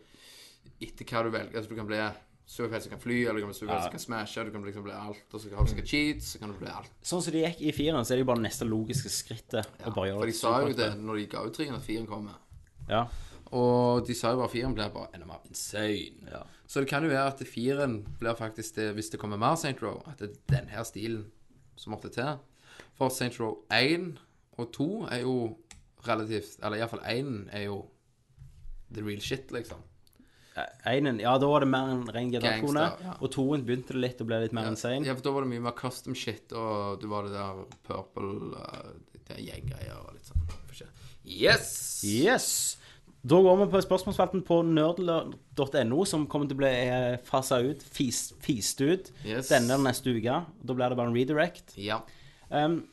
etter hva du velger Altså, du kan bli superhelt som kan fly, eller du kan bli superhelt som kan smashe, du kan liksom bli alt, og så kan du skal cheat, så kan du bli alt. Sånn som det gikk i fireren, så er det jo bare neste logiske skrittet. å bare gjøre For de det sa jo supert. det når de ga ut trikken, at firen kommer. Ja. Og de sa jo bare firen blir bare enda mer insane. Ja. Så det kan jo være at firen blir faktisk det, hvis det kommer mer St. Row, at det er denne stilen som måtte til. For St. Row 1 og 2 er jo relativt Eller iallfall 1 er jo the real shit, liksom. Einen, ja, da var det mer en ren generasjon. Gangster, ja. Og toen begynte det litt å bli litt mer Ja, insane. for da var det mye mer custom shit, og du var det der purple uh, Det der gjenggreier og litt sånn. forskjell. Yes! Yes! Da går vi på spørsmålsfelten på nerdler.no, som kommer til å bli fasa ut, fis- fist ut, Yes. denne eller neste uke. Da blir det bare en redirect. Ja. Um,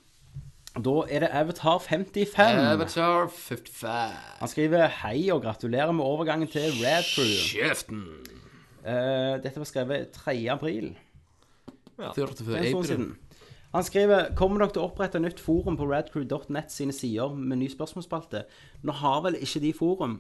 da er det Avatar 55. Avatar 55. Han skriver hei og gratulerer med overgangen til Red Crew. Kjeften! Eh, dette var skrevet 3. april. Det er en stund 44 siden. Han skriver kommer dere til å opprette nytt forum på radcrew.net sine sider med ny spørsmålsspalte. Nå har vel ikke de forum,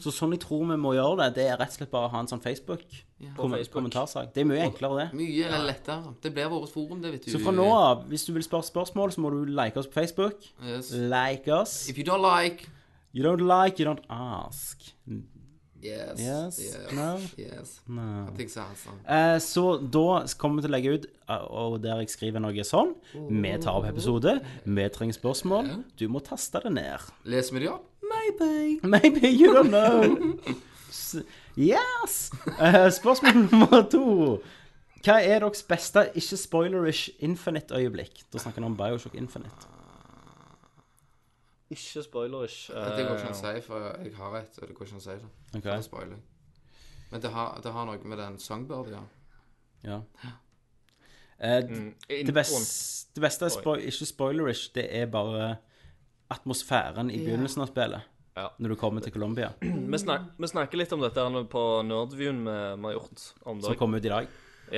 så sånn jeg tror vi må gjøre det, det er rett og slett bare å ha en sånn På Facebook. Facebook-kommentarsak. Det er mye enklere, det. Mye eller lettere. Det blir vårt forum, det, vet du. Så fra nå av, hvis du vil spørre spørsmål, så må du like oss på Facebook. Yes. Like oss. If you don't like You don't like, you don't ask. Yes. Yes, Yes. no. yes. No. Jeg tenker sånn, sånn. Eh, Så da kommer vi til å legge ut eh, Og der jeg skriver noe sånn Vi tar opp episode Vi trenger spørsmål Du må taste det ned Leser vi de opp? Maybe. Maybe you don't know S- Yes Eh, Spørsmål <laughs> nummer to Hva er deres beste Ikke spoilerish Infinite øyeblikk Da snakker vi om Bioshock Infinite Ikke spoilerish. Det går ikke eh, an å si, for jeg har et, og det går ikke an å si det. Ok. For det spoiler jeg. Men det har, det har noe med den songbird, ja. Ja Eh, d- i- det, best, det beste er spoi ikke spoilerish, det er bare atmosfæren i begynnelsen av spillet. Ja. Når du kommer til Colombia. mm, Vi, snak, vi snakker litt om dette her nå på Nerdviewen vi, vi har gjort om Som dagen. kom ut i dag.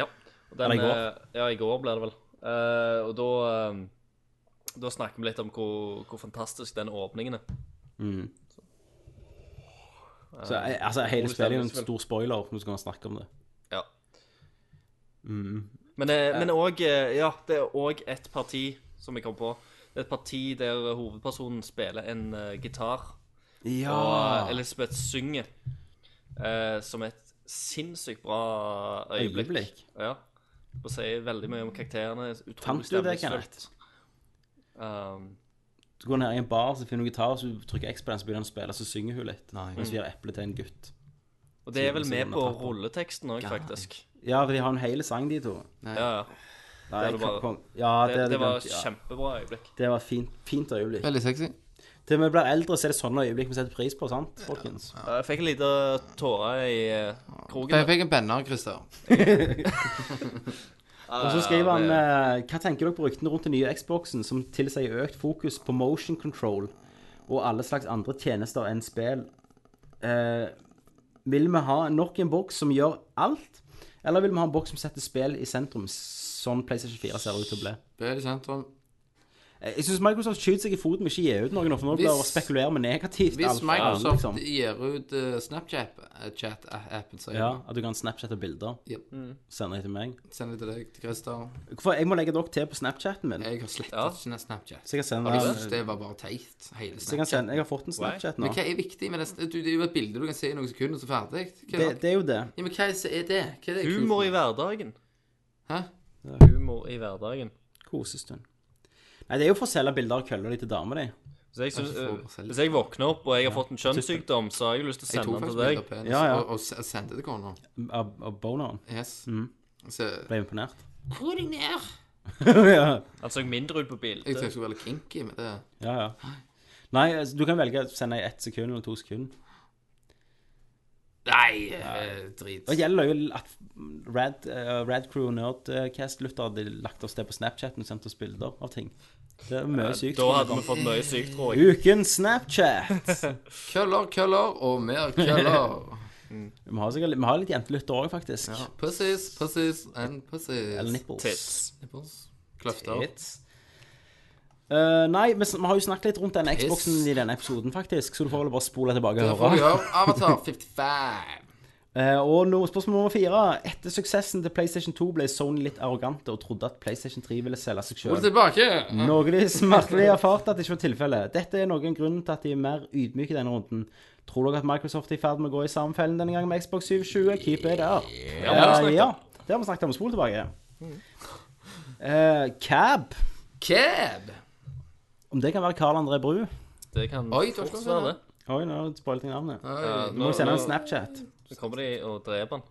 Ja. Og Eller i går. eh, Ja, i går ble det vel. Eh, og da eh, Da snakker vi litt om hvor, hvor fantastisk den åpningen er. Så eh, altså, hele Ole spillet er jo en Stenberg, stor spoiler når du skal snakke om det. Ja. Mm. Men, eh, men òg eh, Ja, det er òg et parti som jeg kom på. Det er et parti der hovedpersonen spiller en eh, gitar, Ah. og Elisabeth synger, eh, som er et sinnssykt bra øyeblikk. Øyeblikk. Ja. Og sier veldig mye om karakterene. utrolig Fant du det, stemningsfullt. Kenneth? Um, Du går ned i en bar, så finner du gitar, så du trykker X på den, så begynner den å spille, så synger hun litt. Mens du gir eple til en gutt. og det er vel Siden- med siden på hun har tatt den. rulleteksten òg, faktisk. Ja, for de har en hel sang, de to. Ja, ja. Nei, det var- kom- kom- ja, Det, det var glemt, ja. kjempebra øyeblikk. Det var fint, fint øyeblikk. Veldig sexy. Til vi blir eldre, så er det sånne øyeblikk vi setter pris på, sant, folkens? Jeg fikk en liten tåre i eh, kroken. Jeg fikk en penner, Christer. Og så skriver han eh, Hva tenker dere på ryktene rundt den nye Xboxen som tilsier økt fokus på motion control og alle slags andre tjenester enn spill? Eh, vil vi ha nok en boks som gjør alt, eller vil vi ha en boks som setter spill i sentrum, sånn PlayStation 4 ser ut til å bli? Spill i sentrum. Eh, Jeg syns Microsoft skyter seg i foten med ikke gi ut noe nå, for nå Hvis- blir det spekulert med negativt. alt Hvis for alle, Microsoft liksom. gir ut eh, Snapchat-appen, så Ja, at du kan Snapchatte bilder. Jep. Sende det til meg. sender jeg til deg, til Christer. Hvorfor? Jeg må legge dere til på Snapchatten min. Jeg har slettet ikke Snapchat. Så jeg kan sende Jeg den- synes det var bare teit. så Hele jeg kan Snapchat. sende Jeg har fått en Snapchat nå. Men hva er viktig med det? Du, det er jo et bilde du kan se i noen sekunder, så ferdig. Hva, Det, det er jo det. Ja, men hva er det? Hva er det kult Humor med? i hverdagen. Hæ? Humor i hverdagen. Kosestund. Nei, det er jo for å selge bilder av køller de til damer, de. Hvis jeg, synes, Jeg får eh, bare selv. hvis jeg våkner opp og jeg har fått en kjønnssykdom, så har jeg jo lyst til å Jeg sende tok den faktisk til deg. bilder av penis Ja, ja. og, og s- sendte det til kona. Av, av boneren. Yes. Mm. Så Ble imponert. <laughs> Hvor er ned? ja, Han så Altså, mindre ut på Jeg tenkte bildet. jeg skulle være litt kinky med det. ja, ja. Nei, altså, du kan velge å sende i ett sekund eller to sekunder. Nei, eh, drit. Og det gjelder jo at Rad, eh, Rad Crew og Nerdcast-lyttere hadde lagt oss det på Snapchaten og sendt oss bilder av ting. Det er mye sykt. Da hadde vi fått mye sykt, tror jeg. Ukens Snapchat! Køller, køller og mer <laughs> køller. Vi har, sikkert, vi har litt jentelyttere òg, faktisk. Pussies, pussies and pussies. Eller nipples. Tits. Nipples. Kløfter. Tits. Eh, nei, vi, sn- vi har jo snakket litt rundt den Piss. Xboxen i denne episoden, faktisk, så du får vel bare spole tilbake Det og får du høre. gjøre. Avatar <laughs> 55. Eh, og nå, spørsmål nummer fire. Etter suksessen til PlayStation 2 ble Sony litt arrogante og trodde at PlayStation 3 ville selge seg Gå sjøl. tilbake. Noe de smertelig erfarte at det ikke var tilfellet. Dette er noen grunn til at de er mer ydmyke i denne runden. Tror dere at Microsoft er i ferd med å gå i samme fellen denne gangen med Xbox 720? Keep it up. Eh, ja, det har vi snakket om. Spol tilbake. Eh, cab. Cab. Om det kan være Carl André Bru? Det kan Oi, du har fort ikke være det. lov Oi, nå spoilte jeg navnet. Ja, Eh, Du må nå- jo sende en nå- Snapchat. Så kommer de og dreper han.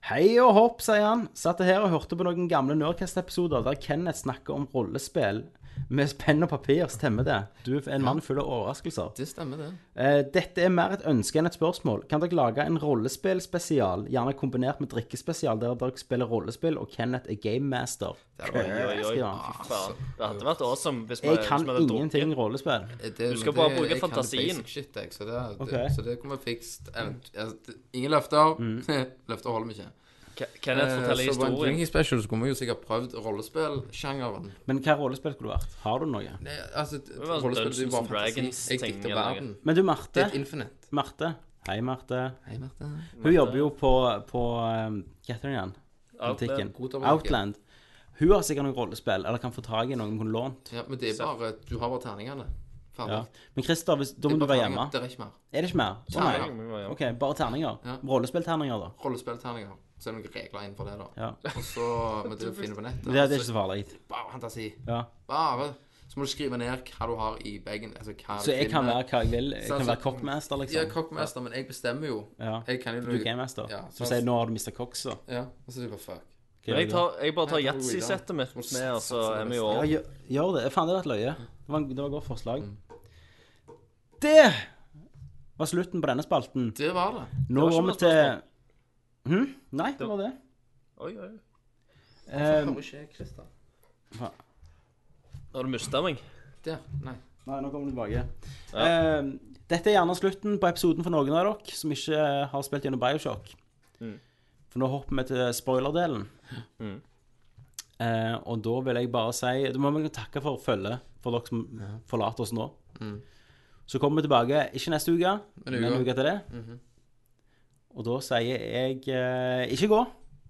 Hei og hopp, sier han. Satt her og hørte på noen gamle Nerdcast-episoder der Kenneth snakker om rollespill med penn og papir. Stemmer det? Du er en mann full av overraskelser. Det stemmer, det. Eh, dette er mer et ønske enn et spørsmål. Kan dere lage en rollespillspesial, gjerne kombinert med drikkespesial, der dere spiller rollespill og Kenneth er gamemaster? Oi, oi, Skriver han. fy faen. Det hadde vært awesome hvis vi Jeg hvis kan vi hadde ingenting drukket. rollespill. Det- Du skal men bare det- bruke jeg kan det fantasien. basic Shit, jeg, så, det, det, Ok. så det kommer fikst. Event- altså, det- Ingen løfter. Mm. <laughs> løfter holder vi ikke. Ke- Kenneth Eh, forteller så på en historien. Drinking Special så kunne vi jo sikkert prøvd rollespillsjangeren. Men hva rollespill skulle du vært? Har du noe? Det- Altså, det- var en rollespill det er jo Dungeons bare and Dragons fantasi. Jeg ting dikter eller noe. verden. Men du, Det er Marte. et infinite. Marte. Hei, Marte. Hei, Marte. Hun jobber jo på, på um, Hva heter den igjen? Outland. Butikken. Godtabakk. Outland. Hun har sikkert noen rollespill, eller kan få tak i noen hun kunne lånt. Ja, men det er bare Du har bare terningene. Ferdig. Ja. Men Christer, hvis, da Det må er du bare være hjemme. terninger. Det er ikke mer. Er det ikke mer? Å Terninger. nei. Vi var hjemme. OK, bare terninger. Ja. Rollespillterninger, da. Rollespillterninger. Så er det noen regler innenfor det, da. Ja. Og så med det du finner på nettet. Det, det er ikke så farlig. Bare fantasi. Ja. Bare. Så må du skrive ned hva du har i bagen. Altså hva Så jeg kan være hva jeg vil. Jeg Så- kan så- være kokkmester, Ja, liksom. kokkmester, men jeg bestemmer jo. Ja. Jeg kan jo Du er gamemaster. Ja, Så sant. sier jeg, nå har du mista koksa. Ja, og så er det bare fuck. Men jeg, tar, jeg bare tar Jeg tror vi da- yatzy-settet mitt med, og så er vi jo Ja, gjør, gjør det. Faen, det hadde vært løye. Det var, en- det var et godt forslag. Mm. Det var slutten på denne spalten. Det var det. Nå Det var går ikke vi noe til Hm? Nei, det var det. Oi, oi. Eh, Hører ikke jeg, Christer. Har du mista meg? Der. Nei. nei, nå kommer du tilbake. Eh, dette er gjerne slutten på episoden for noen av dere som ikke eh, har spilt gjennom Bioshock. Mm. For nå hopper vi til spoilerdelen. Eh, og da vil jeg bare si Da må vi takke for følget for dere som forlater oss nå. Så kommer vi tilbake ikke neste uke, men uka. Mm. en uke Mhm. etter det. Og da sier jeg eh, ikke gå,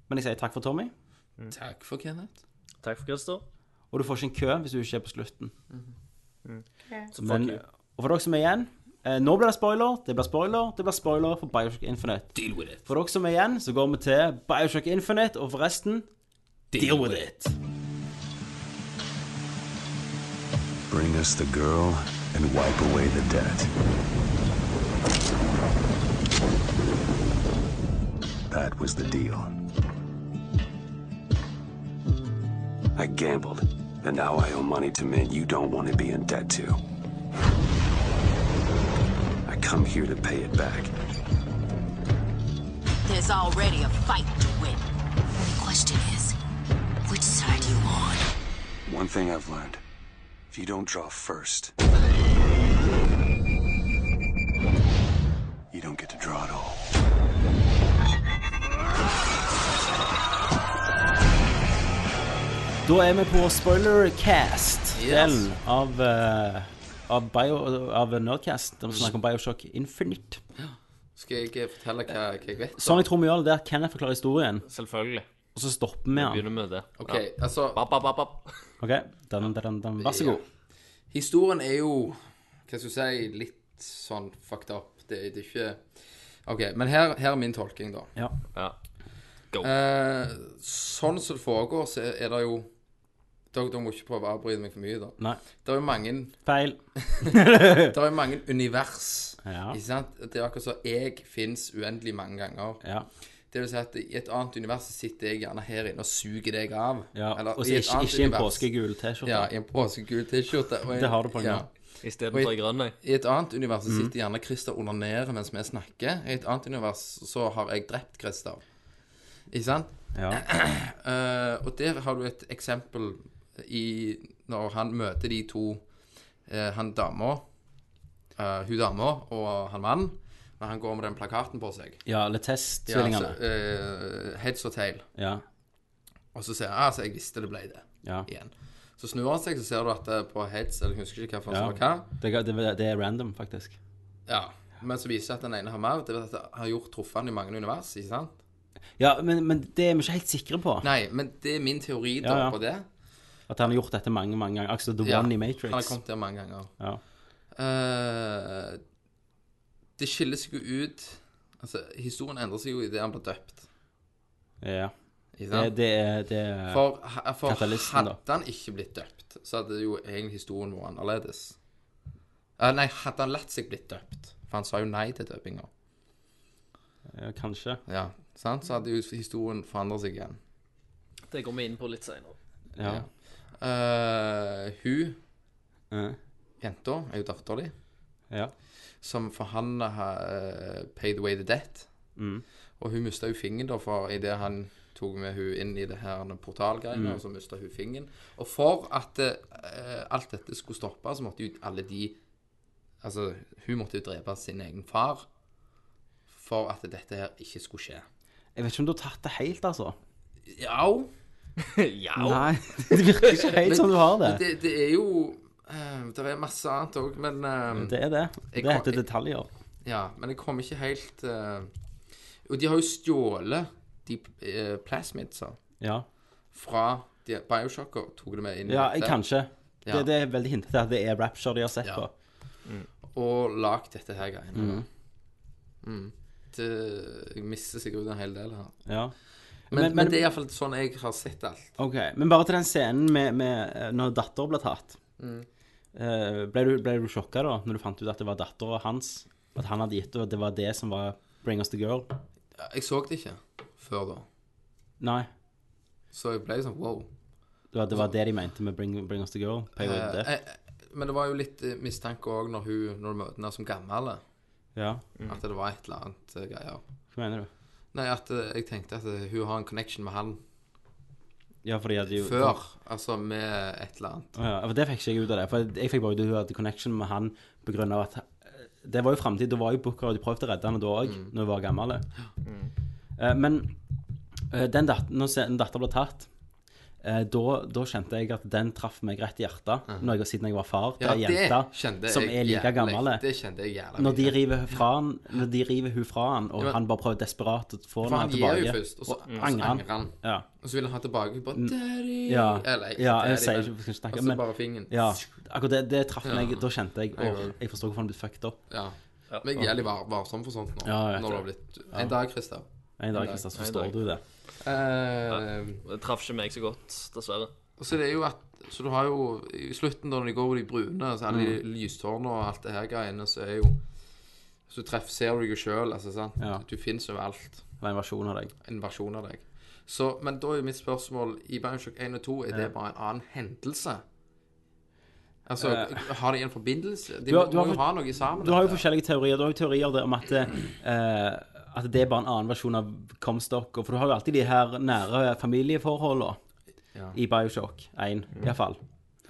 men jeg sier takk for Tommy. Mm. Takk for Kenneth. Takk for Christer. Og du får ikke en kø hvis du ikke er på slutten. Mm-hmm. Mm. Så fuck Men, you. og for dere som er igjen eh, Nå blir det spoiler, det blir spoiler, det blir spoiler for Bioshock Infinite. Deal with it. For dere som er igjen, så går vi til Bioshock Infinite, og forresten Deal, with it. Bring us the girl and wipe away the debt. That was the deal. I gambled, and now I owe money to men you don't want to be in debt to. come here to pay it back. There's already a fight to win. The question is, which side you on? One thing I've learned if you don't draw first, you don't get to draw at all. Da er vi på spoilercast-delen Yes. av, eh, av, bio- av Nerdcast. Der vi snakker om Bioshock Infinite. Skal jeg eh, fortelle hva, hva jeg vet? da? Sånn jeg tror vi gjør det, der Kenneth forklarer historien. Selvfølgelig. Og så stopper vi den. Begynner med det. OK, altså Bap, bap, bap, bap. Ok, den, den, den. Vær så god. Historien er jo Hva skal jeg si Litt sånn fucked up. Det, det er ikke OK, men her, her er min tolking, da. Ja. Ja. Eh, sånn som det foregår, så er, er det jo Dere dere må ikke prøve å avbryte meg for mye, da. Nei. Det er jo mange Feil. Det er jo mange univers. Ja. Ikke sant? Det er akkurat som jeg fins uendelig mange ganger. Ja. Det vil si at i et annet univers så sitter jeg gjerne her inne og suger deg av. ja. Eller Og i så et ikke, annet ikke en univers. påskegul Ja, T-skjorte. i en påskegul T-skjorte. og i- Det har du på en ja. gang. Mhm. Istedenfor ei grønn, jeg. I et annet univers så sitter gjerne Christer under nede mens vi snakker. I et annet univers så har jeg drept Christer. Ikke sant? Ja. Eh, og der har du et eksempel i Når han møter de to eh, Han dama eh, Hun dama og han mannen. Når han går med den plakaten på seg. ja, eller testsvillingene. altså, eh, heads or tail. Ja. Og så sier han altså, jeg visste det ble det. Ja. Igjen. Så snur han seg, så ser du at det er på heads Eller jeg husker ikke hva for ja. som var hva. Det, det, det er random, faktisk. Ja. Men så viser det at den ene har mer. Det er at han har gjort truffet han i mange univers. ikke sant? Ja, men, men det er vi ikke helt sikre på. Nei, men det er min teori da Ja, ja. på det. At han har gjort dette mange mange ganger. Altså The Ja, One i Han har Matrix. kommet der mange ganger. Ja. Eh, det skiller seg jo ut Altså, historien endrer seg jo idet han blir døpt. ja. Ikke Det, sant? det er det er, for ha- for Katalisten, da. hadde han ikke blitt døpt, så hadde jo egentlig historien vært annerledes. Eh, nei, hadde han latt seg blitt døpt, for han sa jo nei til døpinga, ja, Kanskje. ja, sant? så hadde jo historien forandra seg igjen. <laughs> Det går vi inn på litt <laughs> seinere. Ja. Ja. Eh, hun Ja. jenta er jo dattera di. ja. som for han uh, paid away the debt. Mm. Og hun mista jo fingeren da, for idet han tok med hun inn i det her Mm. portalgreiene, og så mista hun fingeren. Og for at eh, alt dette skulle stoppe, så måtte jo alle de Altså, hun måtte jo drepe sin egen far for at dette her ikke skulle skje. Jeg vet ikke om du har tatt det helt, altså. Jau. Nei, <laughs> det virker ikke helt som du har det. Det, det er jo eh, Det er masse annet òg, men eh, Det er det. Det Jeg kan- heter detaljer. Ja, men jeg kom ikke helt eh, Og de har jo stjålet de uh, plasmidsa Ja, fra de Bioshocker og tok det med inn i ja dette, kanskje. Det, Ja. det er veldig hintet til at det er rapture de har sett Ja. på. og lagd dette her greiene. Mm. Det, jeg mister sikkert en hel del her. Ja. Men, men, Men- men- det er iallfall sånn jeg har sett alt. Ok, Men bare til den scenen med, med eh, når datter ble tatt. Mm. Eh, ble, du, ble du sjokka da, når du fant ut at det var dattera hans? At han hadde gitt og det var det som var 'bring us the girl'? Jeg så det ikke før da, Nei. så jeg ble sånn wow. Det var det, var det de mente med 'bring, bring us the girl'? Pay with Eh, death. eh, men det var jo litt eh, mistanke òg når, hun- når du møter henne som gammel, Ja, at det var et eller annet eh, greier. hva mener du? Nei, at eh, jeg tenkte at eh, hun har en connection med han Ja, for de hadde jo Før, altså med et eller annet. Å Ja, for det fikk ikke jeg ut av det. For jeg fikk bare ut at hun hadde connection med han på grunn av at eh, Det var jo framtid. Da var jo Booker, og de prøvde å redde han da òg, Mm. når hun var gammel. Eh, Men eh, den dat når se- den datter ble tatt eh, da, da kjente jeg at den traff meg rett i hjertet, når jeg, siden jeg var far til Ja, ei det jente kjende som jeg er like jævlig. gammel. eh. Det kjente jeg jævlig. Når de mye. river, fra han, når de river hun fra han, og men- han bare prøver desperat å få For henne han gir jo tilbake, først, og så, og angrer så han. angrer han. Ja. Og så vil han ha tilbake bare Daddy! Ja, Eller ikke ja, daddy, jeg sier men- ikke, vi skal ikke snakke, Og så men bare fingeren. Ja, akkurat det, det traff meg. Ja. Da kjente jeg Jeg åh, òg. jeg forstår hvorfor han ble fucked up. Ja. Men jeg er jævlig var, varsom for sånt nå. Ja, jeg vet når det har blitt En dag, Christer. En dag, dag. Kristian, så En forstår dag. du det. Eh, Det traff ikke meg så godt, dessverre. og så det er jo at Så du har jo I slutten, da når de går over de brune, så alle Mm. de lystårnene og alt det her greiene, så er jo Så treff, ser du deg sjøl, altså. sant? Ja. Du, du fins overalt. Det var en versjon av deg. en versjon av deg. Så, men da er jo mitt spørsmål I Bioshock 1 og 2 er det bare en annen hendelse? Altså, har de en forbindelse? Eh. De Du har- må, du har må jo fått- ha noe sammen. Du har jo dette. forskjellige teorier. Du har jo teorier der om at, eh, at det er bare en annen versjon av Comstock. og- For du har jo alltid de her nære familieforholdene Ja. i Bioshock 1, i hvert fall.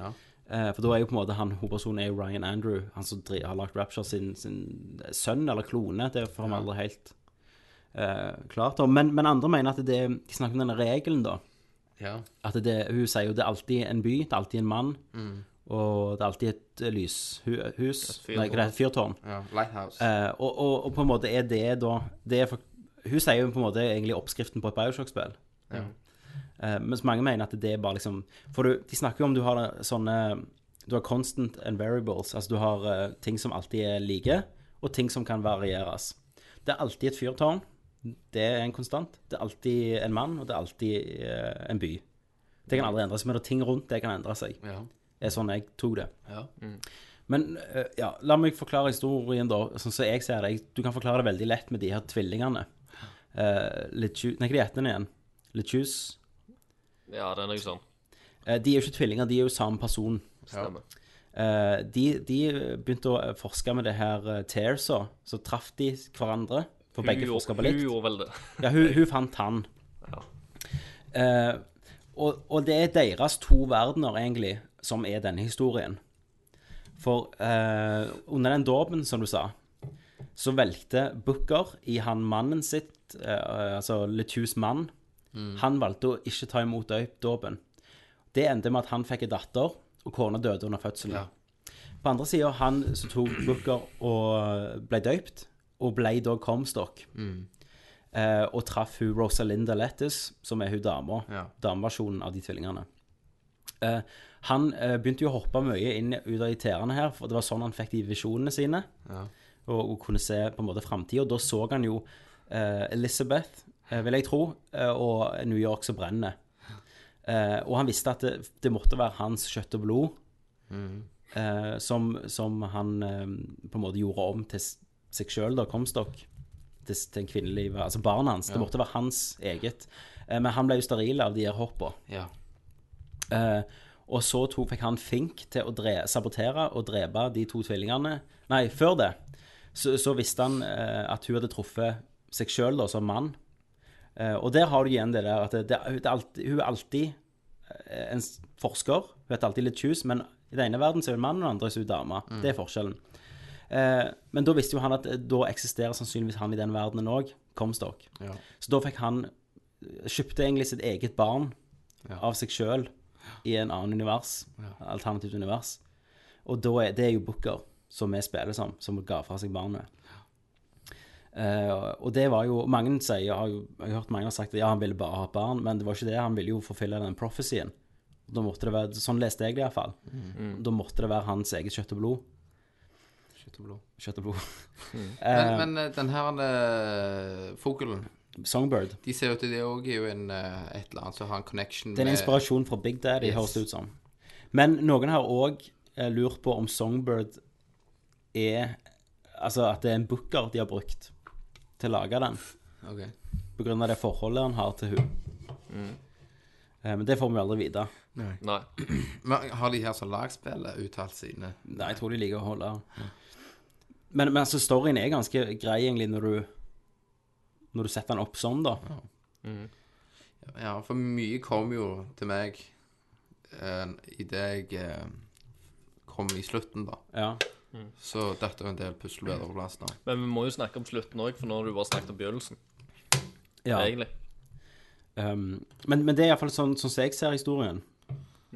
Ja. Eh, for da er jo på en måte han hovedpersonen er jo Ryan Andrew, han som dri- har lagt Rapture sin, sin sønn, eller klone. Det får vi aldri helt eh, klart. om. Men, men andre mener at det, de snakker om denne regelen, da. Ja. At det, hun sier jo det er alltid en by, det er alltid en mann. Mm. Og det er alltid et eh, lyshus Et fyrtårn. Nei, hva det heter, fyrtårn. Ja, lighthouse. Eh, og, og, og på en måte er det da det er for, Hun sier jo på en måte egentlig oppskriften på et Bioshock-spill. Ja. Eh, mens mange mener at det er bare liksom For du, de snakker jo om du har sånne Du har constant and variables. Altså du har eh, ting som alltid er like, og ting som kan varieres. Det er alltid et fyrtårn. Det er en konstant. Det er alltid en mann, og det er alltid eh, en by. Det kan aldri endre seg, men det er ting rundt det kan endre seg. Ja. Det er sånn jeg tok det. Ja. Men eh, ja, la meg forklare historien, da. Sånn som jeg ser det. Jeg- Du kan forklare det veldig lett med de her tvillingene. Uh, Nei, hva heter den igjen? Lechus? Ja, det er noe sånn. Eh, De er jo ikke tvillinger, de er jo samme person. Stemmer. Eh, De, de begynte å forske med det her eh, Tearsa, så traff de hverandre. For Hun begge gjorde- forska på likt. hun gjorde vel det. <laughs> Ja, hun, hun fant han. Eh, og, og det er deres to verdener, egentlig, som er denne historien. For eh, under den dåpen, som du sa, så valgte Booker i han mannen sitt, eh, altså Lethus mann, han valgte å ikke ta imot døp- dåpen. Det endte med at han fikk en datter, og kona døde under fødselen. På andre sida, han som tok Booker og eh, ble døypt, og ble da Comstock. Eh, og traff hun Rosalinda Lettis, som er hun dama. Dameversjonen av de tvillingene. Eh, han eh, begynte jo å hoppe mye inn ut av de tærne her, for det var sånn han fikk de visjonene sine. Og, og kunne se på en måte framtida. Da så han jo eh, Elizabeth, eh, vil jeg tro, eh, og New York som brenner. Eh, og han visste at det, det måtte være hans kjøtt og blod eh, som, som han eh, på en måte gjorde om til s- seg sjøl, da, Comstock til, til en kvinnelig Altså barnet hans. Ja. Det måtte være hans eget. Eh, men han ble jo steril av de her hoppa. Ja. Eh, og så tok, fikk han Fink til å dre, sabotere og drepe de to tvillingene. Nei, før det så, så visste han eh, at hun hadde truffet seg sjøl som mann. Eh, og der har du igjen det der at det, det, det er alltid, hun er alltid eh, en s- forsker. Hun heter alltid litt tjus, men i den ene verden så er hun mann, og i den andre så er hun dame. Det er forskjellen. Eh, men da visste jo han at eh, da eksisterer sannsynligvis han i den verdenen òg, Comstock. Ja. Så da fikk han eh, Kjøpte egentlig sitt eget barn av seg sjøl i en annen univers. Alternativt univers. Og da er, det er jo Booker, som vi spiller som, som ga fra seg barnet. Eh, og det var jo Mange sier, jeg har jo jeg har hørt mange har sagt at ja, han ville bare ha et barn, men det var ikke det. Han ville jo forfylle den prophecy-en. Da måtte det være, Sånn leste jeg det iallfall. Mm. Da måtte det være hans eget kjøtt og blod. Kjøtt og blod. Kjøtt og blod. <laughs> Eh, Men, men eh, den her eh, fuglen Songbird. De ser ut til det òg er jo en eh, et eller annet som har en connection Det er en inspirasjon fra Big Daddy, Yes. høres det ut som. Men noen har òg lurt på om Songbird er Altså at det er en booker de har brukt til å lage den. Ok. På grunn av det forholdet han har til hun. Eh, Men det får vi aldri vite. Nei. Nei. Men har de her som lagspiller uttalt sine Nei, jeg tror de liker å holde Men, men altså, storyen er ganske grei, egentlig, når du Når du setter den opp sånn, da. Ja, for mye kom jo til meg eh, i det jeg eh, kom i slutten, da. Ja. Så dette er jo en del puslebiter på plass nå. Men vi må jo snakke om slutten òg, for nå har du bare snakket om begynnelsen. Ja. Egentlig. Um, men, men det er iallfall sånn sånn som jeg ser historien.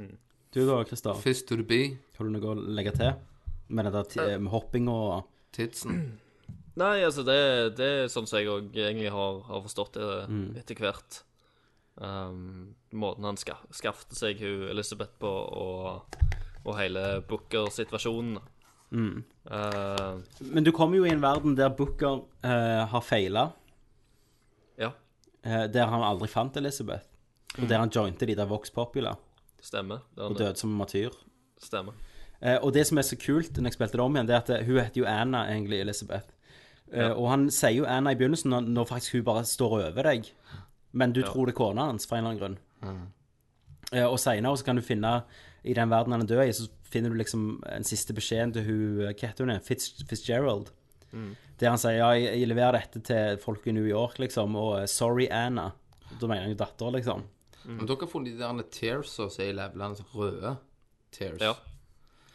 Mm. Du da, Christer? Fish to the bee. Har du noe å legge til? Med det der ti- eh, med hopping og Tidsen. Nei, altså, det, det er sånn som jeg òg egentlig har, har forstått det Mm. etter hvert. Um, måten han ska, skaffte seg hun Elizabeth på, og, og hele Booker-situasjonen. mm. Eh, Men du kommer jo i en verden der Booker eh, har feila. Ja. der han aldri fant Elizabeth. Og der han jointe de der Vox Popula stemmer. Det er og en- døde som en matyr. Stemmer. Eh, og det som er så kult når jeg spilte det om igjen, det er at eh, hun heter jo Anna, egentlig, Elizabeth. Eh, Og han sier jo Anna i begynnelsen når, når faktisk hun bare står over deg, men du tror det er kona hans, for en eller annen grunn. Eh, Og senere så kan du finne I den verden han er død i, så finner du liksom en siste beskjeden til hun eh, Hva heter hun? igjen? Fitz, Fitzgerald. Mm. Der han sier ja, jeg, jeg leverer dette til folk i New York, liksom, og eh, sorry, Anna. Da mener han jo datter, liksom. Men dere har funnet de der tearsa som er i levelene sånn røde tears. Ja.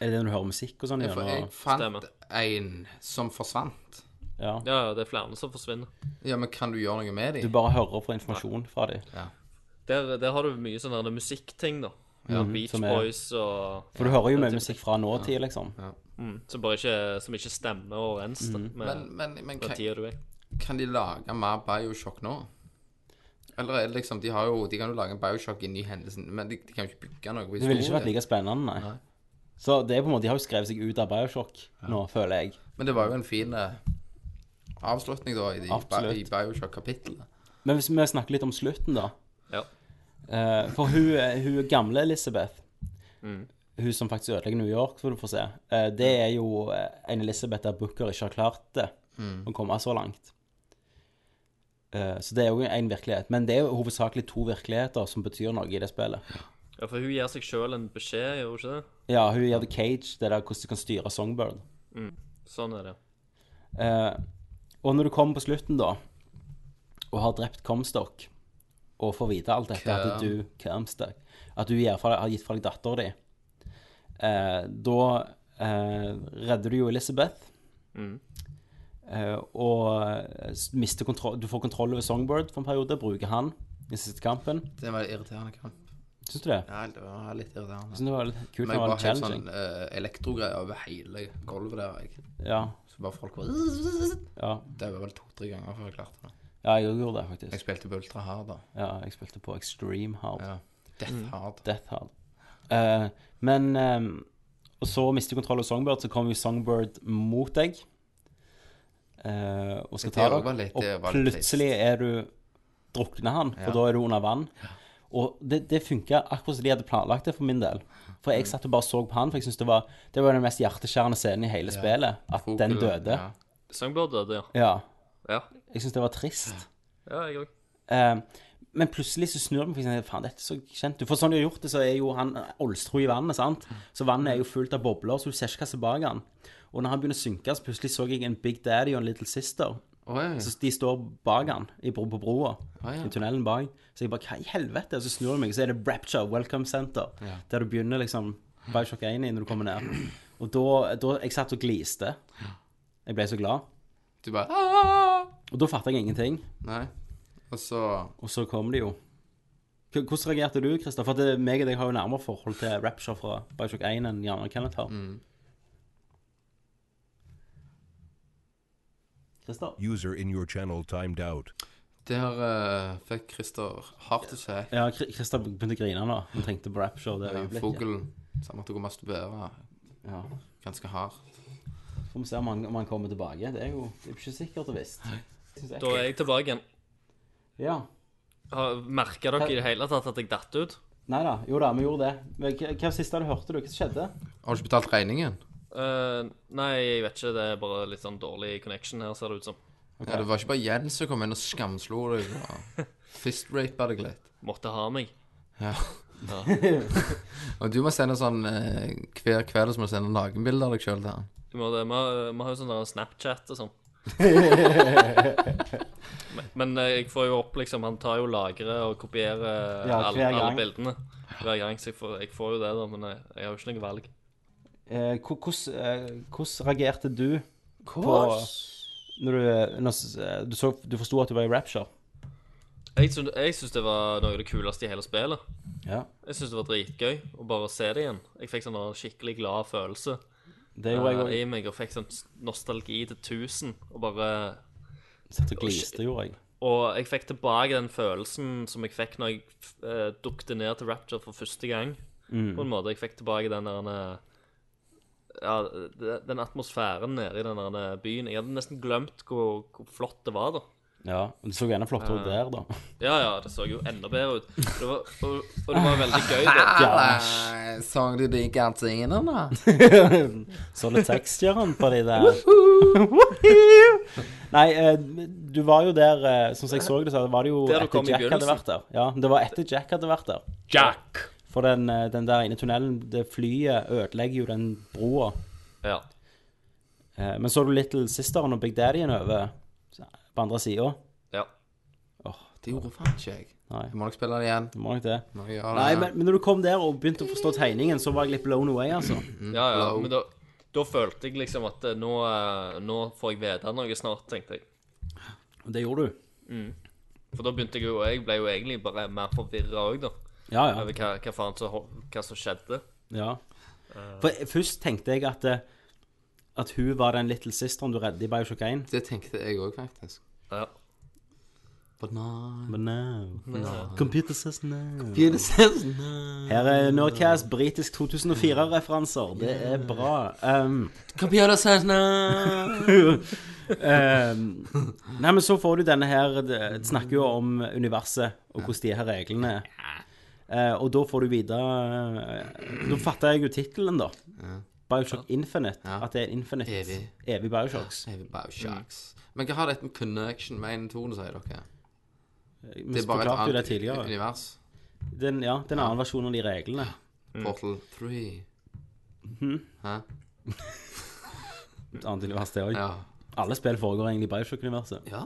Er det det når du hører musikk og sånn? Jeg, for igjen, jeg og- fant en som forsvant. Ja. Ja, ja, det er flere som forsvinner. Ja, men kan du gjøre noe med Du dem? bare hører på informasjon fra dem. Der, der har du mye sånne der musikkting, da. Ja. Mhm, Beach som er- Boys og For du hører jo den mye type musikk ting. fra nåtid, liksom. Mm, som bare ikke, som ikke stemmer overens da, Mhm. med, Men- men- men med kan- tida du er. Kan de lage mer Bioshock nå? Eller er det liksom De, har jo, de kan jo lage en Bioshock inni hendelsen, men de, de kan jo ikke bygge noe på Det ville ikke vært like spennende, nei. Så det er på en måte, de har jo skrevet seg ut av Bioshock nå, føler jeg. Men det var jo en fin eh, avslutning, da, i, de- Absolutt. i Bioshock-kapitlet. Men hvis vi snakker litt om slutten, da. Ja. Eh, for hun, hun gamle Elizabeth, Mm. hun som faktisk ødelegger New York, får du få se, eh, det er jo eh, en Elizabeth der Booker ikke har klart det, Mm. å komme så langt. Eh, så det er jo en virkelighet. Men det er jo hovedsakelig to virkeligheter som betyr noe i det spillet. Ja, for hun gir seg sjøl en beskjed, gjør hun ikke det? Ja, hun gjør The Cage, det der hvordan du kan styre Songbird. Mm. Sånn er det. Eh, og når du kommer på slutten, da, og har drept Comstock, og får vite alt dette, Cum. at du Comstock, at du gir fra, har gitt fra deg datteren din, eh, da eh, redder du jo Elizabeth. Mm. Eh, og eh, s- mister kontroll, du får kontroll over Songbird for en periode, bruker han i siste kampen. Det var en irriterende kamp. Syns du det? Ja, det var litt irriterende. Syns det var litt kult, Men det jeg var var litt helt challenging. sånn uh, elektrogreier over hele gulvet der. Jeg. Ja. Så bare folk var Det Ja. var vel to-tre ganger før jeg klarte det. Ja, jeg også gjorde det, faktisk. Jeg spilte på ultra hard, da. Ja, jeg spilte på Extreme Hard. Death Mm. Hard. Death Hard. Eh, men ehm, Og så mister du kontroll over Songbird, så kommer jo Songbird mot deg. eh, og skal Det ta var bare deg. litt- Og det var litt trist. plutselig er du drukner han, for Ja. da er du under vann. Og det, det funka akkurat som de hadde planlagt det, for min del. For Mm. jeg satt og bare så på han, for jeg synes det var Det var den mest hjerteskjærende scenen i hele Ja. spillet. At den døde. Ja. Songbird døde, ja. Ja. Ja. Jeg syns det var trist. Ja, jeg òg. Eh, men plutselig så snur det meg og sier faen, dette er så kjent. ut." For sånn de har gjort det, så er jo han Olstro i vannet, sant. Så vannet er jo fullt av bobler, så du ser ikke hva som er bak han. Og når han begynner å synke, så plutselig så jeg en Big Daddy og en Little Sister. Oi. Så de står bak han i bro, på broa, Å, ja. i tunnelen bak. Så jeg bare hva i helvete? Og så snur jeg meg, så er det Rapture Welcome Center. Ja. Der du begynner liksom Bioshock 1 i når du kommer ned. Og da, da Jeg satt og gliste. Jeg ble så glad. Du bare Og da fatta jeg ingenting. Nei. Og så Og så kom det jo. H- Hvordan reagerte du, Christer? For at det, meg og deg har jo nærmere forhold til Rapture fra Bioshock 1 enn Janne Kenneth har. Mm. User in your channel timed out. Der eh, fikk Christer hardt å se. Ja, Kri- Christer begynte å grine nå. Han tenkte på Rapture det Ja, øyeblikket. Fuglen som måtte gå og masturbere ganske hardt. Får vi se om han, om han kommer tilbake. Det er jo det er jo ikke sikkert og visst. Synes jeg. Da er jeg tilbake igjen. Ja. Merka dere i det hele tatt at jeg datt ut? Nei da. Jo da, vi gjorde det. Men hva- hva var det siste du hørte, du? Hva skjedde? <laughs> Har du ikke betalt regningen? Eh, nei, jeg vet ikke. Det er bare litt sånn dårlig connection her, ser det ut som. Ja, det var ikke bare Jens som kom inn og skamslo deg og fistrapa deg litt. Måtte ha meg. Ja. Ja. og du må sende sånn eh, hver kveld så må du sende nakenbilder av deg sjøl til han. Du må det. Vi har vi har jo sånn der Snapchat <laughs> og sånn. men, men jeg får jo opp liksom Han tar jo lagre og kopierer eh, Ja, alle, hver gang. alle bildene hver gang. Så jeg får, jeg får jo det, da. Men jeg, jeg har jo ikke noe valg. Eh, hvor- Hvordan eh, hvordan reagerte du på Når du, når s- eh, du, så- du forsto at du var i Rapture? Jeg syns, jeg syns det var noe av det kuleste i hele spillet. Ja. Jeg syns det var dritgøy å bare se det igjen. Jeg fikk sånn en skikkelig glad følelse Det gjorde jeg eh, også. i meg, og fikk sånn nostalgi til 1000. Og bare Satt og gliste, gjorde jeg. Og jeg fikk tilbake den følelsen som jeg fikk når jeg eh, dukte ned til Rapture for første gang. Mm. På en måte. Jeg fikk tilbake den der eh, Ja, det- den atmosfæren nede i den der byen. Jeg hadde nesten glemt hvor, hvor flott det var, da. Ja, og det så jo enda flottere ut Ja. <laughs> der, da. Ja, ja, det så jo enda bedre ut. Det var, og, og det var veldig gøy, det. Halla! Så Ah, du de gardinene? Så litt tekstgjøren på de der. Nei, eh, du var jo der, eh, sånn som jeg så det, så var det jo Der du etter kom i Jack hadde begynnelsen. vært der. Ja, det var etter <laughs> Jack hadde vært der. Jack! For den, eh, den der ene tunnelen, det flyet ødelegger jo den broa. Ja. Eh, Men så du Little Sisteren og Big Daddyen over på andre sida? Ja. Det gjorde faen ikke jeg. Nei. Du må nok spille det igjen. Du må nok det. Må jeg gjøre Nei, det. men, men når du kom der og begynte å forstå tegningen, så var jeg litt blown away, altså. Ja, ja, men da, da følte jeg liksom at eh, nå, eh, nå får jeg vite noe snart, tenkte jeg. Og Det gjorde du. Mm. For da begynte jeg jo Jeg ble jo egentlig bare mer forvirra òg, da. Ja, ja. Over hva, hva faen som ho- hva som skjedde. Ja. Eh. For først tenkte jeg at, eh, at hun var den Little Sisteren du reddet i Bioshock 1. Det tenkte jeg òg, faktisk. Ja. But no. But no. No. Computer says no. Computer Mm. says no. Her er Nerdcast britisk 2004-referanser. Det er bra. Um, Computer says <laughs> no. um, nei, men så får du denne her Det det snakker jo om universet og hvordan de her reglene er. Eh, og da får du vite eh, Da fatter jeg jo tittelen, da. Bioshock Infinite. At det er Infinite. Evig. Evig Bioshocks. Evig Mm. Bioshocks. Men hva har dette med connection med 1 og 2 å si, dere? Vi forklarte jo det tidligere. univers. Den, ja, det er en annen versjon av de reglene. Mm. Portal 3. Hæ? Et annet univers, det òg. Ja. Alle spill foregår egentlig i Bioshock-universet. Ja.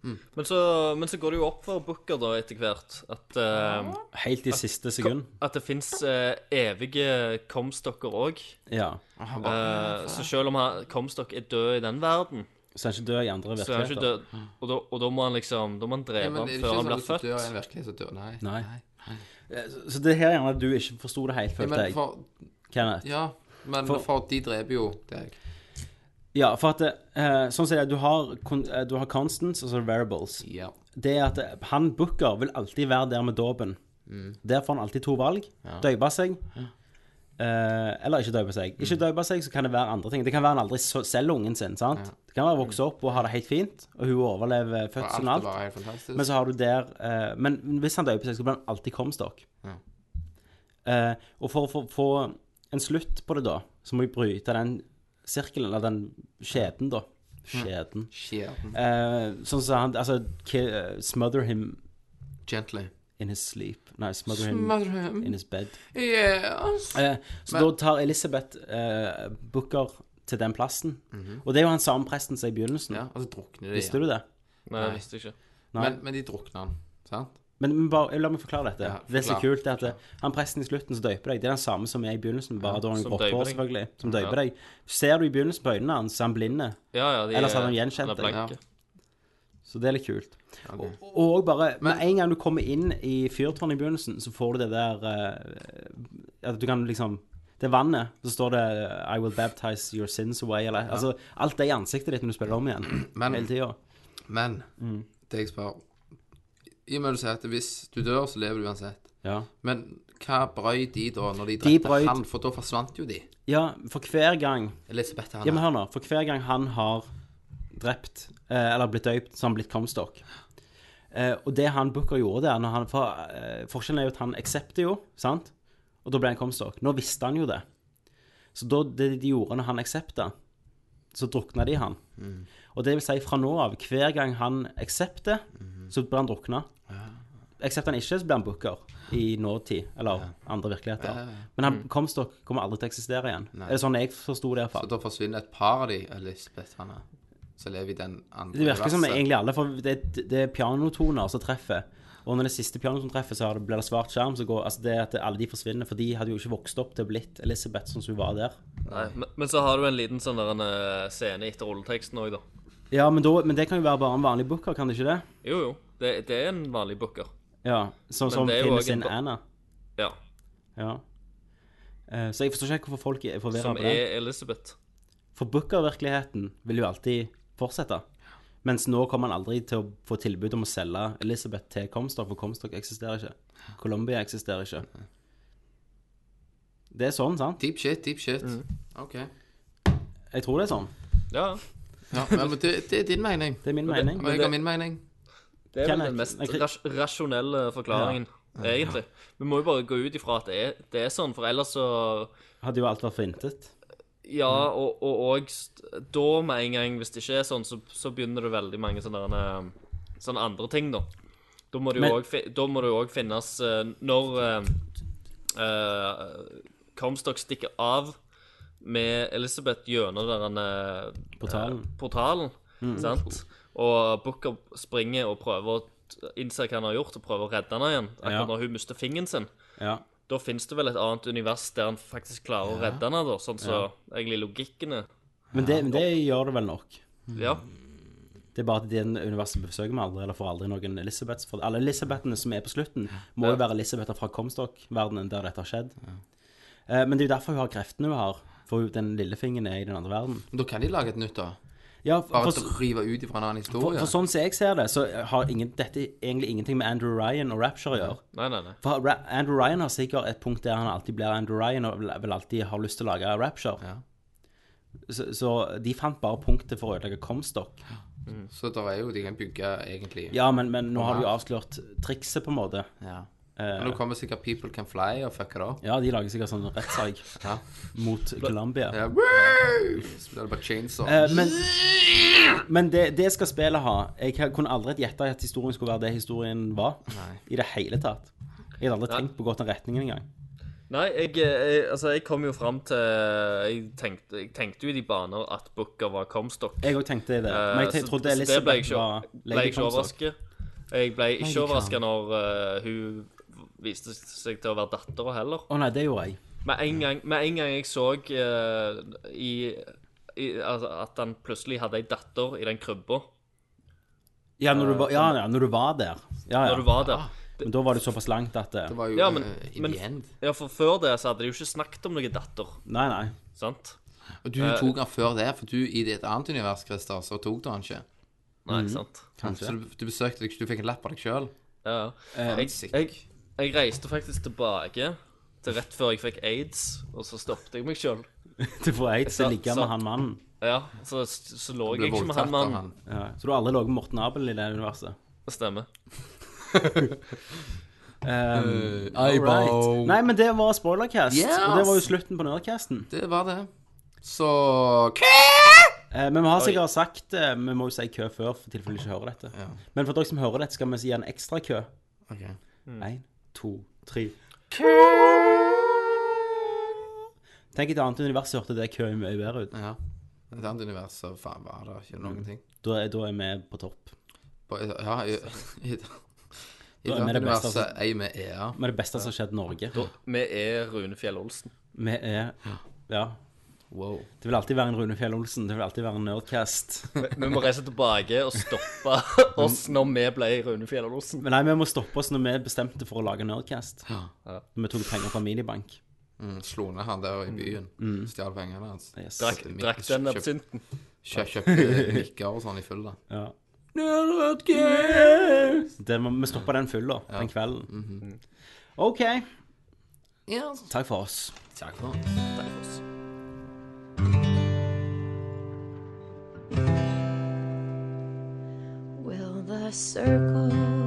Mm. Men, så, men så går det jo opp for Booker da etter hvert at eh, Helt i siste sekund. At det fins evige comstocker òg. Ja. Eh, så selv om han, Comstock er død i den verden, Så er han ikke død i så andre er han ikke virkeligheter. død. Og da, og da må han liksom Da må han Nei, dreve ham men er det før han ikke sånn blir at hvis født. du dør i en virkelighet, så dør Nei. Nei. Nei. Eh, Så, så det er her gjerne du ikke forsto det helt, Ja, følte men jeg. for, Kenneth. ja, men For- for, de dreper jo deg. Ja, for at eh, Sånn som det er, du har, kon- eh, du har constants, altså variables. Ja. Det er at eh, han Booker vil alltid være der med dåpen. Der får han alltid to valg. Mm. Ja. Mm. Døpe seg. eh, eller ikke døpe seg. Ikke døpe seg, så kan det være andre ting. Det kan være han aldri så- selger ungen sin. sant? Det kan være vokse opp og ha det helt fint, og hun overlever For fødselen og alt alt. det var helt fantastisk. Men så har du der eh, Men hvis han døper seg, så blir han alltid Comstock. Ja. Eh, og for å få- få en slutt på det, da, så må vi bryte den sirkelen, eller den skjeden, da. Skjeden. Skjeden. Eh, sånn som han Altså, ki, eh, smother him Gently. in his sleep. Nei, smother, Smother him, him. in his bed. Yes. Eh, så Men- da tar Elisabeth eh, Booker til den plassen. Og det er jo han samme presten som i begynnelsen. Mhm. Ja, og så drukner de. Visste du det? Nei, Nei. jeg visste ikke. Nei. Men, men de drukner han, sant? Men, men bare, la meg forklare dette. Ja, Det er så forklar. kult det er at det- han presten i slutten som døper deg, det er den samme som er i begynnelsen, bare da har han som grått døper hår, deg. selvfølgelig. Som Ja. døper deg. Ser du i begynnelsen på øynene hans, så er han blinde. Ja, ja, de, Ellers hadde han er- gjenkjent er blanke. deg. Så det er litt kult. Ok. Og og bare med en gang du kommer inn i fyrtårnet i begynnelsen, så får du det der eh, At du kan liksom Det vannet, så står det I will baptize your sins away, eller Altså alt det i ansiktet ditt når du spiller om igjen. Men- hele <clears throat> tida. Men det jeg spør I og med du sier at hvis du dør, så lever du uansett. Ja. Men hva brøy de da, når de De drepte brøyd- han? For da forsvant jo de. ja, for hver gang Elisabeth Ja, men Hanna. hør nå. For hver gang han har drept, eh, eller blitt døpt, så har han blitt Comstock. Eh, og det han Booker gjorde der når han, for, eh, Forskjellen er jo at han aksepter jo, sant? Og da ble han Comstock. Nå visste han jo det. Så da, det de gjorde når han aksepta, så drukna de han. Og det vil si, fra nå av, hver gang han aksepter, så blir han drukna. Aksepter han ikke, så blir han Booker i nåtid, eller andre virkeligheter. Men han Comstock kommer aldri til å eksistere igjen. Er det sånn jeg forsto det, iallfall? Så da forsvinner et par av de, Elisabeth Hanna, som lever i den andre Det virker som universet. egentlig alle, for det, det er pianotoner som treffer. Og når det siste pianoet som treffer, så har det- blir det svart skjerm. Så går, altså det at alle de forsvinner, for de hadde jo ikke vokst opp til å blitt Elisabeth sånn som hun var der. Nei, men, men så har du en liten sånn der en eh, scene etter rulleteksten òg, da. Ja, men, da, men det kan jo være bare en vanlig booker, kan det ikke det? Jo, jo. Det, det er en vanlig booker. Ja, Sånn Men som det er jo finner også en sin ba- Anna. Ja. Ja. Eh, Så jeg forstår ikke hvorfor folk er forvirra Som på det. er Elizabeth. For booker-virkeligheten vil jo alltid fortsette. Mens nå kommer han aldri til å få tilbud om å selge Elisabeth til Comstock, for Comstock eksisterer ikke. Colombia eksisterer ikke. Det er sånn, sant? Deep shit, deep shit. OK. Jeg tror det er sånn. Ja. Ja, men det, det er din mening. Det er min mening. Og jeg har min mening. Det er vel Kenneth, den mest jeg kri- ras rasjonelle forklaringen, egentlig. Vi må jo bare gå ut ifra at det er, det er sånn, for ellers så Hadde jo alt vært for intet. Mm. Ja, og, og, og st- da med en gang, hvis det ikke er sånn, så, så begynner det veldig mange sånne, um, derne- sånne andre ting, da. Da må det jo Men- òg finnes eh, Når eh, eh, Comstock stikker av med Elizabeth gjennom den eh, Portalen. eh, portalen Mm. sant? Og Booker springer og prøver å t- innse hva han har gjort, og prøver å redde henne igjen. Akkurat Ja. når hun mister fingeren sin. Ja. Da finnes det vel et annet univers der han faktisk klarer å Ja. redde henne, da, sånn som Ja. egentlig logikken er. Men det, men det gjør det vel nok. Ja. Det er bare at i den universet besøker vi aldri, eller får aldri noen Elisabeths. For alle Elisabethene som er på slutten, må jo være Elisabether fra Comstock-verdenen der dette har skjedd. Eh, Men det er jo derfor hun har kreftene hun har. For hun- den lille fingeren er i den andre verden. Men da kan de lage et nytt, da. Ja, for, Bare for, drive ut ifra en annen for, historie. for sånn som jeg ser det, så har ingen, dette egentlig ingenting med Andrew Ryan og Rapture å gjøre. Nei, nei, nei. For Ra Andrew Ryan har sikkert et punkt der han alltid blir Andrew Ryan og vel vel alltid har lyst til å lage Rapture. Så, så de fant bare punktet for å ødelegge Comstock. Så der er jo De kan bygge, egentlig. Ja, men, men nå har du jo avslørt trikset, på en måte. Ja. Eh, Men nå kommer sikkert People Can Fly og fucker det opp. ja, de lager sikkert sånn rettssak mot Colombia. Ja, woo! Så blir det bare chainsaw. Eh, men men det, det skal spillet ha. Jeg kan- kunne aldri gjette at historien skulle være det historien var. Nei. I det hele tatt. Jeg hadde aldri Nei. tenkt på å gå den retningen engang. Nei, jeg, jeg, altså, jeg kom jo fram til Jeg tenkte, jeg tenkte jo i de baner at Booker var Comstock. Jeg òg tenkte det, Eh, men jeg så- så trodde det ble jeg Elizabeth ikke, var ble jeg Lady ikke Comstock. overrasket. Jeg ble Lady ikke overraska når eh, hun viste seg til å være dattera heller. Å nei, det gjorde jeg. Med en gang, med en gang jeg så eh, i, i, altså, at han plutselig hadde ei datter i den krybba Ja, når du var, ja, ja, når du var der. Ja, ja. Når du var der. Men da var du såpass langt at eh, det, ja, men, eh, men, Eh. ja, for før det så hadde de jo ikke snakket om noen datter. Nei, nei. <laughs> Sant? Og du Eh, tok den før det, for du i et annet univers, Christer, så tok du den ikke. Nei, Mhm. sant. Kanskje. Så du, du besøkte deg, du fikk en lapp av deg sjøl. Ja, Eh. ja. Jeg, jeg, jeg reiste faktisk tilbake til rett før jeg fikk aids, og så stoppet jeg meg sjøl. Du får aids til å ligge med han mannen. Ja, så, så lå Du ble jeg ikke med voldtatt han av mannen. Ja, så du har aldri ligget med Morten Abel i det universet? Det stemmer. Um, Eh, eyeball. alright. Nei, men det var spoilercast, Yes! og det var jo slutten på nerdcasten. Det var det. Så Eh, men vi har sikkert sagt eh, Vi må jo si kø før, for tilfelle de ikke hører dette. Men for dere som hører dette, skal vi gi en ekstra kø. Ok. Én, to, tre. Tenk et annet univers hørte det køen mye bedre ut. Ja. Et annet univers, så faen var det ikke noen ting. Da er, da er vi på topp. På- Ja, i, i, i, i Da et er vi annet det beste univers som- er jeg med E, EA. Vi er det beste som har skjedd Norge. Da, vi er Rune Fjell Olsen. Vi er Ja. Wow. Det vil alltid være en Rune Fjell Olsen. Det vil alltid være en Nerdcast. Vi, vi må reise tilbake og stoppe <laughs> oss når vi ble Rune Fjell Olsen. Men nei, vi må stoppe oss når vi bestemte for å lage Nerdcast. Ja. Når vi tok penger fra Minibank. Mm, Slo ned han der i byen. Stjal pengene hans. Drakk, drakk den Kjøp- absinten. kjøp- Kjøpte nikker og sånn i full, da. Ja. Nerdcast! Det må, vi stoppa den full, da. Den kvelden. OK. Mhm. Ja. Takk for oss. Takk for Takk for oss. Will the circle